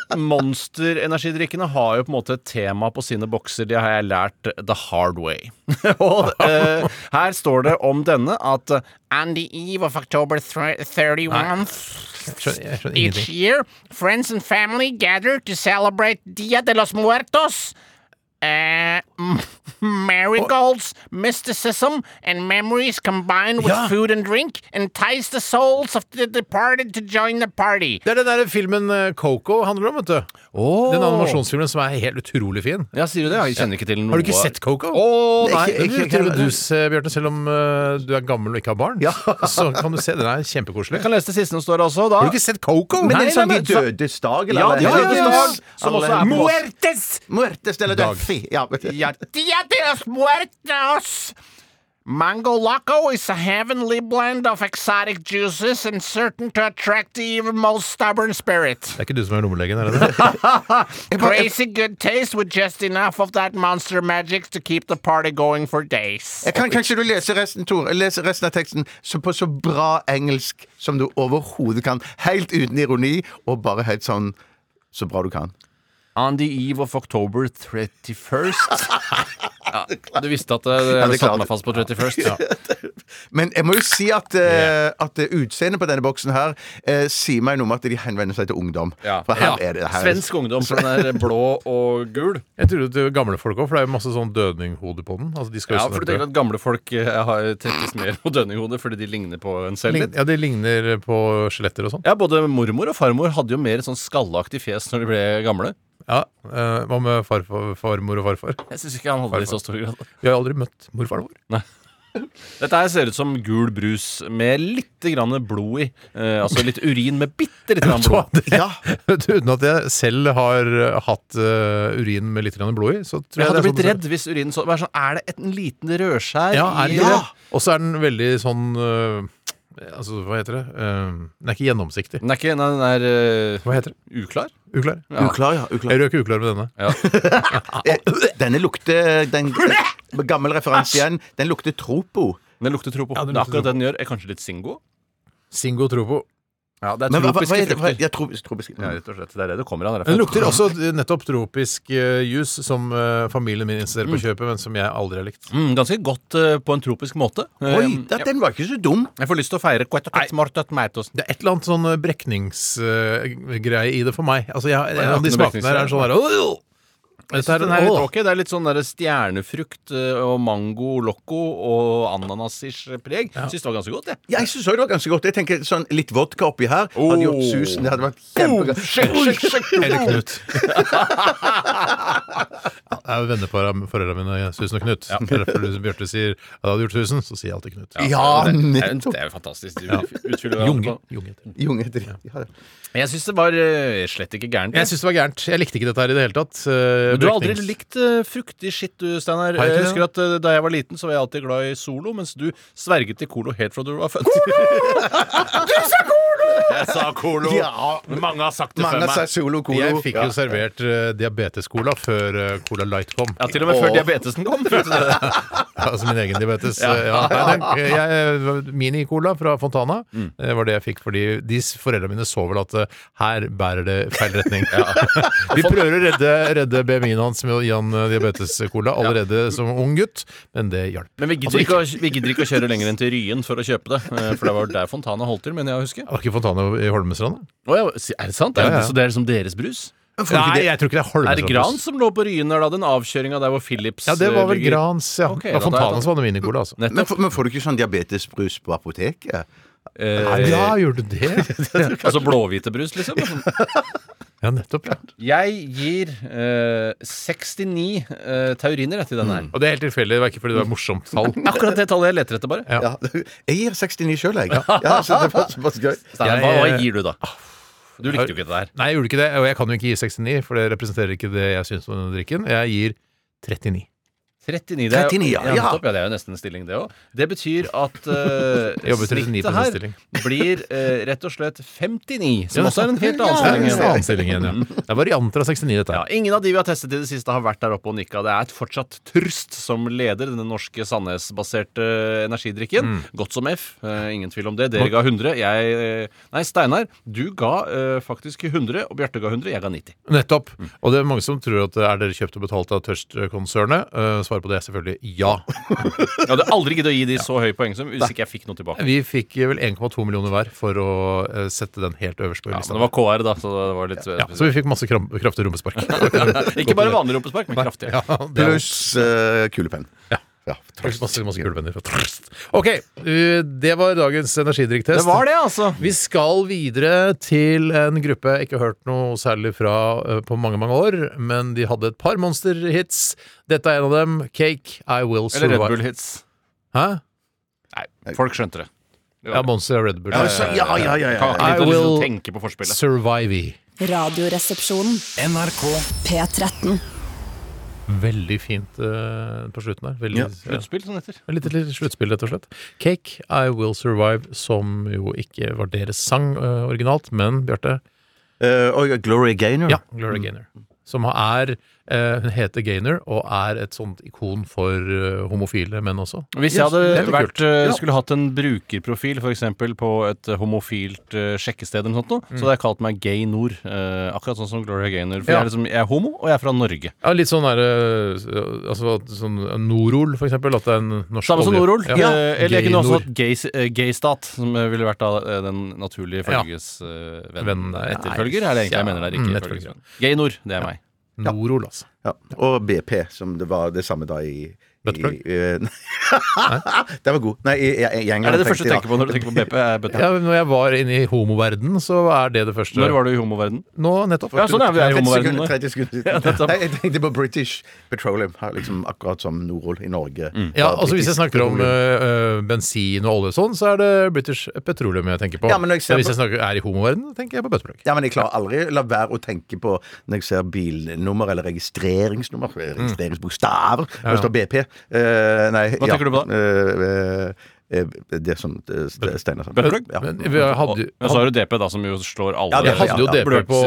Speaker 5: monsterenergidrikkene har jo på en måte et tema på sine bokser. Det har jeg lært the hard way. Og eh, her står det om denne at eh, And the eve of October thir- 31th
Speaker 4: Skjønner, jeg skjønner
Speaker 5: each
Speaker 4: ingenting.
Speaker 5: year, friends and family gather to celebrate Dia de los Muertos. eh, m- marigolds, mysticism, and memories combined with
Speaker 4: Ja.
Speaker 5: food and drink entice the souls of the departed to join the party.
Speaker 4: Det er den der filmen eh, Coco handler om, vet du. Den animasjonsfilmen som er helt utrolig fin.
Speaker 5: Ja, sier du det? Jeg kjenner ikke til noe
Speaker 4: Har du ikke sett Coco?
Speaker 5: Å,
Speaker 4: nei,
Speaker 6: Ikke-
Speaker 4: det
Speaker 6: ikke-
Speaker 4: tror jeg du ser, Bjarte, selv om eh, du er gammel og ikke har barn, så kan du se. Den er kjempekoselig.
Speaker 5: Jeg kan lese det siste som står også. Da.
Speaker 4: Har du ikke sett Coco?
Speaker 6: Men
Speaker 5: Nei,
Speaker 6: det er sånn
Speaker 5: nei,
Speaker 6: De
Speaker 5: men-
Speaker 6: dødes dag,
Speaker 5: Ja,
Speaker 6: eller?
Speaker 5: De
Speaker 6: Eller-
Speaker 5: dødes dag, som også er på-
Speaker 6: Muertes! Muertes eller
Speaker 4: Dag.
Speaker 6: dødfi. Ja.
Speaker 5: Ja, Dia de los Muertos! Mango Loco is a heavenly blend of exotic juices and certain to attract the even most stubborn spirit.
Speaker 4: Det er ikke du som er lommelegen, er det det?
Speaker 5: Crazy good taste with just enough of that monster magic to keep the party going for days.
Speaker 6: Jeg kan kanskje du lese resten, Tor, lese resten av teksten så på så bra engelsk som du overhodet kan. Helt uten ironi, og bare helt sånn så bra du kan.
Speaker 5: On the eve of October 31st ja, Du visste at eh,
Speaker 6: det er
Speaker 5: jeg
Speaker 6: klart.
Speaker 5: satte meg fast på 31st. Ja.
Speaker 6: Men jeg må jo si at, eh, at eh, utseendet på denne boksen her eh, sier meg noe om at de henvender seg til ungdom. For her er det her er-
Speaker 5: Svensk ungdom, for den er blå og gul.
Speaker 4: Jeg tror det er gamle folk òg, for det er jo masse sånn dødninghode på den. Altså, de skal jo
Speaker 5: Ja,
Speaker 4: sånn
Speaker 5: for du
Speaker 4: at-
Speaker 5: tenker at gamle folk eh, har trekkes mer på dønninghodet fordi de ligner på en selv litt?
Speaker 4: Ja, de ligner på skjeletter og sånn.
Speaker 5: Ja, både mormor og farmor hadde jo mer et sånn skallaktig fjes når de ble gamle.
Speaker 4: Ja, eh, Hva med farfar, farmor og farfar?
Speaker 5: Jeg syns ikke han hadde det i så stor grad.
Speaker 4: Vi har jo aldri møtt morfaren vår.
Speaker 5: Dette her ser ut som gul brus med litt grann blod i. Eh, altså litt urin med bitte litt grann blod.
Speaker 6: Ja.
Speaker 4: Vet du, Uten at jeg selv har eh, hatt eh, urin med litt grann blod i, så tror jeg,
Speaker 5: Jeg
Speaker 4: det
Speaker 5: hadde
Speaker 4: er
Speaker 5: blitt
Speaker 4: sånn-
Speaker 5: redd hvis urinen så, var sånn, Er det et- en liten rødskjær
Speaker 4: Ja, er
Speaker 5: i
Speaker 4: ikke det? Og så er den veldig sånn eh, Altså, hva heter det? Eh, den er ikke gjennomsiktig.
Speaker 5: Den er ikke Nei, den er eh,
Speaker 4: Hva heter det?
Speaker 5: uklar.
Speaker 4: Uklar?
Speaker 6: Uklar, ja. Uklar.
Speaker 4: Jeg røk uklar med denne.
Speaker 6: Eh, Denne lukter den, Gammel referanse igjen. Den lukter Tropo.
Speaker 5: Den lukter tropo.
Speaker 4: Ja, den
Speaker 5: det
Speaker 4: lukter
Speaker 5: er akkurat det den gjør. Eh, Kanskje litt singo?
Speaker 4: Singo tropo.
Speaker 5: Ja, det er
Speaker 6: Men hva, hva, hva
Speaker 5: tropiske
Speaker 6: er det? Hva,
Speaker 5: frukter.
Speaker 6: ja, tropis- tropiske.
Speaker 5: Ja, rett og slett. Det er det det kommer av. det er
Speaker 4: Den
Speaker 5: derfor.
Speaker 4: lukter også eh, nettopp tropisk eh, juice, som eh, familien min insisterer på å kjøpe, men som jeg aldri har likt.
Speaker 5: Mm, ganske godt eh, på en tropisk måte.
Speaker 6: Oi,
Speaker 5: Eh,
Speaker 6: da, den var ikke så dum.
Speaker 5: Jeg får lyst til å feire Quettocatmartet Mertosen.
Speaker 4: Det er et eller annet sånn brekningsgreie i det for meg. Altså, jeg, en av
Speaker 5: ikke
Speaker 4: de
Speaker 5: noe
Speaker 4: smakene her er sånn der «Åh!» Dette
Speaker 5: Den er litt
Speaker 4: åh.
Speaker 5: ok. Det er litt sånn der stjernefrukt eh, og mango loco og ananas-ish preg. Syns det var ganske godt, jeg.
Speaker 6: Ja, jeg syns også det var ganske godt. Jeg tenker sånn Litt vodka oppi her hadde gjort susen. Det hadde vært kjempegodt.
Speaker 4: Eller Knut. er jo vennepar av foreldrene mine, Susan og Knut. Det er Derfor Bjarte sier at jeg hadde gjort Susan, så sier jeg alltid Knut.
Speaker 6: Ja,
Speaker 5: Det er, altså,
Speaker 6: nettopp!
Speaker 5: det er jo fantastisk. Du utfyller hverandre
Speaker 4: Junge.
Speaker 5: på-
Speaker 4: Junge heter det.
Speaker 6: Junge heter de. Ja, det.
Speaker 5: Jeg syns det var eh, slett ikke gærent.
Speaker 4: Jeg syns det var gærent. Jeg likte ikke dette her i det hele tatt. Eh,
Speaker 5: Men du har aldri
Speaker 4: bruknings-
Speaker 5: likt eh, fruktig skitt, du, Steinar.
Speaker 4: Har jeg
Speaker 5: Jeg
Speaker 4: ikke
Speaker 5: husker at eh, Da jeg var liten, så var jeg alltid glad i Solo, mens du sverget til Colo helt fra du var født. Jeg sa Colo!
Speaker 6: Ja.
Speaker 5: Men mange har sagt det
Speaker 6: Mange
Speaker 5: før
Speaker 6: har
Speaker 5: meg.
Speaker 6: sagt solo colo.
Speaker 4: Jeg fikk jo servert eh, diabetes-cola før eh, Cola Light kom.
Speaker 5: Ja, til og med før
Speaker 6: Åh.
Speaker 5: diabetesen kom. vet du det.
Speaker 4: Altså min egen diabetes. eh, Ja. Nei, den- jeg- Mini-cola fra Fontana eh, var det jeg fikk fordi de s- foreldrene mine så vel at eh, her bærer det feil retning. De prøver å redde, redde BMI-en hans med å gi han eh, diabetes-cola allerede som ung gutt, men det hjalp.
Speaker 5: Men vi gidder, Altså, ikke å, vi gidder ikke å kjøre lenger enn til Ryen for å kjøpe det. eh, For det var der Fontana holdt til, mener jeg å huske.
Speaker 4: Var ikke Fontana i Holmestrand? da?
Speaker 5: Å ja, er det sant? Er det,
Speaker 4: Ja, ja.
Speaker 5: Så det er liksom deres brus?
Speaker 4: Nei, jeg tror ikke det er Holmestrand.
Speaker 5: Er det Gran som lå på Ryen der, da? Den avkjøringa der hvor Philips
Speaker 4: Ja, det var vel
Speaker 5: eh, ligger?
Speaker 4: Grans, ja.
Speaker 5: Ok,
Speaker 4: Det
Speaker 5: da-
Speaker 4: var
Speaker 5: da-
Speaker 4: Fontanas var det mini-cola, altså.
Speaker 6: Men,
Speaker 5: Nettopp.
Speaker 6: får- men får du ikke sånn diabetesbrus på apoteket?
Speaker 5: Eh,
Speaker 4: Ja, gjorde du det?
Speaker 5: altså blåhvitebrus, liksom.
Speaker 4: Ja, nettopp. ja.
Speaker 5: Jeg gir eh, 69 eh, tauriner jeg, til den her.
Speaker 4: Og det er helt tilfeldig, det var ikke fordi det var et morsomt tall.
Speaker 5: Akkurat det tallet jeg leter etter, bare.
Speaker 6: Ja. Jeg gir 69 sjøl, jeg. Ja, så det var såpass gøy.
Speaker 5: Steinar, hva, hva gir du, da?
Speaker 4: Ah,
Speaker 5: Du likte jo ikke det der.
Speaker 4: Nei, jeg gjorde ikke det, og jeg kan jo ikke gi 69, for det representerer ikke det jeg syns om denne drikken. Jeg gir 39.
Speaker 5: 39, det er,
Speaker 6: 39, ja.
Speaker 5: ja, nettopp, ja, det er jo nesten en stilling, det òg. Det betyr at eh,
Speaker 4: Jeg jobber 39%
Speaker 5: snittet her
Speaker 4: stilling.
Speaker 5: blir eh, rett og slett 59, som
Speaker 4: Ja,
Speaker 5: også er en helt
Speaker 4: Det er
Speaker 5: annen
Speaker 4: en
Speaker 5: stilling.
Speaker 4: annen stilling igjen, ja. Det er varianter av 69, dette.
Speaker 5: Ja,
Speaker 4: her.
Speaker 5: ingen av de vi har testet i det siste, har vært der oppe og nikka. Det er fortsatt Trust som leder den norske Sandnes-baserte eh, energidrikken. Godt som F. eh, ingen tvil om det. Dere ga 100. Jeg eh, Nei, Steinar, du ga eh, faktisk 100, og Bjarte ga 100. Jeg ga 90.
Speaker 4: Nettopp.
Speaker 5: Mm.
Speaker 4: Og det er mange som tror at eh, er dere kjøpt og betalt av Tørst-konsernet? Eh, Svaret på det er selvfølgelig ja.
Speaker 5: Jeg hadde aldri giddet å gi de så høy poeng som hvis ikke jeg fikk noe tilbake.
Speaker 4: Vi fikk eh, vel 1,2 millioner hver for å eh, sette den helt øverst på
Speaker 5: Ja,
Speaker 4: lista.
Speaker 5: men det var KR, da, så det var litt eh,
Speaker 4: Ja, så vi fikk masse kram kraftig rumpespark.
Speaker 5: Ikke bare vanlig rumpespark, men kraftig.
Speaker 4: Ja, det er-
Speaker 6: Pluss eh, kulepenn. Ja.
Speaker 4: Trøst. Masse, masse kulepenner fra Trøst. Ok, eh, det var dagens energidrikktest.
Speaker 5: Det var det, altså.
Speaker 4: Vi skal videre til en gruppe jeg ikke har hørt noe særlig fra eh, på mange mange år, men de hadde et par monsterhits. Dette er en av dem. Cake, I Will
Speaker 5: Eller Red
Speaker 4: Survive.
Speaker 5: Bull-hits.
Speaker 4: Hæ?
Speaker 5: Nei, folk skjønte det. det
Speaker 4: Ja,
Speaker 5: var det.
Speaker 4: Monster og Red Bull.
Speaker 6: Ja, så- ja, ja, ja, ja.
Speaker 5: Kan ikke
Speaker 4: I
Speaker 5: liksom
Speaker 4: will-
Speaker 5: tenke på forspillet.
Speaker 4: Survive.
Speaker 1: Radioresepsjonen.
Speaker 3: NRK
Speaker 1: P13.
Speaker 4: Veldig fint eh, på slutten der. Veldig,
Speaker 6: Ja,
Speaker 4: ja.
Speaker 5: Sluttspill, som det heter.
Speaker 4: Et lite, lite sluttspill, rett og slett. Cake, I Will Survive, som jo ikke var deres sang eh, originalt, men Bjarte
Speaker 6: Eh, og Gloria Gaynor.
Speaker 4: Ja, Gloria
Speaker 5: Mm.
Speaker 4: Gaynor. Som er eh, Hun heter Gaynor og er et sånt ikon for eh, homofile menn også.
Speaker 5: Hvis jeg
Speaker 4: det er
Speaker 5: hadde
Speaker 4: litt
Speaker 5: vært,
Speaker 4: kult.
Speaker 5: eh,
Speaker 4: Ja.
Speaker 5: skulle hatt en brukerprofil for eksempel, på et eh, homofilt eh, sjekkested, eller noe sånt, noe, så hadde jeg kalt meg Gay Nord. eh, akkurat sånn som Gloria Gaynor. For
Speaker 4: Ja.
Speaker 5: jeg, er liksom, jeg er homo, og jeg er fra Norge.
Speaker 4: Ja, litt sånn derre altså, at sånn Norol, for eksempel. At det er en norsk
Speaker 5: Samme som
Speaker 4: olje.
Speaker 5: Norol.
Speaker 4: Ja.
Speaker 5: eh, eller jeg kunne
Speaker 4: Gaynor.
Speaker 5: også hatt gay- eh, gaystat, som eh, ville vært da, eh, den naturlige følges eh, venn.
Speaker 4: Venn, nei,
Speaker 5: Etterfølger er det
Speaker 4: ja,
Speaker 5: egentlig jeg mener der.
Speaker 4: mm,
Speaker 5: Ikke
Speaker 4: etterfølger.
Speaker 5: følgesvenn. Gay Nord, det er meg.
Speaker 4: Norol, altså.
Speaker 6: Ja. Og BP, som det var det samme da i
Speaker 4: Buttplug?
Speaker 6: i, eh, nei. Den var god. Nei, i, i, i England
Speaker 5: Er det det første du tenker
Speaker 6: tenkte jeg,
Speaker 5: på når du tenker på BP? Er bøtta.
Speaker 4: Ja, men når jeg var inne i homoverden, så er det det første.
Speaker 5: Når var du i homoverden?
Speaker 4: Nå, nettopp.
Speaker 5: Ja, sånn er vi er i
Speaker 6: 30
Speaker 5: homoverdenen
Speaker 6: sekunder,
Speaker 5: nå.
Speaker 6: 30 sekunder.
Speaker 5: Ja, nettopp.
Speaker 6: Nei, jeg tenkte på British Petroleum, her, liksom akkurat som Norol i Norge.
Speaker 5: Mm.
Speaker 4: Ja,
Speaker 6: var
Speaker 4: altså Hvis
Speaker 6: British
Speaker 4: jeg snakker om
Speaker 6: Petroleum.
Speaker 4: øh, øh, bensin og olje og sånn, så er det British Petroleum jeg tenker på.
Speaker 6: Ja, men når jeg ser
Speaker 4: hvis
Speaker 6: på-
Speaker 4: jeg snakker, er i homoverden, tenker jeg på bøtteplagg.
Speaker 6: Ja, men jeg klarer aldri la være å tenke på når jeg ser bilnummer eller registreringsnummer, registreringsbokstaver, når det står BP. Eh, nei,
Speaker 5: Mm. Hva tenker du på da?
Speaker 6: det som eh, Steinar sa.
Speaker 5: Bøtteplugg?
Speaker 6: Ja.
Speaker 4: Men vi hadde,
Speaker 5: Men så har du DP, da, som jo slår alle.
Speaker 6: Ja,
Speaker 4: jeg
Speaker 6: det-
Speaker 4: hadde jo
Speaker 6: ja,
Speaker 4: DP
Speaker 5: Bløt-
Speaker 4: på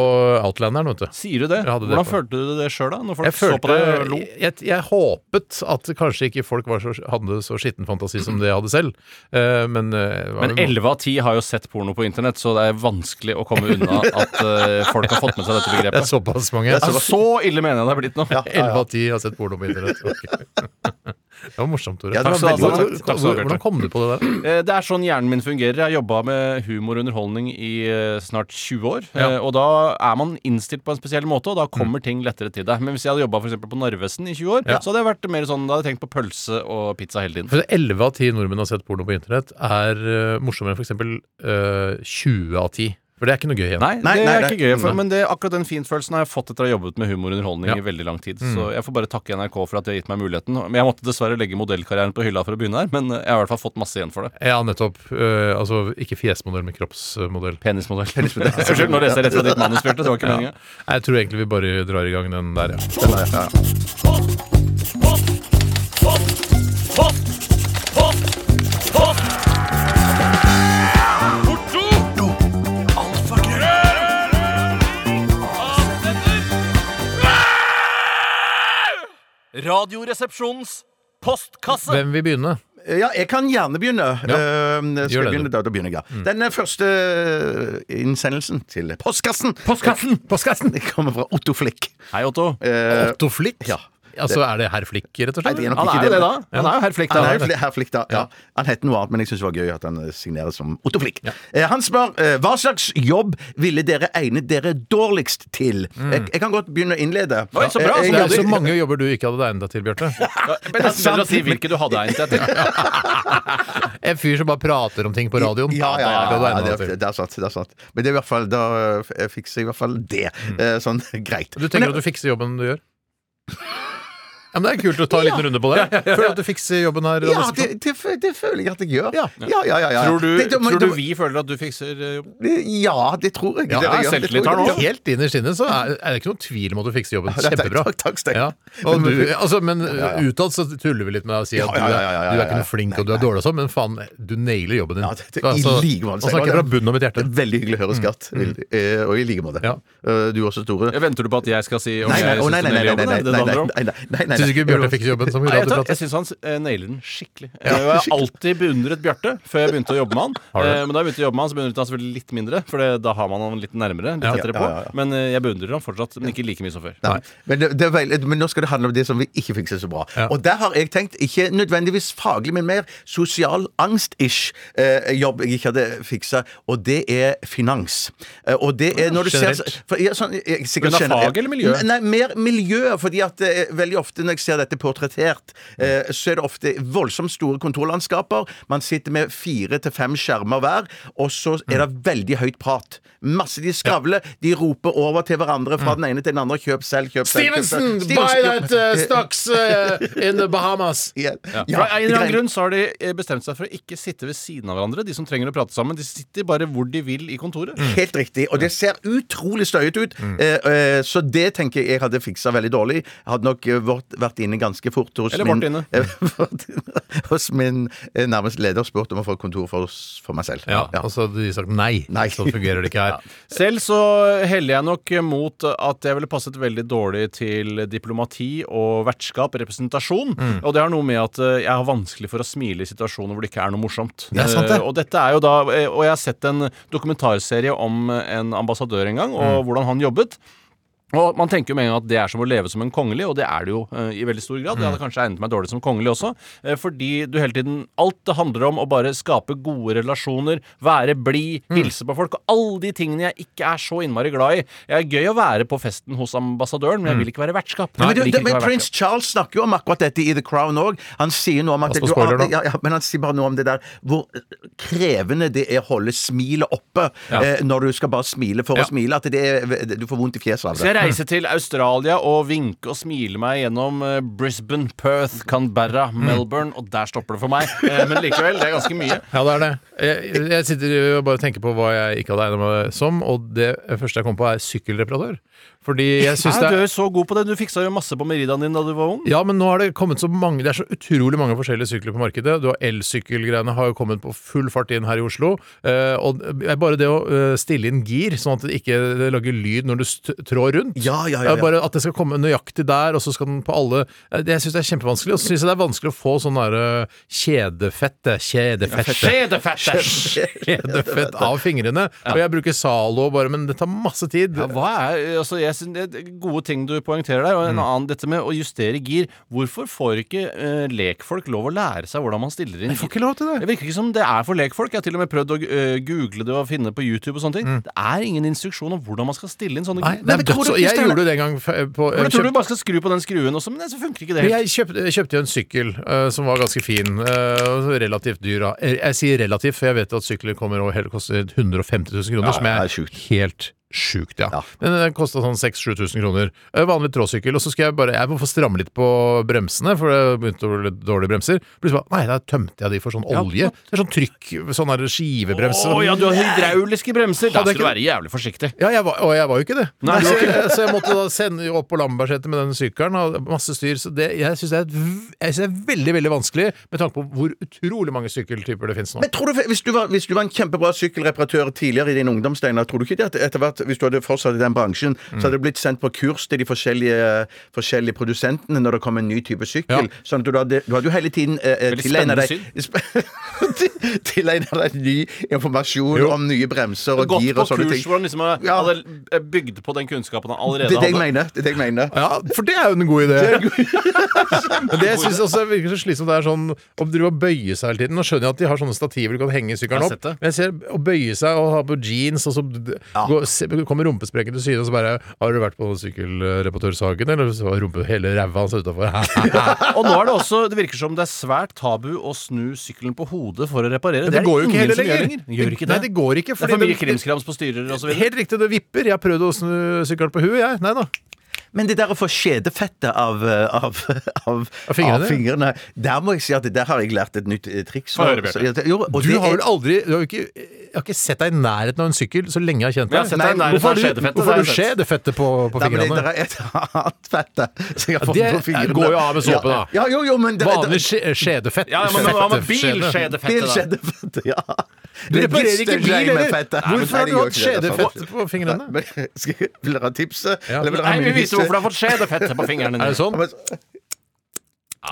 Speaker 4: Outlanderen, vet du.
Speaker 5: Sier du det?
Speaker 4: Jeg hadde
Speaker 5: Hvordan
Speaker 4: DP.
Speaker 5: følte du det sjøl, da? Når folk
Speaker 4: Jeg, følte,
Speaker 5: så på deg og lo?
Speaker 4: jeg, jeg, håpet at kanskje ikke folk var så, hadde så skitten fantasi som det jeg hadde selv. Eh, men eh, det var
Speaker 5: Men
Speaker 4: jo-
Speaker 5: 11 av 10 har jo sett porno på internett, så det er vanskelig å komme unna at eh, folk har fått med seg dette
Speaker 4: det er
Speaker 5: begrepet.
Speaker 4: såpass mange.
Speaker 5: Ja, så ille mener jeg det er blitt nå.
Speaker 4: Elleve av ti har sett porno på internett. Ok. det var morsomt, Tore.
Speaker 6: Ja, det var
Speaker 4: Takk skal du ha.
Speaker 5: veldig-
Speaker 4: Hvor- hvor- Hvordan kom du på det der?
Speaker 5: Eh, Det er sånn hjernen min fungerer. Jeg har jobba med humor og underholdning i eh, snart 20 år.
Speaker 4: Ja.
Speaker 5: eh, Og da er man innstilt på en spesiell måte, og da kommer ting lettere til deg. Men hvis jeg hadde jobba på Narvesen i 20 år,
Speaker 4: Ja.
Speaker 5: så hadde jeg vært mer sånn, da hadde jeg tenkt på pølse og pizza hele tiden.
Speaker 4: For 11 eh, av 10 nordmenn har sett porno på internett, er eh, morsommere enn f.eks. Uh, 20 av 10. For det er ikke noe gøy igjen.
Speaker 5: Nei,
Speaker 6: Nei,
Speaker 5: det
Speaker 6: nei,
Speaker 5: er
Speaker 6: nei.
Speaker 5: ikke gøy. For, men det, akkurat den finfølelsen har jeg fått etter å ha jobbet med humorunderholdning i veldig lang tid. Så jeg får bare takke NRK for at de har gitt meg muligheten. Men jeg måtte dessverre legge modellkarrieren på hylla for å begynne her, men jeg har i hvert fall fått masse igjen for det.
Speaker 4: Ja, nettopp. Eh, altså ikke fjesmodell, men kroppsmodell.
Speaker 5: Penismodell. Unnskyld, nå leste jeg rett fra ditt manus, Bjarte. Det var ikke meningen.
Speaker 4: Nei, Jeg tror egentlig vi bare drar i gang den der, ja.
Speaker 3: Radioresepsjonens postkasse.
Speaker 4: Hvem vil begynne?
Speaker 6: Ja, jeg kan gjerne begynne. Eh, skal
Speaker 4: Gjør
Speaker 6: jeg
Speaker 4: det,
Speaker 6: begynne
Speaker 4: du.
Speaker 6: da, da begynner jeg, ja. Den eh, første eh, innsendelsen til postkassen
Speaker 4: Postkassen! Postkassen!
Speaker 6: Det kommer fra Otto Flick.
Speaker 5: Hei, Otto.
Speaker 6: Eh,
Speaker 4: Otto Flick?
Speaker 6: Ja.
Speaker 4: Altså, er det herr Flick, rett og slett?
Speaker 6: Nei, det er nok
Speaker 5: Han
Speaker 6: ikke
Speaker 5: er jo det, da. Han er jo herr Flekk,
Speaker 6: Han er jo
Speaker 5: da.
Speaker 6: fli- herr Flick, da. Ja. Han het noe annet, men jeg syns det var gøy at han eh, signerer som Otto Flick. Eh, han spør eh, hva slags jobb ville dere egnet dere dårligst til? Jeg, jeg kan godt begynne å innlede.
Speaker 5: Oi, så bra, så
Speaker 6: Eh,
Speaker 4: Det
Speaker 6: jeg-
Speaker 4: er så mange jobber du ikke hadde egnet deg til, Bjarte.
Speaker 5: Men det er bedre å si hvilke du hadde egnet deg til.
Speaker 4: En fyr som bare prater om ting på radioen.
Speaker 6: Ja, ja,
Speaker 4: det
Speaker 6: ja,
Speaker 4: hadde du
Speaker 6: ja,
Speaker 4: egnet
Speaker 6: det,
Speaker 4: deg til.
Speaker 6: er, det er sant. det er sant Men det er i hvert fall, da eh, jeg fikser jeg i hvert fall det. Eh, Sånn greit.
Speaker 4: Du tenker at du fikser jobben du gjør? Ja, men Det er kult å ta en liten runde på det. Føler du at du fikser jobben her?
Speaker 6: ja,
Speaker 4: Anders?
Speaker 6: det, det, fø- det føler jeg at jeg gjør.
Speaker 4: Ja.
Speaker 6: Ja, ja, ja. ja,
Speaker 5: Tror du,
Speaker 6: Det- det-
Speaker 5: tror du
Speaker 6: det-
Speaker 5: vi føler at du fikser eh, jobben?
Speaker 6: Ja, det tror jeg.
Speaker 5: Ja,
Speaker 6: det,
Speaker 5: jeg
Speaker 6: gjør- det
Speaker 5: selvtillit
Speaker 6: tror
Speaker 5: her nå.
Speaker 6: jeg. Ja.
Speaker 4: Helt innerst inne så er, er det ikke noen tvil om at du fikser jobben
Speaker 6: Ja, takk,
Speaker 4: kjempebra.
Speaker 6: takk, takk, Stein.
Speaker 4: Ja. Og
Speaker 6: Men-
Speaker 4: du, altså, men utad så tuller vi litt med deg og sier at
Speaker 6: Ja, ja, ja, ja, ja,
Speaker 4: du er- du er ikke
Speaker 6: ja.
Speaker 4: noe flink og du er dårlig og sånn, men faen, du nailer jobben din.
Speaker 6: Ja, det- det-
Speaker 4: Altså,
Speaker 6: i like måte.
Speaker 4: Nå snakker jeg fra bunnen av mitt hjerte.
Speaker 6: Veldig hyggelig å høre, skatt. Veldig- eh, Og i like måte.
Speaker 4: Ja.
Speaker 6: Eh, Du også, Tore.
Speaker 5: Venter du på at Mm. jeg skal si om
Speaker 6: Nei, nei,
Speaker 5: jeg
Speaker 6: å, nei,
Speaker 5: syns du nailer
Speaker 6: nei, nei, nei,
Speaker 5: jobben? Er det
Speaker 6: nei, nei,
Speaker 5: det det
Speaker 6: nei,
Speaker 5: handler om?
Speaker 6: nei, nei, nei, nei.
Speaker 4: Syns ikke Bjarte fikk jobben som
Speaker 5: Nei, jeg, tar- jeg
Speaker 4: radioprater?
Speaker 5: syns han eh, nailer den skikkelig. Eh, og Jeg har alltid beundret Bjarte før jeg begynte å jobbe med han.
Speaker 4: du det?
Speaker 5: Eh, Men da jeg begynte å jobbe med han, så beundret jeg han selvfølgelig litt mindre, for det, da har man han litt nærmere. Litt
Speaker 4: Ja.
Speaker 5: tettere på.
Speaker 6: Ja, ja, ja.
Speaker 5: Men eh, jeg beundrer han fortsatt, men ikke like mye som før.
Speaker 6: Nei. Men, det, det er veldig, men nå skal det handle om det som vi ikke fikser så bra.
Speaker 4: Ja.
Speaker 6: Og der har jeg tenkt, ikke nødvendigvis faglig, men mer sosial angst-ish eh, jobb jeg ikke hadde fiksa, og det er finans. Eh, og det er når du ser
Speaker 4: Generelt.
Speaker 6: for, ja, sånn, jeg, jeg,
Speaker 5: Men det
Speaker 6: sikkert
Speaker 5: er
Speaker 6: kjenner-
Speaker 5: fag eller miljø?
Speaker 6: Nei, mer miljø, fordi at eh, veldig ofte når jeg ser dette portrettert, eh, så er det ofte voldsomt store kontorlandskaper. Man sitter med fire til fem skjermer hver, og så er det veldig høyt prat. Masse de skravler, de roper over til hverandre
Speaker 5: Mm.
Speaker 6: fra den ene til den andre. Kjøp selv, kjøp selv. kjøp selv. Stevenson,
Speaker 4: uh, stocks in the Bahamas.
Speaker 6: ja. Ja,
Speaker 5: eh. Ja, av en eller annen
Speaker 6: greit.
Speaker 5: grunn så har de eh, bestemt seg for å ikke sitte ved siden av hverandre. De som trenger å prate sammen, de sitter bare hvor de vil i kontoret.
Speaker 6: Helt riktig. Og det ser utrolig støyete ut.
Speaker 5: Mm.
Speaker 6: Eh, eh, så det tenker jeg jeg hadde fiksa veldig dårlig. Jeg hadde nok eh, vært, vært inne ganske fort hos
Speaker 5: Eller
Speaker 6: min, eh,
Speaker 5: vært
Speaker 6: vært inne hos min eh, nærmeste leder og spurt om å få kontor for, oss- for meg selv.
Speaker 4: Ja,
Speaker 5: altså.
Speaker 4: og så hadde de sagt nei.
Speaker 6: Nei.
Speaker 4: Sånn fungerer det ikke her.
Speaker 5: Selv så heller jeg nok mot at jeg ville passet veldig dårlig til diplomati og vertskap, representasjon.
Speaker 6: Mm.
Speaker 5: Og det har noe med at eh, jeg har vanskelig for å smile i situasjoner hvor det ikke er noe morsomt.
Speaker 6: Det er sant, det.
Speaker 5: Eh, Og dette er jo da eh, Og jeg har sett en dokumentarserie om en ambassadør en gang,
Speaker 6: Mm.
Speaker 5: og hvordan han jobbet. Og Man tenker jo med en gang at det er som å leve som en kongelig, og det er det jo eh, i veldig stor grad. Jeg hadde kanskje egnet meg dårlig som kongelig også, eh, fordi du hele tiden Alt det handler om å bare skape gode relasjoner, være blid, hilse på folk, og alle de tingene jeg ikke er så innmari glad i. Jeg er gøy å være på festen hos ambassadøren, Mm. men jeg vil ikke være vertskap.
Speaker 6: Men,
Speaker 5: Jeg
Speaker 6: du,
Speaker 5: liker
Speaker 6: men
Speaker 5: ikke å være
Speaker 6: prins
Speaker 5: vertskap.
Speaker 6: Charles snakker jo om akkurat dette i The Crown òg. Han sier noe om at
Speaker 5: Altså,
Speaker 4: Pass på
Speaker 6: du
Speaker 4: spoiler nå.
Speaker 6: ja, ja, Men han sier bare noe om det der hvor krevende det er å holde smilet oppe eh, når du skal bare smile for
Speaker 4: Ja.
Speaker 6: å smile. At det er, du får vondt i fjeset av
Speaker 5: Så jeg
Speaker 6: det.
Speaker 5: reiser til Australia og vinker og smiler meg gjennom eh, Brisbane, Perth, Canberra, Melbourne, og der stopper det for meg. Eh, Men likevel, det er ganske mye.
Speaker 4: Ja, det er det. Jeg, jeg sitter og bare tenker på hva jeg ikke hadde egnet meg som, og det første jeg kom på, er sykkelreparatør. Fordi jeg syns
Speaker 5: Nei,
Speaker 4: det
Speaker 5: du
Speaker 4: er
Speaker 5: er jo så god på det. Du fiksa jo masse på Meridaen din da du var ung.
Speaker 4: ja, men nå har det kommet så mange Det er så utrolig mange forskjellige sykler på markedet. Du har Elsykkelgreiene har jo kommet på full fart inn her i Oslo. eh, og det er bare det å eh, stille inn gir, sånn at det ikke det lager lyd når du st trår rundt.
Speaker 6: Ja, ja, ja,
Speaker 4: Det er
Speaker 6: ja.
Speaker 4: Bare at det skal komme nøyaktig der, og så skal den på alle Eh, det- Jeg syns det er kjempevanskelig. Og så syns jeg det er vanskelig å få sånn derre kjedefette. Kjedefette.
Speaker 5: Skjedefette!
Speaker 4: Kjedefett av fingrene. Og jeg bruker Zalo bare, men det tar masse tid.
Speaker 5: Ja, hva er, altså jeg synes det er Gode ting du poengterer der. Og
Speaker 4: Mm.
Speaker 5: en annen dette med å justere gir. Hvorfor får ikke eh, lekfolk lov å lære seg hvordan man stiller inn?
Speaker 4: Jeg får ikke lov til det.
Speaker 5: Det virker ikke som det er for lekfolk. Jeg har til og med prøvd å eh, google det og finne på YouTube og sånne ting. Det er ingen instruksjon om hvordan man skal stille inn sånne
Speaker 4: Mm. Nei,
Speaker 5: gir.
Speaker 4: det er
Speaker 6: tror du-
Speaker 4: døds og jeg gjorde det en gang f- på eh,
Speaker 5: Men jeg tror
Speaker 4: kjøpt-
Speaker 5: du bare skal skru på den skruen også, men det, så funker ikke det
Speaker 4: Men
Speaker 5: helt.
Speaker 4: jeg kjøpte, jeg kjøpte jo en sykkel eh, som var ganske fin. eh, relativt dyr. da. Eh, Jeg sier relativt, for jeg vet at sykler kommer og hele, koster 150 000 kroner,
Speaker 6: Ja,
Speaker 4: som er,
Speaker 6: det er sjukt.
Speaker 4: helt sjukt, ja.
Speaker 6: Ja.
Speaker 4: Men den kosta sånn 6000-7000 kroner. Eh, Vanlig tråsykkel. Og så skal jeg bare Jeg må få stramme litt på bremsene, for det begynte å bli litt dårlige bremser. Plutselig bare Nei, da tømte jeg de for sånn olje. Det er sånn trykk, sånn der skivebremse.
Speaker 5: Å ja, du har hydrauliske bremser! Da
Speaker 4: Hadde jeg
Speaker 5: skal du
Speaker 4: ikke-
Speaker 5: være jævlig forsiktig.
Speaker 4: Ja, jeg var, og jeg var jo ikke det.
Speaker 5: Nei, du
Speaker 4: så,
Speaker 5: var ikke
Speaker 4: jeg, så jeg måtte da sende jo opp på Lambertseter med den sykkelen. og Masse styr. Så det, jeg syns det, er et v- jeg synes det er veldig veldig vanskelig med tanke på hvor utrolig mange sykkeltyper det finnes nå.
Speaker 6: Men tror du, hvis du, var, hvis du var en kjempebra sykkelreparatør tidligere i din ungdom, Steinar, tror du ikke det at etter hvert, hvis du hadde fortsatt i den bransjen, så hadde du blitt sendt på kurs til de forskjellige, forskjellige produsentene når det kom en ny type sykkel?
Speaker 4: Ja.
Speaker 6: Sånn at du hadde, du hadde jo hele tiden eh, eh,
Speaker 5: Veldig
Speaker 6: tilegnet deg
Speaker 5: spennende
Speaker 6: sp- Tilegnet deg ny informasjon
Speaker 4: Jo.
Speaker 6: om nye bremser og
Speaker 5: Gått
Speaker 6: gir
Speaker 5: på
Speaker 6: og sånne
Speaker 5: kurs
Speaker 6: ting.
Speaker 5: hvor han liksom har-
Speaker 6: Ja.
Speaker 5: hadde bygd på den kunnskapen han allerede
Speaker 6: Det er det jeg
Speaker 5: hadde.
Speaker 6: mener. Det er det jeg mener.
Speaker 4: Ja, for det er jo en god idé. Men det jeg synes også virker så slitsomt, det er sånn å drive og bøye seg hele tiden. Nå skjønner jeg at de har sånne stativer du kan henge sykkelen
Speaker 5: Jeg har
Speaker 4: opp.
Speaker 5: sett det.
Speaker 4: Men jeg ser å bøye seg og ha på jeans, og så går, se, kommer rumpesprekken til syne, og så bare Har du vært på sykkelreparatørsaken, eller så var rumpe hele ræva hans utafor?
Speaker 5: Og nå er det også Det virker som det er svært tabu å snu sykkelen på hodet for å reparere.
Speaker 4: Det,
Speaker 5: er
Speaker 4: går jo ikke
Speaker 5: ingen
Speaker 4: heller
Speaker 5: som gjør
Speaker 4: lenger.
Speaker 5: Gjør ikke det.
Speaker 4: Nei, det går ikke.
Speaker 5: det er for
Speaker 4: fordi
Speaker 5: mye krimskrams på styrer og så videre.
Speaker 4: Helt riktig, det vipper. Jeg har prøvd å snu sykkelen på huet, jeg. Nei da.
Speaker 6: Men det der å få skjedefettet av, eh, av, av,
Speaker 4: Av fingrene?
Speaker 6: av fingrene Der må jeg si at der har jeg lært et nytt eh, triks.
Speaker 5: Få høre, Bjarte.
Speaker 6: Så- jo, og
Speaker 4: Du
Speaker 6: det
Speaker 4: har
Speaker 6: er-
Speaker 4: vel aldri du har jo ikke, Jeg har ikke sett deg i nærheten av en sykkel så lenge jeg har kjent
Speaker 5: Jeg har
Speaker 4: deg.
Speaker 5: sett deg i
Speaker 4: Nei,
Speaker 5: nærheten
Speaker 4: hvorfor
Speaker 5: av
Speaker 4: har du-
Speaker 5: skjedefettet, det
Speaker 4: Hvorfor har du skjedefettet på, på
Speaker 5: har jeg sett.
Speaker 6: Nei, men det,
Speaker 4: fingrene?
Speaker 6: det er et annet fette som jeg har fått
Speaker 4: det
Speaker 6: på fingrene.
Speaker 4: går jo av med såpe, da.
Speaker 6: Ja, ja, jo, jo, men det,
Speaker 4: Vanlig
Speaker 6: det,
Speaker 4: skje- skjedefett.
Speaker 5: Ja, men hva med
Speaker 4: Fetteskjede.
Speaker 6: Bil
Speaker 5: bilskjedefettet, da?
Speaker 6: skjedde fette, ja.
Speaker 4: Du reparerer ikke bil, eller? Hvorfor har du hatt
Speaker 6: Hvorfor
Speaker 4: skjedefett på fingrene?
Speaker 6: Skal jeg, vil dere ha tipset?
Speaker 4: Ja.
Speaker 6: Eller vil
Speaker 5: Nei,
Speaker 6: dere ha
Speaker 5: vi
Speaker 6: mye
Speaker 5: viser
Speaker 6: tipset?
Speaker 5: hvorfor du har fått skjedefettet på fingrene
Speaker 4: Er det sånn?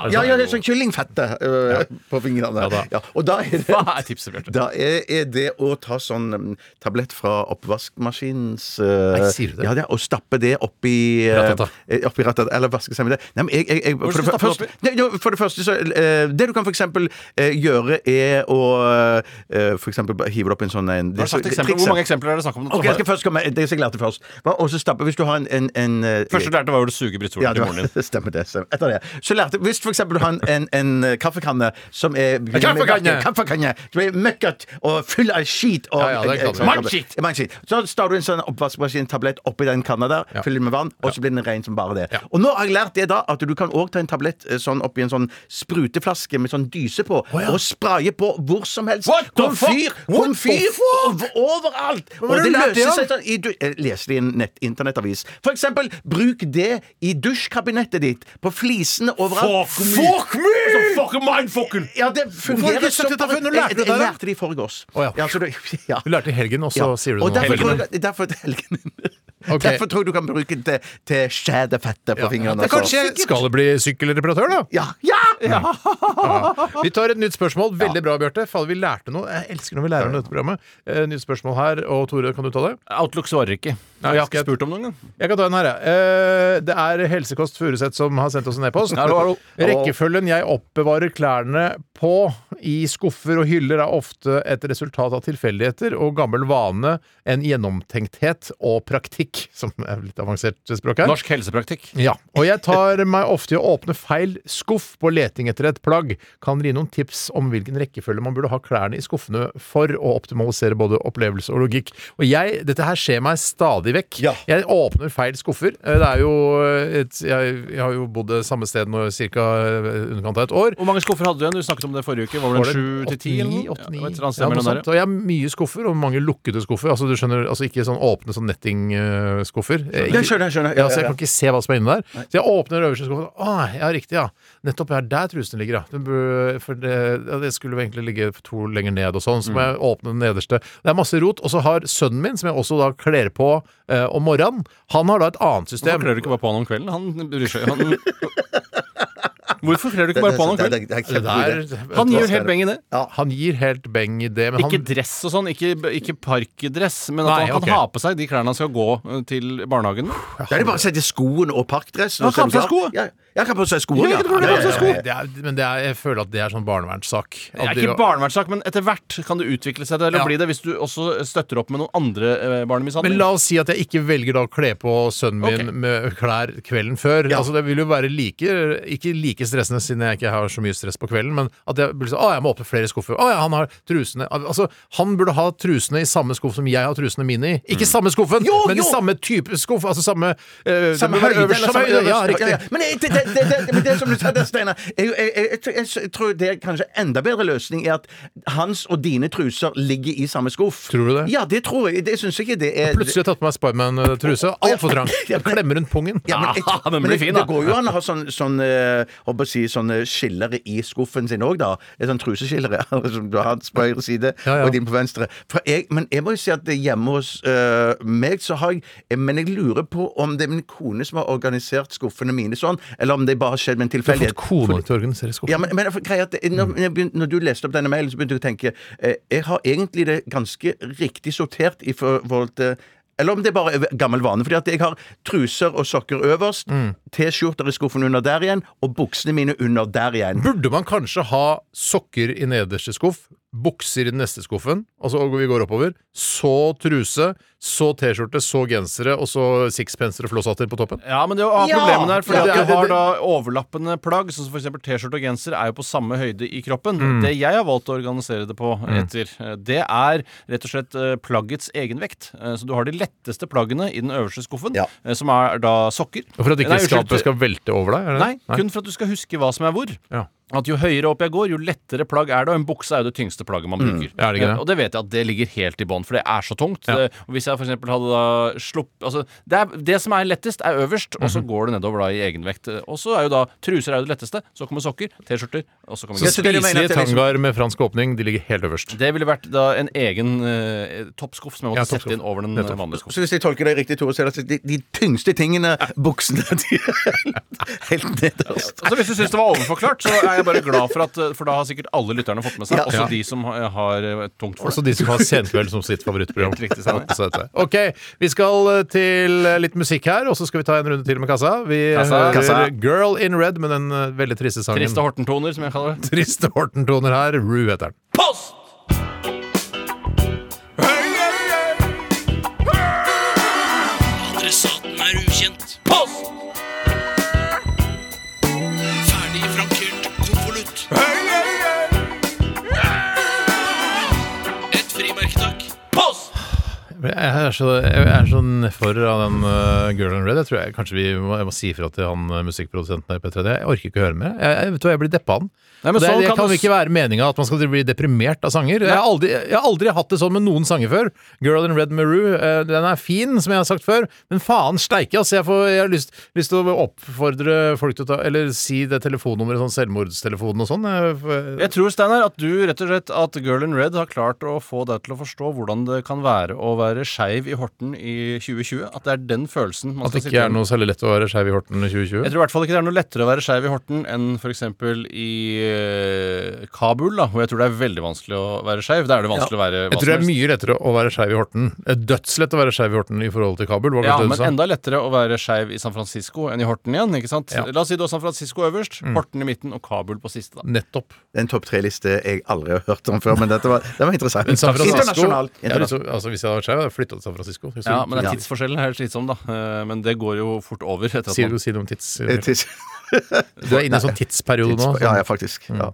Speaker 6: Ja, ja, det er sånn kyllingfette øh, på fingrene.
Speaker 4: da.
Speaker 6: Ja, og da er det
Speaker 5: Hva er tipset, Bjarte?
Speaker 6: da er, er det å ta sånn mm, tablett fra oppvaskmaskinens eh,
Speaker 4: Nei, sier du det?
Speaker 6: Ja, det, og stappe det oppi eh,
Speaker 4: Ratata.
Speaker 6: eh, oppi ratata. Eller vaske seg med det. Nei, men jeg, jeg, jeg, for,
Speaker 5: skal du
Speaker 6: det,
Speaker 5: stappe
Speaker 6: første,
Speaker 5: det
Speaker 6: nei, jo, for det første så eh, Det du kan for eksempel eh, gjøre, er å eh, for eksempel bare hive det opp i en sånn en
Speaker 5: Har du sagt eksempler? Hvor mange eksempler er det snakk om?
Speaker 6: Ok, jeg skal først komme Det som jeg lærte først. Hva- Og så stappe Hvis du har en, en, en eh,
Speaker 5: Første du lærte, var jo å suge brystvorten
Speaker 6: ja, det
Speaker 5: til moren din.
Speaker 6: var, stemmer det. Stemmer. Etter det. Så lærte Hvis for eksempel du har en, en, en eh, kaffekanne som er
Speaker 4: kaffekanne!
Speaker 6: kaffekanne Som er møkket og full av skit og Eh,
Speaker 4: Ja, ja, det kan du.
Speaker 5: Mannskitt!
Speaker 6: Ja, mannskitt. Så star du en sånn oppvaskmaskintablett oppi den kanna der, fyller den med vann, og så blir den ren som bare det.
Speaker 4: Ja.
Speaker 6: Og nå har jeg lært det da at du kan òg ta en tablett eh, sånn oppi en sånn spruteflaske med sånn dyse på, og spraye på hvor som helst.
Speaker 5: What the
Speaker 6: Komfyr!
Speaker 5: fuck? What
Speaker 6: Komfyr!
Speaker 5: the fuck?
Speaker 6: ov- Overalt!
Speaker 4: har
Speaker 6: Og
Speaker 4: du
Speaker 6: det
Speaker 4: lært det
Speaker 6: løser
Speaker 4: av?
Speaker 6: seg Sånn, i du- jeg leste i en nett, internettavis. For eksempel, bruk det i dusjkabinettet ditt. På flisene overalt.
Speaker 5: Fuck me!
Speaker 4: Altså,
Speaker 5: Fuck mine
Speaker 6: Ja, det
Speaker 4: Hvorfor har
Speaker 6: fungerer Altså,
Speaker 4: du ikke sagt dette før? Når lærte du
Speaker 6: Jeg, jeg,
Speaker 4: det, da?
Speaker 6: lærte det i forgårs.
Speaker 4: Å, ja.
Speaker 6: så det- ja.
Speaker 4: Du lærte i helgen, og så
Speaker 6: Ja.
Speaker 4: sier du
Speaker 6: og
Speaker 4: noe.
Speaker 6: derfor,
Speaker 4: om
Speaker 6: tror
Speaker 4: helgen.
Speaker 6: jeg, derfor, helgen.
Speaker 4: Ok.
Speaker 6: derfor tror jeg du kan bruke det til, til skjedefettet på
Speaker 4: Ja,
Speaker 6: fingrene. altså.
Speaker 4: Kanskje skal det bli sykkelreparatør, da?
Speaker 6: Ja! ja!
Speaker 4: Vi tar et nytt spørsmål. Veldig bra, Bjarte. Fader, vi lærte noe. Jeg elsker når vi lærer om dette programmet. Eh, nytt spørsmål her. Og Tore, kan du ta det?
Speaker 5: Outlook svarer ikke.
Speaker 4: Nei,
Speaker 5: jeg har
Speaker 4: skal
Speaker 5: ikke
Speaker 4: jeg-
Speaker 5: spurt om det engang.
Speaker 4: Jeg kan ta en her, jeg. Eh, det er Helsekost Furuseth som har sendt oss en e-post.
Speaker 5: Hallo, hallo.
Speaker 4: Rekkefølgen jeg oppbevarer klærne på i skuffer og hyller, er ofte et resultat av tilfeldigheter og gammel vane, en gjennomtenkthet og praktikk, som er litt avansert språk her.
Speaker 5: Norsk helsepraktikk.
Speaker 4: Ja, og jeg tar meg ofte i å åpne feil skuff på leting etter et plagg. Kan dere gi noen tips om hvilken rekkefølge man burde ha klærne i skuffene for å optimalisere både opplevelse og logikk? Og jeg, dette her skjer meg stadig vekk.
Speaker 6: Ja.
Speaker 4: Jeg åpner feil skuffer. Eh, Det er jo et, jeg, jeg har jo bodd det samme sted nå ca. underkant av et år.
Speaker 5: Hvor mange skuffer hadde du igjen? Du snakket om det forrige uke. Var det
Speaker 4: Var det
Speaker 5: sju til ti? eller
Speaker 4: 89,
Speaker 5: noe?
Speaker 4: 89?
Speaker 5: Ja, et eller annet sted
Speaker 4: Ja, noe
Speaker 5: mellom der,
Speaker 4: sånt. Og jeg har mye skuffer, og mange lukkede skuffer. Altså, du skjønner, altså ikke sånn åpne sånn netting-skuffer.
Speaker 6: Jeg skjønner, jeg skjønner.
Speaker 4: Eh, Ja, så jeg kan ikke se hva som er inne der. Så jeg åpner den øverste skuffen. Å, ja, riktig, ja. Nettopp her der trusene ligger, ja. Den bør- For det, ja, det skulle jo egentlig ligge to lenger ned og sånn. Så må jeg
Speaker 5: Mm.
Speaker 4: åpne den nederste. Det er masse rot. Og så har sønnen min, som jeg også da kler på eh, om morgenen, han har da et annet
Speaker 5: Hvorfor
Speaker 4: system.
Speaker 5: klør du ikke bare på han om kvelden? Han bryr seg. Han... Hvorfor kler du ikke bare på han om
Speaker 6: Det-
Speaker 5: kvelden?
Speaker 6: det- det- det er
Speaker 4: Det der- altså,
Speaker 6: kjempegod idé.
Speaker 5: Han gir jo helt beng i det.
Speaker 6: Ja.
Speaker 4: Han gir helt beng i det, men
Speaker 5: Ikke
Speaker 4: han
Speaker 5: dress og sånn, ikke, ikke parkdress, men at
Speaker 4: Nei,
Speaker 5: han kan
Speaker 4: ok.
Speaker 5: ha på seg de klærne han skal gå eh, til barnehagen med.
Speaker 6: Da er det bare å sette skoen og parkdressen. og
Speaker 5: Han kan
Speaker 6: så er
Speaker 5: ha
Speaker 6: du
Speaker 5: på seg
Speaker 6: klar. Ja, jeg kan ha på seg skoen,
Speaker 5: Ja,
Speaker 6: ja.
Speaker 5: ikke noe problem,
Speaker 6: Ja, ja,
Speaker 5: han har på seg
Speaker 6: ja, ja.
Speaker 5: sko.
Speaker 4: det er, Men det er, jeg føler at det er sånn barnevernssak.
Speaker 5: Det er
Speaker 4: At
Speaker 5: ikke
Speaker 4: dere-
Speaker 5: barnevernssak, men etter hvert kan det utvikle seg til å
Speaker 4: Ja.
Speaker 5: bli det hvis du også støtter opp med noen andre eh,
Speaker 4: men
Speaker 5: barnemishandling.
Speaker 4: la oss si at jeg ikke velger da å kle på sønnen min
Speaker 5: Ok.
Speaker 4: med klær kvelden før. Altså Det vil jo være like, ikke like stressende siden jeg ikke har så mye stress på kvelden, men at jeg blir sånn Å, jeg må åpne flere skuffer. Å ja, han har trusene Al- Altså, han burde ha trusene i samme skuff som jeg har trusene mine i. Ikke samme skuffen,
Speaker 6: Mm. Jo,
Speaker 4: men i
Speaker 6: jo!
Speaker 4: samme type skuff. Altså samme eh, det
Speaker 6: Samme
Speaker 4: må være
Speaker 6: høyde, eller
Speaker 4: øverst,
Speaker 6: samme
Speaker 4: samme høyde, Ja,
Speaker 6: øverst,
Speaker 4: riktig.
Speaker 6: ja, ja. Men det, det, det, det, det, men det som du sa der, Steinar jeg, jeg, jeg, jeg, jeg tror det er kanskje enda bedre løsning er at hans og dine truser ligger i samme skuff.
Speaker 4: Tror du det?
Speaker 6: Ja, det tror jeg. Det syns jeg ikke det er
Speaker 4: Plutselig har jeg tatt på meg eh, Spiderman-truse. Altfor trang.
Speaker 6: Ja, men-
Speaker 4: Klemmer rundt pungen.
Speaker 6: Ja, men jeg-
Speaker 5: Ah, den
Speaker 6: men
Speaker 5: blir
Speaker 6: det-
Speaker 5: fin, da.
Speaker 6: Det går jo an å ha sånn, sånn, eh, håper jeg å si, sånne skillere i skuffen sin òg, da. Et sånn truseskillere som du har på høyre side
Speaker 4: Ja, ja.
Speaker 6: og din på venstre. For jeg, men jeg må jo si at det hjemme hos eh, meg så har jeg eh, Men jeg lurer på om det er min kone som har organisert skuffene mine sånn, eller om det bare har skjedd med
Speaker 4: Du
Speaker 6: en
Speaker 4: har
Speaker 6: tilfeldighet.
Speaker 4: fått kona til å organisere skuffen.
Speaker 6: Ja, men, men for- greia er at det-
Speaker 4: Mm.
Speaker 6: når, når jeg begynte, når du leste opp denne mailen, så begynte jeg å tenke eh, Jeg har egentlig det ganske riktig sortert i forhold til eller om det er bare er gammel vane. fordi at jeg har truser og sokker øverst,
Speaker 4: Mm.
Speaker 6: T-skjorter i skuffen under der igjen, og buksene mine under der igjen.
Speaker 4: Burde man kanskje ha sokker i nederste skuff, bukser i den neste skuffen, altså og vi går oppover, så truse, så T-skjorte, så gensere, og så sixpenser og flosshatter på toppen?
Speaker 5: Ja, men det å ha
Speaker 6: Ja!
Speaker 5: problemet der, fordi
Speaker 6: Ja,
Speaker 5: at
Speaker 6: det-
Speaker 5: du har
Speaker 6: det-
Speaker 5: da overlappende plagg, sånn som f.eks. T-skjorte og genser, er jo på samme høyde i kroppen.
Speaker 4: Mm.
Speaker 5: Det jeg har valgt å organisere det på etter, eh, det er rett og slett eh, plaggets egenvekt. Eh, Så du har de letteste plaggene i den øverste skuffen,
Speaker 6: Ja.
Speaker 5: eh, som er da sokker.
Speaker 4: Og For at ikke
Speaker 5: Nei, unnskyld,
Speaker 4: skapet skal velte over deg? er det
Speaker 5: Nei,
Speaker 4: det?
Speaker 5: kun for at du skal huske hva som er hvor.
Speaker 4: Ja.
Speaker 5: At Jo høyere opp jeg går, jo lettere plagg er det. Og en bukse er jo det tyngste plagget man bruker.
Speaker 4: Ja, er det ikke det?
Speaker 5: Eh, Og det vet jeg at det ligger helt i bånn, for det er så tungt.
Speaker 4: Ja.
Speaker 5: Det- Og hvis jeg for eksempel hadde da slupp, altså, det, er, det som er lettest, er øverst, og så går det nedover da i egenvekt. Eh, Og så er jo da truser er jo det letteste. Så kommer sokker, T-skjorter, og så kommer
Speaker 4: Så
Speaker 5: genser.
Speaker 6: Jeg synes dere mener at
Speaker 4: spiselige
Speaker 6: det er liksom-
Speaker 4: tangaer med fransk åpning, de ligger helt øverst.
Speaker 5: Det ville vært da en egen eh, toppskuff som jeg
Speaker 4: Ja,
Speaker 5: måtte sette
Speaker 4: toppskuff.
Speaker 5: inn over den eh,
Speaker 4: Nettopp.
Speaker 5: vanlige skuffen.
Speaker 6: Så hvis jeg tolker deg riktig, Tore, så er det altså de, de tyngste tingene, buksene, de er helt, helt nederst.
Speaker 5: Altså, hvis du syns det var overforklart, så er jeg bare glad for at eh, For da har sikkert alle lytterne fått med seg,
Speaker 6: Ja.
Speaker 5: også
Speaker 6: Ja.
Speaker 5: de som har, har eh, tungt for det.
Speaker 4: Også Altså de som har Senkveld som sitt favorittprogram.
Speaker 5: Helt riktig, Steinar.
Speaker 4: Så dette. Ok, vi skal eh, til eh, litt musikk her, og så skal vi ta en runde til med kassa. Vi
Speaker 5: Kassa.
Speaker 4: hører
Speaker 5: Kassa.
Speaker 4: Girl in Red med den eh, veldig triste sangen.
Speaker 5: Triste Horten-toner, som jeg kaller det.
Speaker 4: Triste Horten-toner her. Rue heter den.
Speaker 7: Post! Adressaten er ukjent. Post! Ferdig frankert konvolutt. Et frimerke, takk. Post!
Speaker 4: Jeg er så, jeg er så nedfor av den eh, Girl in Red. Jeg tror jeg, kanskje vi må, jeg må si ifra til han eh, musikkprodusenten her i P3. Jeg orker ikke å høre mer. Jeg, jeg, vet du, hva, jeg blir deppa av den.
Speaker 5: Nei, men
Speaker 4: Og det,
Speaker 5: sånn
Speaker 4: det
Speaker 5: kan
Speaker 4: kan
Speaker 5: du
Speaker 4: jo
Speaker 5: s-
Speaker 4: ikke være meninga at man skal bli deprimert av sanger. Jeg har, aldri, jeg har aldri hatt det sånn med noen sanger før. Girl in Red med Rue, eh, den er fin, som jeg har sagt før, men faen steike, altså. Jeg, får, jeg har lyst, lyst til å oppfordre folk til å ta Eller si det telefonnummeret, sånn selvmordstelefonen og sånn. Jeg, for-
Speaker 5: Jeg tror, Steinar, at du rett og slett At Girl in Red har klart å få deg til å forstå hvordan det kan være å være skeiv i Horten i 2020. At det er den følelsen man
Speaker 4: at det
Speaker 5: skal
Speaker 4: ikke
Speaker 5: sitte
Speaker 4: er noe særlig lett å være skeiv i Horten i 2020.
Speaker 5: Jeg tror i hvert fall ikke det er noe lettere å være skeiv i Horten enn f.eks. i eh, Kabul, da, hvor jeg tror det er veldig vanskelig å være skeiv. Der er det vanskelig å være hva
Speaker 4: Jeg tror det
Speaker 5: som
Speaker 4: er
Speaker 5: helst.
Speaker 4: mye lettere å være skeiv i Horten. Eh, Dødslett å være skeiv i Horten i forhold til Kabul. Var det
Speaker 5: Ja,
Speaker 4: det du
Speaker 5: men
Speaker 4: sa?
Speaker 5: enda lettere å være skeiv i San Francisco enn i Horten igjen. ikke sant?
Speaker 4: Ja. Mm.
Speaker 5: La oss si du har San Francisco øverst, Horten i midten og Kabul på siste. da.
Speaker 4: Nettopp.
Speaker 6: Det er en topp tre-liste jeg aldri har hørt om før, men dette var, det var interessant.
Speaker 4: Men San Francisco
Speaker 6: Internasjonal.
Speaker 4: Jeg har lyst til å- altså, Hvis jeg hadde vært skeiv, hadde jeg flytta til San Francisco. Så-
Speaker 5: Ja, Men det er tidsforskjellen er slitsom, da. Eh, Men det går jo fort over. etter at
Speaker 4: Si,
Speaker 5: man...
Speaker 4: si noe om tids...
Speaker 6: Tids-
Speaker 4: Du er inne i en sånn tidsperiode nå. sånn. Mm.
Speaker 6: Ja, ja, faktisk. Ja.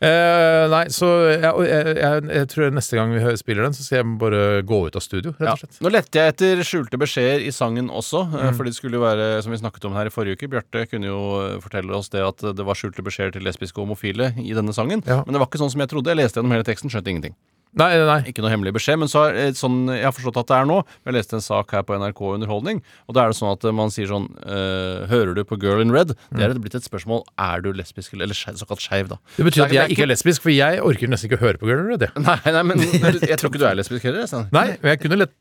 Speaker 4: Eh, nei, så jeg, jeg, jeg, jeg tror neste gang vi hø- spiller den, så skal jeg bare gå ut av studio, rett og slett.
Speaker 5: Nå lette jeg etter skjulte beskjeder i sangen også, eh, fordi det skulle jo være, som vi snakket om her i forrige uke, Bjarte kunne jo eh, fortelle oss det at det var skjulte beskjeder til lesbiske og homofile i denne sangen,
Speaker 4: Ja.
Speaker 5: men det var ikke sånn som jeg trodde. Jeg leste gjennom hele teksten, skjønte ingenting.
Speaker 4: Nei, nei.
Speaker 5: Ikke noe hemmelig beskjed, men så er, eh, sånn jeg har forstått at det er nå Jeg leste en sak her på NRK Underholdning, og da er det sånn at eh, man sier sånn eh, Hører du på Girl in Red? Det er et- blitt et spørsmål Er du lesbisk, eller skeiv- såkalt skeiv, da.
Speaker 4: Det betyr at
Speaker 5: Så det er
Speaker 4: jeg ikke er lesbisk, for jeg orker nesten ikke å høre på Girl Red. jeg.
Speaker 5: Nei, nei, men jeg tror ikke du er lesbisk heller. jeg, Steinar.
Speaker 4: Nei, men jeg kunne lett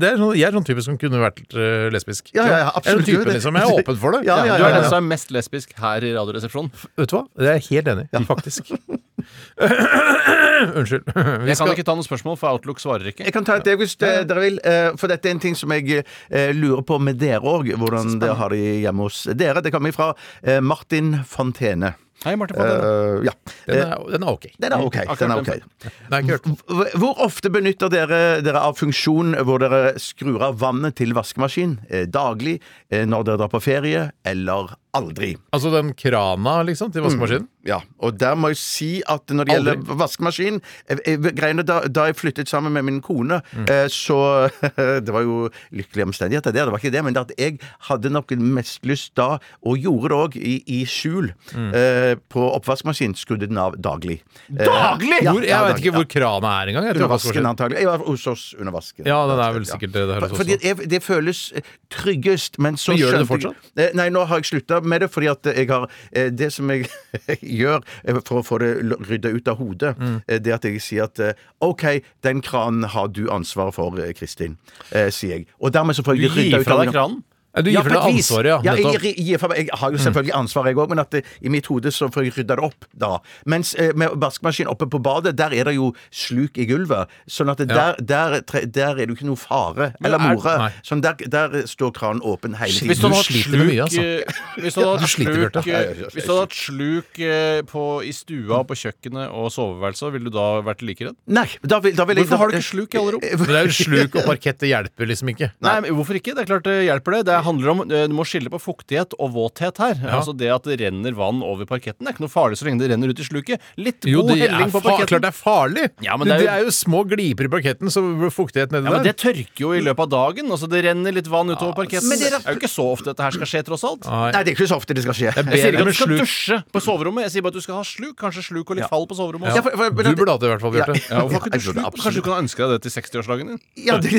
Speaker 4: det er sånn, Jeg er sånn type som kunne vært eh, lesbisk.
Speaker 6: Ja, ja, ja,
Speaker 4: Jeg er, sånn
Speaker 6: absolutt, du er
Speaker 4: type,
Speaker 6: det.
Speaker 4: liksom, jeg er åpen for det.
Speaker 6: Ja, ja,
Speaker 5: Du
Speaker 6: ja,
Speaker 5: er
Speaker 6: ja.
Speaker 5: den som er mest lesbisk her i Radioresepsjonen.
Speaker 4: Vet du hva? Det er jeg helt enig i, faktisk. Unnskyld. Vi
Speaker 5: Jeg kan
Speaker 4: skal-
Speaker 5: ikke ta noen spørsmål, for Outlook svarer ikke.
Speaker 6: Jeg kan ta et jeg, hvis eh, dere vil, eh, for dette er en ting som jeg eh, lurer på med dere òg, hvordan dere har det hjemme hos dere. Det kommer fra eh, Martin Fontene.
Speaker 5: Hei, Martin. Fadden.
Speaker 6: Eh, ja.
Speaker 4: den, er, den er ok. Mm.
Speaker 6: Den er OK. Den er ok.
Speaker 4: Nei, ikke hørt.
Speaker 6: Hvor- Hvor ofte benytter dere dere av funksjon hvor dere skrur av vannet til vaskemaskin? Eh, Daglig, eh, når dere drar på ferie, eller aldri?
Speaker 4: Altså den krana, liksom, til vaskemaskinen?
Speaker 5: Mm.
Speaker 6: Ja, og der må jeg si at når det
Speaker 4: Aldri.
Speaker 6: gjelder vaskemaskin eh, eh, greiene da, da jeg flyttet sammen med min kone,
Speaker 4: Mm.
Speaker 6: eh, så Det var jo lykkelige omstendigheter der, det var ikke det, men det at jeg hadde nok mest lyst da, og gjorde det òg, i, i skjul.
Speaker 4: Mm.
Speaker 6: Eh, på oppvaskmaskinen skrudde den av daglig. Eh, Daglig?!
Speaker 4: Hvor, jeg vet ikke hvor krana er engang. Jeg
Speaker 6: Under
Speaker 4: tror
Speaker 6: vasken,
Speaker 4: vaskemaskin.
Speaker 6: antagelig. Jeg var hos oss under vasken.
Speaker 4: Ja, den er vel sikkert det det høres
Speaker 6: For-
Speaker 4: også.
Speaker 6: Fordi jeg, det føles eh, tryggest, men så
Speaker 4: Men gjør du det
Speaker 6: skjønte jeg- Eh, Nei, nå har jeg slutta med det, fordi at eh, jeg har eh, Det som jeg gjør eh, for å få det l- rydda ut av hodet,
Speaker 4: Mm.
Speaker 6: eh, det at jeg sier at eh, OK, den kranen har du ansvaret for, eh, Kristin, eh, sier jeg. Og dermed så får
Speaker 5: Du
Speaker 6: jeg det rydda
Speaker 5: gir
Speaker 6: ut
Speaker 5: fra
Speaker 6: av
Speaker 5: deg kranen.
Speaker 4: Ja, Du gir fra
Speaker 6: på et
Speaker 4: deg
Speaker 6: vis.
Speaker 4: ansvaret, ja.
Speaker 6: jeg,
Speaker 4: Nettopp.
Speaker 6: gir- gir fra meg- jeg har jo selvfølgelig ansvar, jeg òg, men at det, i mitt hode så får jeg rydda det opp da. Mens eh, med vaskemaskin oppe på badet, der er det jo sluk i gulvet. Sånn at det, der, der, tre- der er det jo ikke noe fare eller
Speaker 5: Men er-
Speaker 6: more.
Speaker 4: nei.
Speaker 6: Sånn der, der står kranen åpen hele
Speaker 5: Hvis du
Speaker 6: tiden.
Speaker 4: du
Speaker 5: hadde hatt
Speaker 4: sliter med
Speaker 5: sluk,
Speaker 4: mye, altså.
Speaker 5: eh, hvis du
Speaker 4: Du
Speaker 5: hadde hatt
Speaker 4: sliter,
Speaker 5: sluk,
Speaker 4: Bjarte.
Speaker 5: eh, hvis du hadde hatt sluk eh, på, i stua, på kjøkkenet og soveværelset, ville du da vært like redd?
Speaker 6: Nei, da vil, da vil jeg
Speaker 5: Hvorfor har du ikke sluk i alle rom?
Speaker 4: Men det er jo sluk og parkett, det hjelper liksom ikke.
Speaker 5: Nei, men Hvorfor ikke? Det er klart det hjelper det. Det handler om, eh, Du må skille på fuktighet og våthet her. Altså Det at det renner vann over parketten, er ikke noe farlig så lenge det renner ut i sluket. Litt
Speaker 4: Jo,
Speaker 5: god
Speaker 4: det er,
Speaker 5: helling
Speaker 4: fa-
Speaker 5: på
Speaker 4: klart
Speaker 5: parketten.
Speaker 4: det er farlig!
Speaker 5: Ja, men
Speaker 4: det,
Speaker 5: det
Speaker 4: det er
Speaker 5: er jo-
Speaker 4: jo små gliper i parketten, så fuktighet nedi
Speaker 5: Ja, men
Speaker 4: der.
Speaker 5: Det tørker jo i løpet av dagen. Altså Det renner litt vann utover parketten.
Speaker 6: men det
Speaker 5: Det
Speaker 6: er da-
Speaker 5: er jo ikke så ofte dette her skal skje, tross alt.
Speaker 4: Nei.
Speaker 6: Nei, det er ikke så ofte det skal skje.
Speaker 5: Jeg sier
Speaker 4: bedre
Speaker 5: ikke
Speaker 4: med
Speaker 5: at du skal
Speaker 4: sluk.
Speaker 5: dusje på soverommet, jeg sier bare at du skal ha sluk. Kanskje sluk og litt fall på soverommet også.
Speaker 6: Ja, for- for-
Speaker 4: Du burde hatt det i hvert fall, Bjarte.
Speaker 5: Ja, hvorfor har ikke
Speaker 6: Ja,
Speaker 5: du
Speaker 6: jeg tror det
Speaker 5: sluk? Kanskje du kan ønske deg det til 60-årsdagen din?
Speaker 6: Ja, det,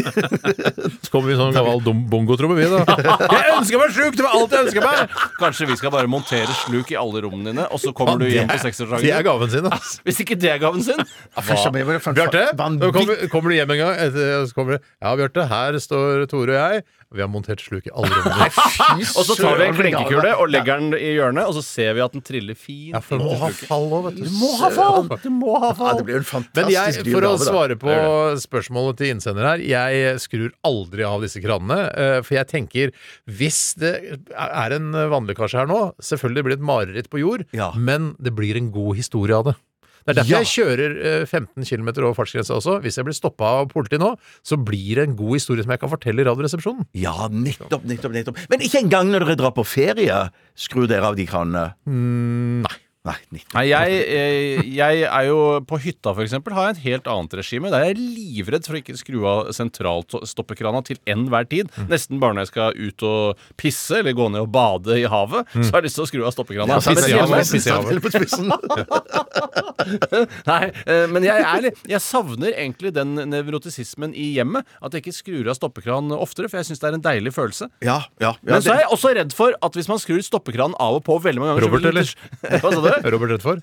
Speaker 4: Så kommer vi i sånn gammel dum- bongotromme, vi, da. Jeg ønsker meg sluk! Det var alt jeg ønsker meg!
Speaker 5: Kanskje vi skal bare montere sluk i alle rommene dine, og så kommer du hjem på 60-årsdagen
Speaker 4: Det er
Speaker 5: din?
Speaker 4: gaven sin, altså. da.
Speaker 5: Hvis ikke det er gaven sin?
Speaker 4: Bjarte, nå
Speaker 6: Bjarte?
Speaker 4: kommer, kommer du hjem en gang, etter, så kommer du Ja, Bjarte, her står Tore og jeg. Vi har montert sluk i alle rommene.
Speaker 5: Og så tar vi en klenkekule og legger den i hjørnet, og så ser vi at den triller fint.
Speaker 4: Ja, for du må ha fall òg, vet du. Du
Speaker 6: ha fall!
Speaker 4: Du må ha
Speaker 6: Ja,
Speaker 4: fall!
Speaker 6: det blir jo en
Speaker 4: Men jeg,
Speaker 6: fantastisk dyr
Speaker 4: for å
Speaker 6: gave, da.
Speaker 4: svare på spørsmålet til innsender her, jeg skrur aldri av disse kranene. eh, For jeg tenker, hvis det er en vannlekkasje her nå, selvfølgelig blir det et mareritt på jord,
Speaker 6: Ja.
Speaker 4: men det blir en god historie av det. Det er derfor
Speaker 6: Ja.
Speaker 4: jeg kjører eh, 15 km over fartsgrensa også. Hvis jeg blir stoppa av politiet nå, så blir det en god historie som jeg kan fortelle i Radioresepsjonen.
Speaker 6: Ja, nettopp, nettopp, nettopp. Men ikke engang når dere drar på ferie, skrur dere av de kranene? nei. Nei, nettopp.
Speaker 5: Nei, jeg, eh, jeg er jo på hytta, for eksempel, har jeg et helt annet regime. Der er jeg livredd for å ikke skru av sentralstoppekrana til enhver tid.
Speaker 4: Mm.
Speaker 5: Nesten bare når jeg skal ut og pisse eller gå ned og bade i havet, så har jeg lyst til å skru av stoppekrana.
Speaker 4: Mm. pisse
Speaker 5: Men
Speaker 4: i
Speaker 5: hjemme-
Speaker 4: havet. pisse i havet.
Speaker 6: Eller på spissen.
Speaker 5: Nei, eh, men jeg, er, litt- jeg savner egentlig den nevrotisismen i hjemmet. At jeg ikke skrur av stoppekran oftere, for jeg syns det er en deilig følelse.
Speaker 6: Ja, ja. ja
Speaker 5: Men så er
Speaker 6: det-
Speaker 5: jeg også redd for at hvis man skrur stoppekranen av og på veldig mange ganger så
Speaker 4: Robert,
Speaker 5: vil det- Hva sa du?
Speaker 4: Robert Redford.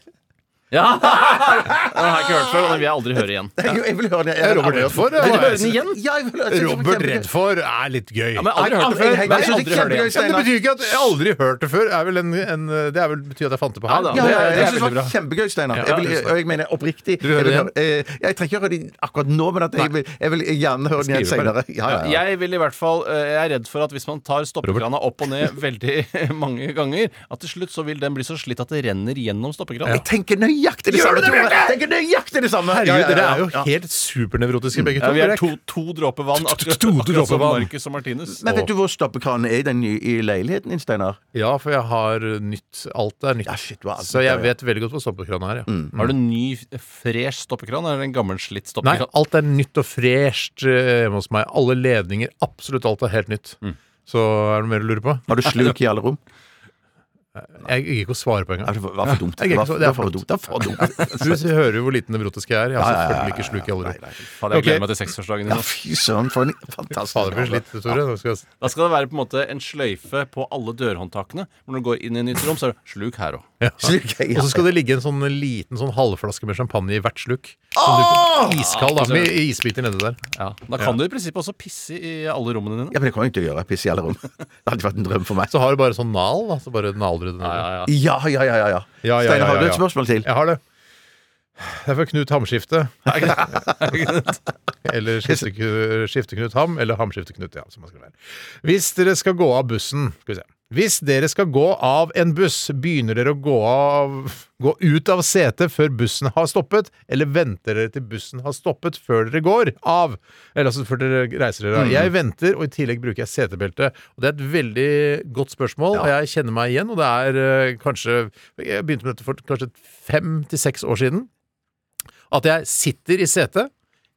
Speaker 5: Ja! Den har jeg ikke hørt før, og den vil jeg aldri høre igjen.
Speaker 6: Nei, jo, jeg vil høre det. Jeg
Speaker 4: Er
Speaker 6: vil
Speaker 4: Robert
Speaker 6: aldri-
Speaker 4: redd for det,
Speaker 6: Vil du
Speaker 4: eller?
Speaker 6: høre den igjen? Ja, jeg vil høre det.
Speaker 4: Robert Redford er litt gøy.
Speaker 5: Ja, men jeg har aldri hørt det før. Men
Speaker 6: Jeg- jeg-
Speaker 5: jeg har aldri hørt det
Speaker 6: jeg-
Speaker 5: igjen.
Speaker 6: kjempegøy.
Speaker 4: Ja, men det betyr ikke at jeg aldri har hørt det før. Er vel en, en, det er vel betyr at jeg fant det på her.
Speaker 5: Ja, da.
Speaker 6: Ja, ja,
Speaker 5: Det er
Speaker 6: ja, jeg synes det
Speaker 5: veldig
Speaker 6: var kjempegøy, Steinar. Jeg vil- Og jeg mener oppriktig.
Speaker 4: Vil du høre
Speaker 6: jeg, vil
Speaker 4: det
Speaker 6: høre- eh, jeg trenger ikke høre det akkurat nå, men at jeg, vil, jeg vil gjerne høre den igjen
Speaker 4: Skriver
Speaker 6: senere. Ja, ja, ja.
Speaker 5: Jeg vil i hvert fall, eh, jeg er redd for at hvis man tar stoppekrana opp og ned veldig mange ganger, at til slutt så vil den bli så slitt at det renner gjennom stoppekranen.
Speaker 6: Jeg tenker nøyaktig det samme, Tore! Jeg tenker nøyaktig det samme!
Speaker 4: Herregud,
Speaker 6: Ja, ja, ja,
Speaker 4: dere er jo
Speaker 6: ja. Mm.
Speaker 4: helt supernevrotiske begge to.
Speaker 5: Ja, vi er
Speaker 4: Dere
Speaker 5: to, to dråper vann, akkurat,
Speaker 4: To dråper
Speaker 5: akkurat som
Speaker 4: vann.
Speaker 5: Marcus og Martinus.
Speaker 6: Men vet du hvor stoppekranen er i den nye i leiligheten din, Steinar?
Speaker 4: Ja, for jeg har nytt. Alt er nytt.
Speaker 6: Ja, shit, du har alt
Speaker 4: så jeg
Speaker 6: nytt, ja, Mm. ja.
Speaker 4: vet veldig godt hvor stoppekranen er. Ja.
Speaker 5: Har du en ny, fresh stoppekran eller en gammel, slitt
Speaker 4: Nei,
Speaker 5: stoppekran?
Speaker 4: alt er nytt og fresht eh, hjemme hos meg. Alle ledninger, absolutt alt er helt nytt. Så er det noe mer du lurer på?
Speaker 6: Har du sluk i alle rom?
Speaker 4: Jeg gikk ikke å svare på engang.
Speaker 6: Det var for dumt.
Speaker 4: Jeg
Speaker 6: Det
Speaker 4: gikk
Speaker 6: var
Speaker 4: ikke så- det er
Speaker 6: for dumt. Det var for dumt.
Speaker 4: Du hører jo hvor liten nevrotisk jeg er. Jeg har
Speaker 6: Ja, ja, ja,
Speaker 4: selvfølgelig ikke
Speaker 6: ja,
Speaker 4: sluk i alle rom.
Speaker 5: Fader, jeg
Speaker 4: Ok.
Speaker 5: gleder meg til seksårsdagen
Speaker 6: Ja,
Speaker 5: din. ass.
Speaker 6: fy søren, for en fantastisk
Speaker 4: Fader, blir slitt, Tore. Nå skal jeg...
Speaker 5: Da skal det være på en måte en sløyfe på alle dørhåndtakene. Når du går inn i nytt rom, så er det sluk her òg.
Speaker 4: Ja.
Speaker 6: Sluk, ja.
Speaker 4: Og så skal det ligge en sånn liten sånn halvflaske med champagne i hvert sluk. Som du- Iskald, da. Med isbiter nedi der.
Speaker 5: Ja. Da kan du i prinsippet også pisse i alle rommene dine.
Speaker 6: Ja, men det kommer jeg ikke til å gjøre. Piss i alle rom. Det hadde vært en drøm for meg.
Speaker 4: Så har du bare sånn nal. Da. Så bare naler du det nedi.
Speaker 6: Ja, ja, ja, ja. ja.
Speaker 4: Ja, ja,
Speaker 6: Steinar,
Speaker 4: ja,
Speaker 6: har du
Speaker 4: ja,
Speaker 6: et
Speaker 4: ja.
Speaker 6: spørsmål til?
Speaker 4: Jeg har det. Det er fra Knut Hamskifte. eller skifte- Skifte-Knut Ham, eller Hamskifte-Knut, ja, som han skriver her. Hvis dere skal gå av bussen Skal vi se. Hvis dere skal gå av en buss, begynner dere å gå, av, gå ut av setet før bussen har stoppet, eller venter dere til bussen har stoppet før dere går av? Eller altså før dere reiser dere av. Jeg venter, og i tillegg bruker jeg setebelte. Og det er et veldig godt spørsmål, og jeg kjenner meg igjen, og det er eh, kanskje Jeg begynte med dette for kanskje fem til seks år siden. At jeg sitter i setet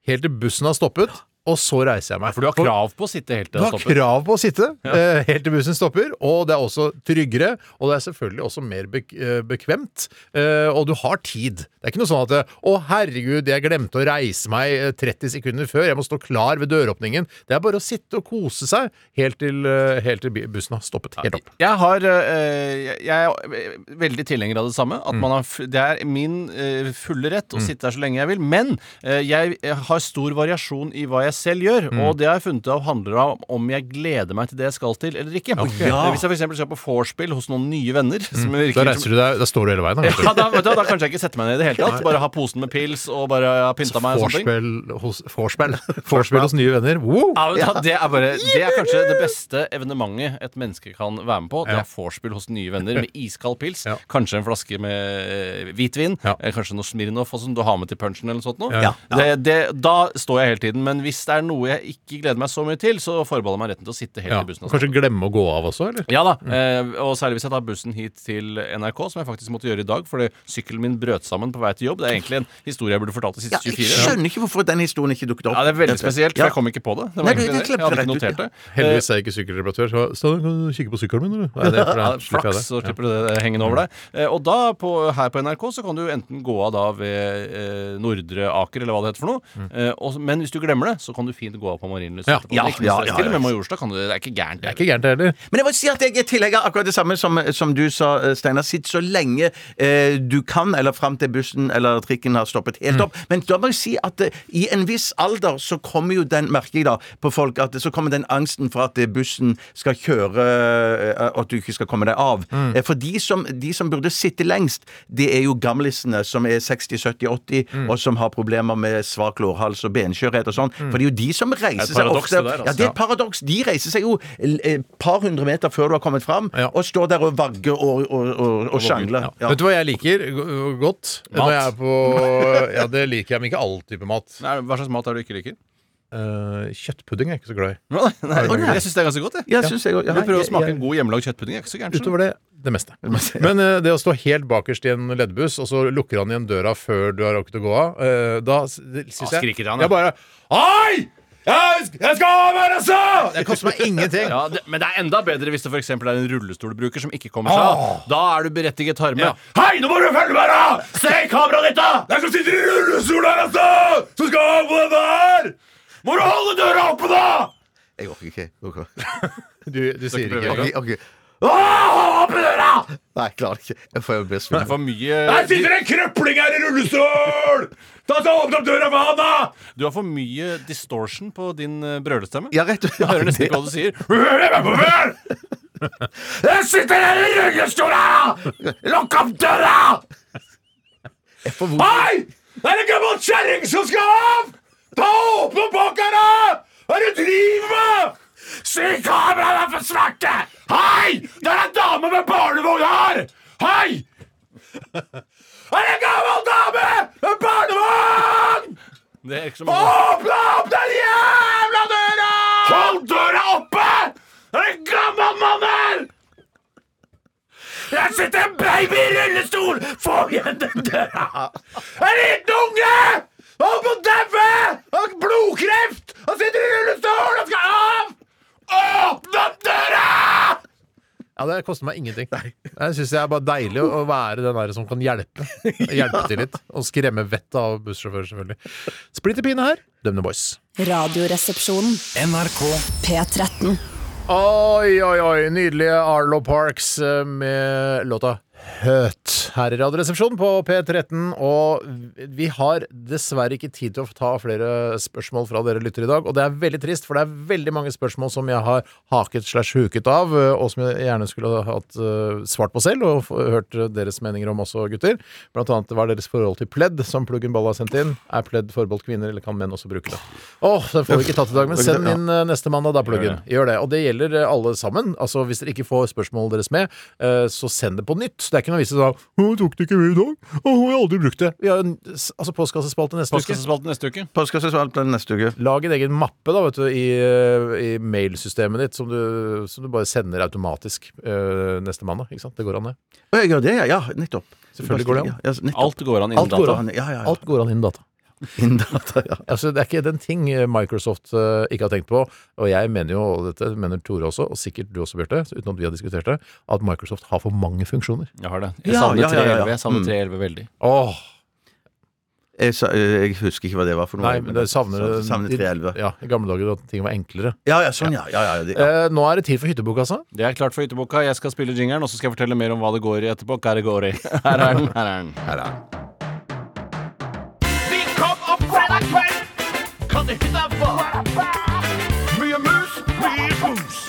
Speaker 4: helt til bussen har stoppet, og så reiser jeg meg.
Speaker 5: For du har krav på å sitte helt til
Speaker 4: Du
Speaker 5: det
Speaker 4: har
Speaker 5: stopper.
Speaker 4: krav på å sitte eh, helt til bussen stopper, og det er også tryggere, og det er selvfølgelig også mer bek eh, bekvemt, eh, og du har tid. Det er ikke noe sånn at eh, 'Å, herregud, jeg glemte å reise meg eh, 30 sekunder før, jeg må stå klar ved døråpningen'. Det er bare å sitte og kose seg helt til, eh, helt til bi- bussen har stoppet helt opp.
Speaker 5: Jeg, har, eh, jeg er veldig tilhenger av det samme.
Speaker 4: Mm.
Speaker 5: At man har, f- det er min eh, fulle rett å sitte her så lenge jeg vil. Men eh, jeg har stor variasjon i hva jeg selv gjør.
Speaker 4: Mm.
Speaker 5: Og det jeg har jeg funnet av handler om om jeg gleder meg til det jeg skal til, eller ikke. Eh, Hvis jeg for eksempel skal på vorspiel hos noen nye venner som virker
Speaker 4: Mm. Da reiser du deg, da står du hele veien. da, vet du.
Speaker 5: ja, da, vet du hva, da kanskje jeg ikke setter meg ned i det hele tatt. Bare ha posen med pils og bare ha pynta meg. og sånne sånn ting.
Speaker 4: Vorspiel hos, vorspiel. Vorspiel hos nye venner. Wow!
Speaker 5: Ja, men da, det, er bare, det er kanskje det beste evenementet et menneske kan være med på. Det er vorspiel hos nye venner med iskald pils.
Speaker 4: Ja.
Speaker 5: Kanskje en flaske med eh, hvitvin.
Speaker 4: Ja.
Speaker 5: eh, Kanskje noe Smirnov og sånn du har med til punchen eller noe sånt. nå.
Speaker 4: Ja.
Speaker 5: Det, det, da står jeg hele tiden. Men hvis det er noe jeg ikke gleder meg så mye til, så forbeholder jeg meg retten til å sitte helt
Speaker 4: Ja.
Speaker 5: i bussen. og
Speaker 4: Kanskje Mm. glemme å gå av også, eller?
Speaker 5: ja da, eh, og særlig hvis jeg tar bussen hit til NRK, som jeg faktisk måtte gjøre i dag, fordi sykkelen min brøt sammen på vei til jobb. Det er egentlig en historie jeg burde fortalt de
Speaker 6: Ja,
Speaker 5: siste
Speaker 6: jeg
Speaker 5: 24.
Speaker 6: skjønner ikke hvorfor den historien ikke dukket opp.
Speaker 5: Ja, det er veldig spesielt, for
Speaker 6: Ja.
Speaker 5: jeg kom ikke på det. Det
Speaker 6: Nei,
Speaker 5: var
Speaker 6: du-
Speaker 5: egentlig det.
Speaker 6: du
Speaker 5: Jeg hadde ikke
Speaker 6: klemte rett ut,
Speaker 5: notert det.
Speaker 4: Heldigvis er jeg ikke sykkelreparatør, så Steinar, kan du kikke på sykkelen min, eller? Nei, det er for
Speaker 5: Ja,
Speaker 4: da slipper jeg
Speaker 5: flaks,
Speaker 4: det.
Speaker 5: så slipper du det hengende over deg. Eh, Og da, på, her på NRK, så kan du enten gå av da ved eh, Nordre Aker, eller hva det heter for noe. Eh, og, men hvis du glemmer det, så kan du fint gå av på Marienlyst.
Speaker 4: Ja.
Speaker 5: etterpå. Det
Speaker 6: Ja,
Speaker 5: er ikke noe
Speaker 6: ja,
Speaker 5: stress.
Speaker 6: ja,
Speaker 5: Til og
Speaker 6: ja.
Speaker 5: med Majorstad kan du det. Det er ikke gærent.
Speaker 4: Det er ikke gærent, det heller.
Speaker 6: Men jeg må si at jeg jeg tillegger akkurat det samme som, som du sa, eh, Steinar. Sitt så lenge eh, du kan, eller fram til bussen eller trikken har stoppet helt opp. Men da må jeg si at eh, i en viss alder så kommer jo den, merker jeg da, på folk at så kommer den angsten for at eh, bussen skal kjøre eh, og at du ikke skal komme deg av. Eh, For de som, de som burde sitte lengst, det er jo gamlisene som er 60, 70, 80, og som har problemer med svak lårhals og benskjørhet og sånn. For det er jo de som reiser seg
Speaker 5: paradoks,
Speaker 6: ofte
Speaker 5: det der, altså.
Speaker 6: Ja, det er et paradoks. De reiser seg jo et par hundre meter før du har kommet fram,
Speaker 4: Ja.
Speaker 6: og står der og vagger og, og, og, og sjangler. Ja.
Speaker 4: Vet du hva jeg liker go- godt? Når jeg er på Ja, det liker jeg, men ikke all type mat.
Speaker 5: Nei, Hva slags mat er det du ikke liker?
Speaker 4: Eh, kjøttpudding er jeg ikke så glad i.
Speaker 5: Nei, nei,
Speaker 4: Å, nei.
Speaker 5: jeg syns det er ganske godt, jeg.
Speaker 6: Ja, synes jeg også. Ja,
Speaker 5: Du prøver å
Speaker 6: jeg-
Speaker 5: smake
Speaker 6: jeg-
Speaker 5: en god hjemmelagd kjøttpudding. er ikke så gærent. skjønner du.
Speaker 4: Utover det det meste. Men eh, det å stå helt bakerst i en leddbuss, og så lukker han igjen døra før du har rukket å gå av, eh, da s- det syns
Speaker 5: Da
Speaker 4: jeg
Speaker 5: Ah, skriker han, ja.
Speaker 4: Jeg bare Hei! Jeg, jeg skal av her, altså! Det koster meg ingenting.
Speaker 5: Ja, det, men det er enda bedre hvis det for eksempel er en rullestolbruker som ikke kommer seg av. Da er du berettiget harme.
Speaker 4: Ja.
Speaker 5: Hei, nå må du følge meg, da! Se i kameraet ditt, da!
Speaker 4: Jeg som sitter i rullestol her, altså! Som skal av på dette her! Må du holde døra oppe, da?!
Speaker 6: Jeg orker ikke. Ok.
Speaker 4: Du, du sier ikke
Speaker 5: prøve.
Speaker 6: Ok, ok.
Speaker 4: Oppe døra!
Speaker 6: Nei, jeg klarer ikke. Jeg får jo
Speaker 5: Det
Speaker 6: bli
Speaker 5: er
Speaker 6: svimmel.
Speaker 5: for mye
Speaker 4: Her sitter en krøpling her i rullestol! Ta så Åpne opp døra for han, da!
Speaker 5: Du har for mye distortion på din eh, brølestemme.
Speaker 6: Ja, rett
Speaker 5: Jeg hører nesten
Speaker 6: det-
Speaker 5: ikke hva du sier.
Speaker 4: Hører meg på før! Jeg sitter her i rullestol, da! Lukk opp døra! Hei! Det er en gammel kjerring som skal av! Ta Åpne opp bakken, da! Hva er det du driver med? Se i kameraet, da, for svarte! Hei! Det er en dame med barnevogn her! Hei! Det er en gammel dame med barnevogn!
Speaker 5: Det er ikke så mange
Speaker 4: Åpne opp den jævla døra! Hold døra oppe! Det er en gammel mann her! Jeg sitter en baby i rullestol! Få igjen den døra! En liten unge! Holdt på å daue! Har blodkreft! Han sitter i rullestol og skal av! Åpne opp døra!
Speaker 6: Ja,
Speaker 4: Ja, Det koster meg ingenting. Jeg syns det er bare deilig å å være den der som kan hjelpe. Hjelpe til litt. Og skremme vettet av bussjåfører, selvfølgelig. Splitter pine her. Dømne Boys.
Speaker 1: Radioresepsjonen.
Speaker 3: NRK
Speaker 1: P13.
Speaker 4: Oi, oi, oi. Nydelige Arlo Parks eh, med låta Høt her i Radioresepsjonen på P13. Og vi har dessverre ikke tid til å ta flere spørsmål fra dere lyttere i dag. Og det er veldig trist, for det er veldig mange spørsmål som jeg har haket slash huket av, eh, og som jeg gjerne skulle ha hatt eh, svart på selv, og f- hørt eh, deres meninger om også, gutter. Blant annet hva er deres forhold til pledd, som Pluggen Ball har sendt inn. Er pledd forbeholdt kvinner, eller kan menn også bruke det? Åh, det får vi ikke tatt i dag, men send inn eh, neste mandag, da, Pluggen. Gjør det. Og det gjelder eh, alle sammen. Altså, Hvis dere ikke får spørsmålet deres med, eh, så send det på nytt. Det er ikke noe vits i sånn 'Hun tok det ikke med i dag, og hun har aldri brukt det'. Vi har en s- altså, postkassespalte neste uke.
Speaker 5: Postkassespalten neste uke.
Speaker 6: Postkassespalten neste uke.
Speaker 4: Lag en egen mappe da, vet du, i, eh, i mailsystemet ditt som du, som du bare sender automatisk eh, neste mandag. ikke sant? Det går an, det.
Speaker 6: Å, jeg gjør det, ja. ja nettopp.
Speaker 4: Selvfølgelig går det an.
Speaker 6: Ja, ja, nettopp.
Speaker 5: Alt går an innen
Speaker 4: Alt går
Speaker 5: data.
Speaker 4: an.
Speaker 6: Ja, ja, ja.
Speaker 4: Alt går an innen data.
Speaker 6: Innen data, ja.
Speaker 4: Altså, det er ikke den ting Microsoft eh, ikke har tenkt på, og jeg mener jo, og dette mener Tore også, og sikkert du også, Bjarte, uten at vi har diskutert det, at Microsoft har for mange funksjoner.
Speaker 5: Jeg har det. Jeg
Speaker 6: Ja,
Speaker 5: savner
Speaker 6: ja, ja, ja.
Speaker 5: 311 Jeg savner
Speaker 6: Mm.
Speaker 5: 311 veldig.
Speaker 4: Åh,
Speaker 6: Jeg, sa, eh, jeg husker ikke hva det var for noe.
Speaker 4: nei, men det savner
Speaker 6: Sa- savner 311.
Speaker 4: Ja, I gamle dager da ting var enklere.
Speaker 6: Ja, ja, sånn, ja. ja, ja, det- ja.
Speaker 4: Eh, nå er det tid for hyttebok, altså.
Speaker 5: Det er klart for hytteboka. Jeg skal spille jingeren, og så skal jeg fortelle mer om hva det går i etterpå. Hva det går i. Her er den. Her er den.
Speaker 7: De kom opp fredag kveld. Kan det hete hva? Mye mus, mye bums.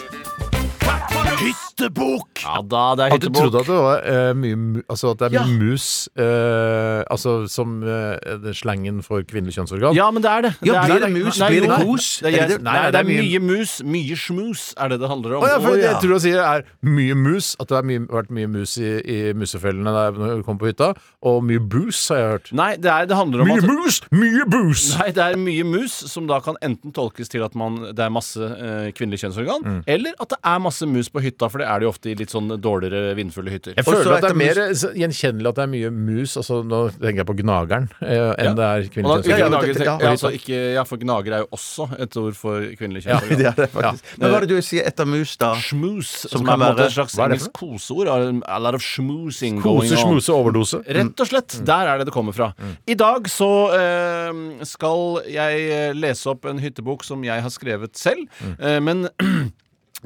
Speaker 7: Katt på rus. Hyttebok!
Speaker 5: Ja da, det er
Speaker 4: At du trodde
Speaker 5: hyttebok.
Speaker 4: at det var eh, mye mu- Altså at det er mye mus eh, Altså som eh, det er slangen for kvinnelig kjønnsorgan.
Speaker 5: Ja, men det er det.
Speaker 6: Ja,
Speaker 5: det
Speaker 6: blir
Speaker 5: er
Speaker 6: det mus?
Speaker 5: Nei,
Speaker 6: Blir det
Speaker 5: jo.
Speaker 6: kos?
Speaker 5: Nei,
Speaker 6: Er
Speaker 5: jeg-
Speaker 6: det-
Speaker 5: Nei, det er mye mus. Mye smus er det det handler om.
Speaker 4: Å, ja, for
Speaker 6: Å,
Speaker 4: Jeg
Speaker 6: ja.
Speaker 4: tror du sier er mye mus. At det har mye, vært mye mus i, i musefellene der når du kom på hytta. Og mye bus, har jeg hørt.
Speaker 5: Nei, det, er, det handler om at
Speaker 4: mus, mye bus!
Speaker 5: Nei, det er mye mus, som da kan enten tolkes til at man, det er masse eh, kvinnelig kjønnsorgan, eller at det er masse mus på hytta, for det er det jo ofte i litt sånn dårligere vindfulle hytter.
Speaker 4: Jeg
Speaker 6: Og
Speaker 4: føler
Speaker 6: så
Speaker 4: at det er
Speaker 6: etter
Speaker 4: mer eh, så gjenkjennelig at det er mye mus. Altså, nå tenker jeg på gnageren, eh, enn det er
Speaker 5: Og
Speaker 4: kvinnelig
Speaker 5: da, ikke
Speaker 6: Ja, ja,
Speaker 4: kjønnsorgan.
Speaker 6: men
Speaker 5: gnager,
Speaker 6: det- ja.
Speaker 5: ja, altså, ikke, ja, for gnager er jo også et ord for kvinnelig kjønnsorgan.
Speaker 6: Det er det faktisk. Men
Speaker 4: Eh.
Speaker 6: hva er det du sier etter mus, da?
Speaker 5: Schmooze, som, er
Speaker 6: Som
Speaker 5: på
Speaker 6: kan
Speaker 5: en måte
Speaker 6: være-
Speaker 5: et slags
Speaker 4: Hva er det
Speaker 5: engelsk koseord. A lot of schmoozing going
Speaker 4: Kose,
Speaker 5: on. Mm.
Speaker 4: smuse, overdose.
Speaker 5: Rett og slett. Der er det det kommer fra. I dag så eh, skal jeg eh, lese opp en hyttebok som jeg har skrevet selv, eh, men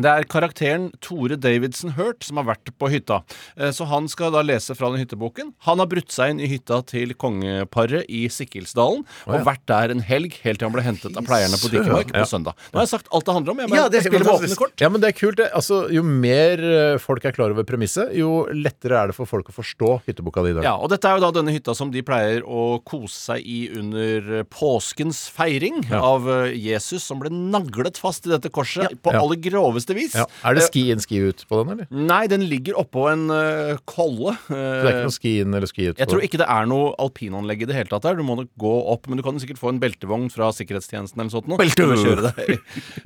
Speaker 5: det er karakteren Tore Davidson Hurt som har vært på hytta. Eh, Så han skal da lese fra den hytteboken. Han har brutt seg inn i hytta til kongeparet i Sikkilsdalen og vært der en helg helt til han ble hentet av pleierne på Dikkemark på søndag. Nå har jeg sagt alt det handler om. Jeg bare
Speaker 6: Ja, det er
Speaker 5: spiller med
Speaker 6: fantastisk.
Speaker 5: åpne kort.
Speaker 4: Ja, men det er kult. Det. Altså, jo mer eh, folk er klar over premisset, jo lettere er det for folk å forstå hytteboka di i dag.
Speaker 5: Ja, og dette er jo da denne hytta som de pleier å kose seg i under eh, påskens feiring av eh, Jesus som ble naglet fast i dette korset på
Speaker 4: Ja.
Speaker 5: aller groveste vis.
Speaker 4: Ja. Er det
Speaker 5: Eh,
Speaker 4: ski inn, ski ut på den, eller?
Speaker 5: Nei, den ligger oppå en eh, kolle. eh,
Speaker 4: Det er ikke noe ski inn eller ski ut? på
Speaker 5: jeg tror
Speaker 4: den.
Speaker 5: ikke det er noe alpinanlegg i det hele tatt der. Du må nok gå opp, men du kan sikkert få en beltevogn fra sikkerhetstjenesten eller sånt noe. Beltevogn!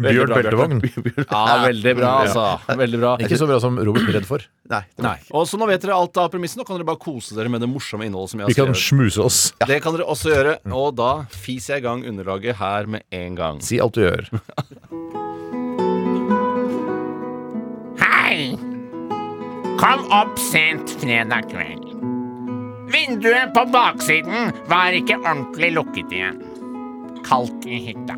Speaker 4: Bjørn Beltevogn.
Speaker 5: Ja, veldig bra, altså. Veldig bra.
Speaker 4: Ikke så bra som Robert blir redd for.
Speaker 6: Nei. det var-
Speaker 5: Nei. Og så nå vet dere alt av premissene, nå kan dere bare kose dere med det morsomme innholdet som Altså, jeg
Speaker 4: Vi
Speaker 5: har
Speaker 4: kan
Speaker 5: skrevet.
Speaker 4: smuse oss.
Speaker 5: Det kan dere også gjøre. Og da fiser jeg i gang underlaget her med en gang.
Speaker 4: Si alt du gjør.
Speaker 8: Hei! Kom opp sent fredag kveld. Vinduet på baksiden var ikke ordentlig lukket igjen. Kaldt i hytta.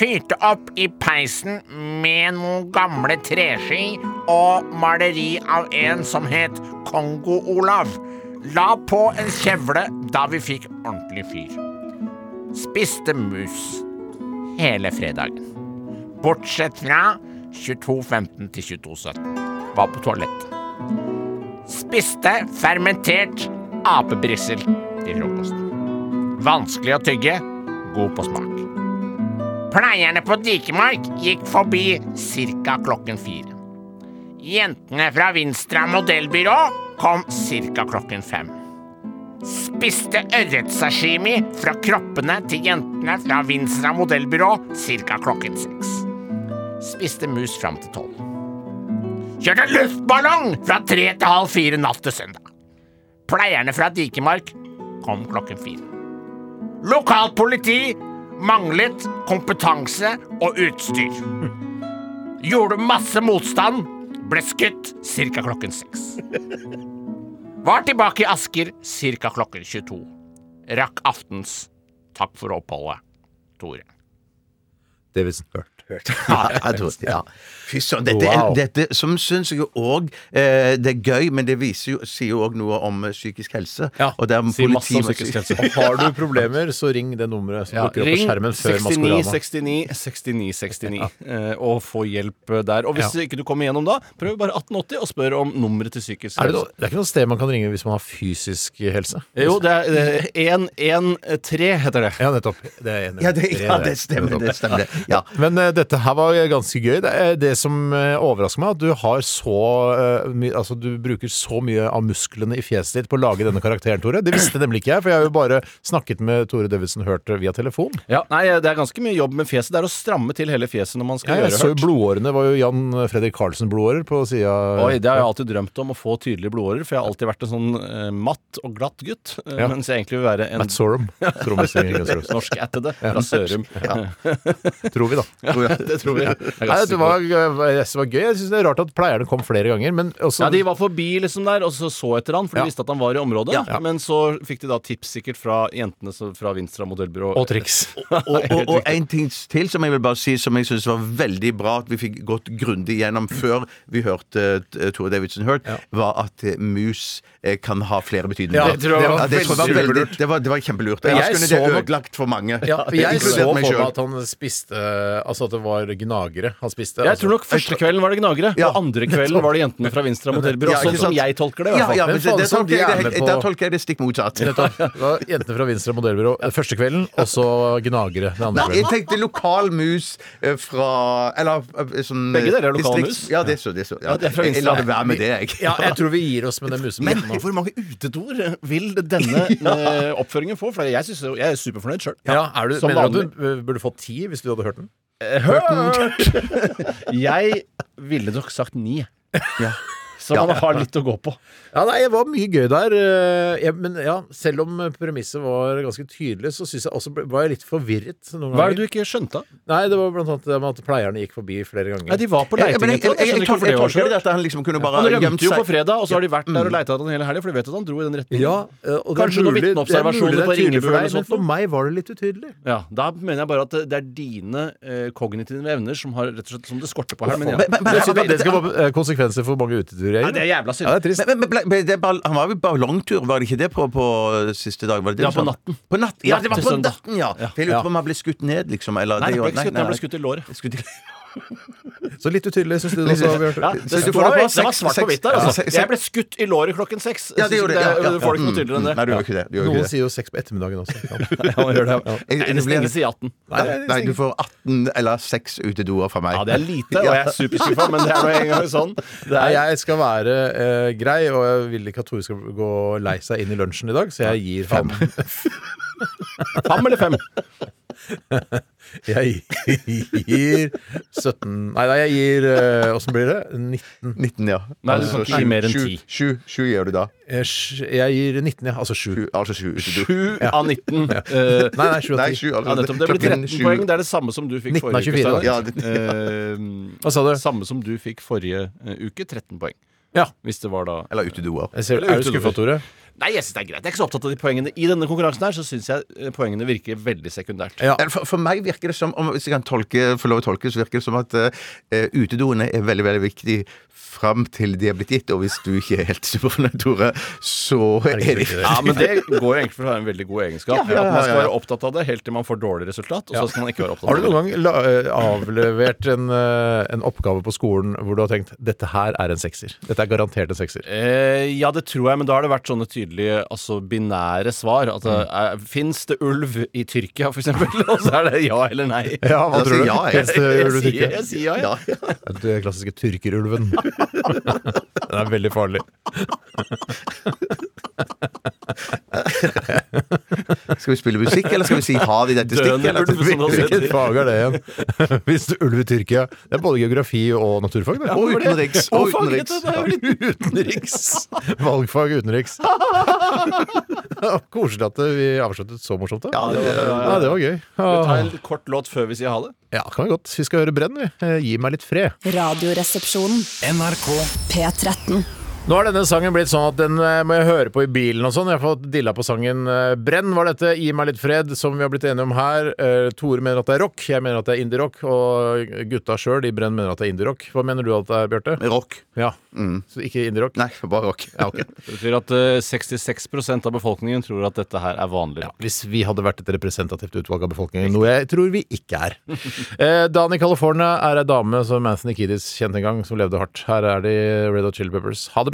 Speaker 8: Fyrte opp i peisen med noen gamle treski og maleri av en som het Kongo-Olav. La på en kjevle da vi fikk ordentlig fyr. Spiste mus hele fredagen. Bortsett fra 22.15 til 22.17. Var på toalettet. Spiste fermentert apebrissel til frokosten. Vanskelig å tygge, god på smak. Pleierne på Dikemark gikk forbi ca. klokken fire. Jentene fra Vinstra modellbyrå kom ca. klokken fem. Spiste ørretsashimi fra kroppene til jentene fra Vinstra modellbyrå ca. klokken seks spiste mus fram til tolv. Kjørte luftballong fra tre til halv fire natt til søndag. Pleierne fra Dikemark kom klokken fire. Lokalt politi manglet kompetanse og utstyr. Gjorde masse motstand, ble skutt ca. klokken seks. Var tilbake i Asker ca. klokken 22. Rakk aftens Takk for oppholdet, Tore.
Speaker 4: Det visste han hørt.
Speaker 6: Ja, jeg tror, ja. Fy søren. Dette,
Speaker 4: Wow.
Speaker 6: er- dette som syns jeg òg eh, Det er gøy, men det viser jo, sier jo òg noe om eh, psykisk helse. og der
Speaker 5: sier masse om
Speaker 6: politi-
Speaker 5: psykisk helse.
Speaker 4: Og har du problemer, så ring det nummeret som dukker opp på skjermen før
Speaker 5: 69
Speaker 4: Maskorama.
Speaker 5: 69 69 69 eh, og få hjelp eh, der. Og hvis
Speaker 4: Ja.
Speaker 5: ikke du kommer igjennom da, prøv bare 1880 og spør om nummeret til psykisk
Speaker 4: Er det, noe- det er ikke noe sted man kan ringe hvis man har fysisk helse?
Speaker 5: Jo, det er eh, 113 heter det.
Speaker 4: Ja, nettopp. Det er enig.
Speaker 6: Ja, det, ja, det stemmer. Det stemmer. Ja.
Speaker 4: Men eh, dette her var ganske gøy. Det, er det som eh, overrasker meg, at du har så eh, my, Altså, du bruker så mye av musklene i fjeset ditt på å lage denne karakteren, Tore. Det visste nemlig ikke jeg, for jeg har jo bare snakket med Tore Davidsen Hurt via telefon.
Speaker 5: Ja, nei, det er ganske mye jobb med fjeset. Det er å stramme til hele fjeset når man skal
Speaker 4: Jeg,
Speaker 5: gjøre
Speaker 4: så jo
Speaker 5: hørt.
Speaker 4: blodårene var jo Jan Fredrik Karlsen-blodårer på sida
Speaker 5: Oi, Det har jeg alltid drømt om, å få tydelige blodårer. For jeg har alltid vært en sånn eh, matt og glatt gutt. eh,
Speaker 4: Ja.
Speaker 5: Mens jeg egentlig vil være en
Speaker 4: Matt Sorum. Trommisen i Guns N' Roses.
Speaker 5: norskættede fra Sørum.
Speaker 4: Tror vi, da.
Speaker 5: det tror vi. Jeg er
Speaker 4: Nei,
Speaker 5: ganske
Speaker 4: det
Speaker 6: sånn-
Speaker 4: var, jeg synes det var gøy. Jeg syns det er rart at pleierne kom flere ganger, men også
Speaker 5: Ja, De var forbi liksom der og så, så etter han, for de
Speaker 4: Ja.
Speaker 5: visste at han var i området.
Speaker 4: Ja.
Speaker 5: Men så fikk de da tips sikkert fra jentene så, fra Vinstra modellbyrå.
Speaker 4: Og triks.
Speaker 6: Og, og, og en ting til som jeg vil bare si som jeg syns var veldig bra at vi fikk gått grundig gjennom før vi hørte eh, Tore Davidsen Hurt, var at eh, mus eh, kan ha flere betydninger.
Speaker 4: Ja, det tror jeg var
Speaker 6: det tror jeg var
Speaker 4: veldig
Speaker 6: veldig, det var, det var kjempelurt. Og
Speaker 4: Jeg
Speaker 6: jeg kunne
Speaker 4: så
Speaker 6: det
Speaker 4: nok-
Speaker 6: ødelagt for mange.
Speaker 4: Ja, jeg
Speaker 6: inkludert
Speaker 4: så for
Speaker 6: meg
Speaker 4: meg
Speaker 6: selv.
Speaker 4: at han spiste eh, Altså at det var gnagere han spiste.
Speaker 5: Jeg
Speaker 4: altså.
Speaker 5: tror nok første kvelden var det gnagere,
Speaker 6: Ja.
Speaker 5: og andre kvelden var det jentene fra Vinstra modellbyrå.
Speaker 6: Ja, ikke
Speaker 5: sånn som
Speaker 6: sant?
Speaker 5: jeg tolker det, i
Speaker 6: Ja,
Speaker 5: hvert fall.
Speaker 6: ja, men
Speaker 4: Men faen,
Speaker 6: det, det
Speaker 4: som
Speaker 6: tolker
Speaker 4: de
Speaker 6: jeg,
Speaker 4: er
Speaker 6: det,
Speaker 4: med
Speaker 6: helt- der
Speaker 4: på-
Speaker 6: tolker jeg det stikk motsatt.
Speaker 4: Nettopp. Det var Jentene fra Vinstra modellbyrå eh, første kvelden, og så gnagere den andre
Speaker 6: Nei, jeg
Speaker 4: kvelden.
Speaker 6: tenkte lokal mus eh, fra Eller eh, sånn
Speaker 5: Begge deler er lokal
Speaker 6: distrikts-
Speaker 5: mus.
Speaker 6: Ja, det så det. Så, ja.
Speaker 5: det er fra
Speaker 6: jeg, jeg lar det være med det, jeg.
Speaker 4: Ja, jeg tror vi gir oss med den
Speaker 5: Men
Speaker 4: musematen nå.
Speaker 5: hvor mange utedoer vil denne eh, oppføringen få? For jeg, synes, jo- jeg er superfornøyd sjøl.
Speaker 4: Ja, er du,
Speaker 5: Som
Speaker 4: mener du
Speaker 5: vanlig.
Speaker 4: at du eh, burde fått ti hvis du hadde hørt den?
Speaker 5: Jeg ville nok sagt ni. Så man har litt å gå på.
Speaker 4: Ja, nei, det var mye gøy der. eh, Jeg, men ja, selv om premisset var ganske tydelig, så syns jeg også ble- var jeg litt forvirret noen
Speaker 5: Hva er
Speaker 4: ganger.
Speaker 5: det du ikke skjønte?
Speaker 4: Nei, det var blant annet det med at pleierne gikk forbi flere ganger.
Speaker 5: Nei, de var på
Speaker 6: Ja, men
Speaker 5: leiting
Speaker 6: jeg, jeg,
Speaker 5: etter
Speaker 6: jeg, jeg, tolker- jeg tolker det at han liksom kunne bare
Speaker 5: Han
Speaker 6: gjemt
Speaker 5: rømte jo
Speaker 6: seg-
Speaker 5: på fredag, og så har de vært der og leita etter han hele helga, for de vet at han dro i den retningen.
Speaker 4: Ja, eh, og det er
Speaker 5: Kanskje noen
Speaker 4: mulig- det er mulig
Speaker 5: vitneobservasjoner
Speaker 4: det er
Speaker 5: på
Speaker 4: tydelig
Speaker 5: Ringebu
Speaker 4: for deg,
Speaker 5: eller noe
Speaker 4: Men for
Speaker 5: sånt.
Speaker 4: meg var det litt utydelig.
Speaker 5: Ja, Da mener jeg bare at det, det er dine eh, kognitive evner som har rett og slett som det skorter på her. Men, ja.
Speaker 6: Men- men- men-
Speaker 4: Jeg synes at det skal få eh, konsekvenser for mange uteturer.
Speaker 5: Ja, det er jævla synd.
Speaker 4: Ja, det er trist.
Speaker 6: Men, men, men, ble- ble det ball, han var jo på ballongtur, var det ikke det på, på siste dag? Var det det
Speaker 5: Ja,
Speaker 6: du
Speaker 5: på
Speaker 6: sa?
Speaker 5: natten.
Speaker 6: På natten, ja,
Speaker 5: Natt
Speaker 6: det var
Speaker 5: til
Speaker 6: på
Speaker 5: søndag.
Speaker 6: natten, ja. For jeg
Speaker 4: Ja.
Speaker 6: lurer på om han ble skutt ned, liksom.
Speaker 5: Nei,
Speaker 6: Eller, det
Speaker 5: han ble
Speaker 6: gjorde-
Speaker 5: ikke skutt, han ble skutt i låret.
Speaker 6: Skutt i-
Speaker 4: Så litt utydelig, syns du det også, Bjørn?
Speaker 5: Ja, det,
Speaker 6: Så
Speaker 5: står,
Speaker 6: du får det på
Speaker 5: det var
Speaker 6: seks-
Speaker 5: svart på
Speaker 6: seks-
Speaker 5: hvitt der,
Speaker 6: ja,
Speaker 5: altså.
Speaker 6: seks-
Speaker 5: Jeg ble skutt i låret klokken seks.
Speaker 6: Ja, det gjorde det. Ja, ja,
Speaker 5: Du får det ikke noe
Speaker 6: Mm.
Speaker 5: tydeligere enn det.
Speaker 6: Nei, du gjorde ikke det. Du gjorde
Speaker 4: Noen
Speaker 6: ikke det.
Speaker 4: sier jo sex på ettermiddagen også. Ja.
Speaker 5: Ja, man gjør det.
Speaker 6: Jeg-
Speaker 5: Nei,
Speaker 6: jeg
Speaker 5: det
Speaker 6: ble-
Speaker 5: stenges i 18.
Speaker 6: Nei, nei, du får 18 eller 6 utedoer fra meg.
Speaker 5: Ja, det er lite, og jeg er superskuffa, men det er nå en gang sånn. Det
Speaker 4: Nei,
Speaker 5: er,
Speaker 4: jeg skal være eh, grei, og jeg vil ikke at Tore skal gå lei seg inn i lunsjen i dag, så jeg gir ham
Speaker 5: fem eller fem?
Speaker 4: Jeg gir 17 Nei, nei, jeg gir eh, Åssen blir det? 19.
Speaker 6: 19, ja. Altså,
Speaker 5: Nei, du kan ikke gi mer enn
Speaker 6: 7,
Speaker 5: 10.
Speaker 6: 7, gjør du da.
Speaker 4: Eh, sj- Jeg gir 19, ja. Altså 7.
Speaker 6: Sju- Altså 7 utedoer.
Speaker 5: 7 av 19. eh,
Speaker 4: Nei, nei, 7 av
Speaker 6: Nei,
Speaker 4: 10.
Speaker 6: 7 altså.
Speaker 5: Ja, nettopp. Det ble
Speaker 6: klokken
Speaker 5: 13
Speaker 6: sju.
Speaker 5: poeng. Det er det samme som du fikk
Speaker 4: 19 av
Speaker 5: forrige
Speaker 4: 24
Speaker 5: uke. Steinar.
Speaker 6: Ja, det-
Speaker 5: Eh,
Speaker 4: Hva sa du?
Speaker 5: Samme som du fikk forrige eh, uke. 13 poeng.
Speaker 4: Ja.
Speaker 5: Hvis det var da
Speaker 6: Eller utedoer.
Speaker 4: Jeg ser, er du skuffa, Tore?
Speaker 5: Nei, jeg synes det er greit. Jeg er ikke så opptatt av de poengene. I denne konkurransen her så syns jeg eh, poengene virker veldig sekundært.
Speaker 4: Ja.
Speaker 6: Eller For, for meg virker det som om, Hvis jeg kan tolke, få lov å tolke, så virker det som at eh, utedoene er veldig veldig viktig fram til de er blitt gitt. Og hvis du ikke er helt superfornøyd, Tore, så er
Speaker 4: ikke
Speaker 6: det
Speaker 4: så viktig,
Speaker 5: Ja, men det går jo egentlig for å ha en veldig god egenskap.
Speaker 6: Ja, ja,
Speaker 5: At man skal
Speaker 6: ja, ja.
Speaker 5: være opptatt av det helt til man får dårlig resultat. Og så skal man ikke være opptatt
Speaker 4: Har du
Speaker 5: av det.
Speaker 4: noen gang la, eh, avlevert en, eh, en oppgave på skolen hvor du har tenkt dette her er en sekser? Dette er garantert en sekser.
Speaker 5: Eh, ja, det tror jeg, men da har det vært sånne tydelige altså binære svar. At mm. Fins det ulv i Tyrkia, for eksempel? Og så er det ja eller nei.
Speaker 4: Ja, hva
Speaker 6: Jeg
Speaker 4: tror
Speaker 6: sier
Speaker 4: du?
Speaker 6: ja, jeg.
Speaker 4: Eneste
Speaker 5: Jeg
Speaker 4: ulv du
Speaker 5: sier,
Speaker 4: ikke-
Speaker 5: jeg sier ja, ja.
Speaker 6: Ja, ja.
Speaker 4: Den klassiske tyrkerulven. Den er veldig farlig.
Speaker 6: Skal vi spille musikk, eller skal vi si ha vi dette
Speaker 5: Døende
Speaker 6: stikket?
Speaker 5: ulv, som
Speaker 4: sånn
Speaker 5: det heter.
Speaker 6: Eller?
Speaker 4: Hvilket fag er det igjen? Hvis du ulv i Tyrkia Det er både geografi og naturfag, det.
Speaker 6: Og utenriks. Og utenriks.
Speaker 4: Utenriks! Valgfag utenriks. Koselig at eh, vi avsluttet så morsomt, da. Ja, det var, gøy.
Speaker 5: Ta
Speaker 4: Ja,
Speaker 5: en kort låt før vi sier ha det.
Speaker 4: Ja, det kan vi godt. Vi skal høre Brenn, vi. Eh, Gi meg litt fred.
Speaker 1: Radioresepsjonen.
Speaker 3: NRK
Speaker 1: P13.
Speaker 4: Nå er denne sangen blitt sånn at den eh, må jeg høre på i bilen og sånn. Jeg har fått dilla på sangen eh, Brenn var dette, Gi meg litt fred, som vi har blitt enige om her. Eh, Tore mener at det er rock, jeg mener at det er indie-rock, og gutta sjøl i Brenn mener at det er indie-rock. Hva mener du at det er, Bjarte?
Speaker 6: Rock.
Speaker 4: Ja. Så ikke indie-rock?
Speaker 6: Nei, bare rock.
Speaker 4: Ja, ok.
Speaker 5: Det betyr at eh, 66 av befolkningen tror at dette her er vanlig.
Speaker 4: Ja, hvis vi hadde vært et representativt utvalg av befolkningen, noe jeg tror vi ikke er. Eh, Dan i California er ei dame som Anthony Kiddis kjente en gang, som levde hardt. Her er de Red Hot Chili Peppers. Ha det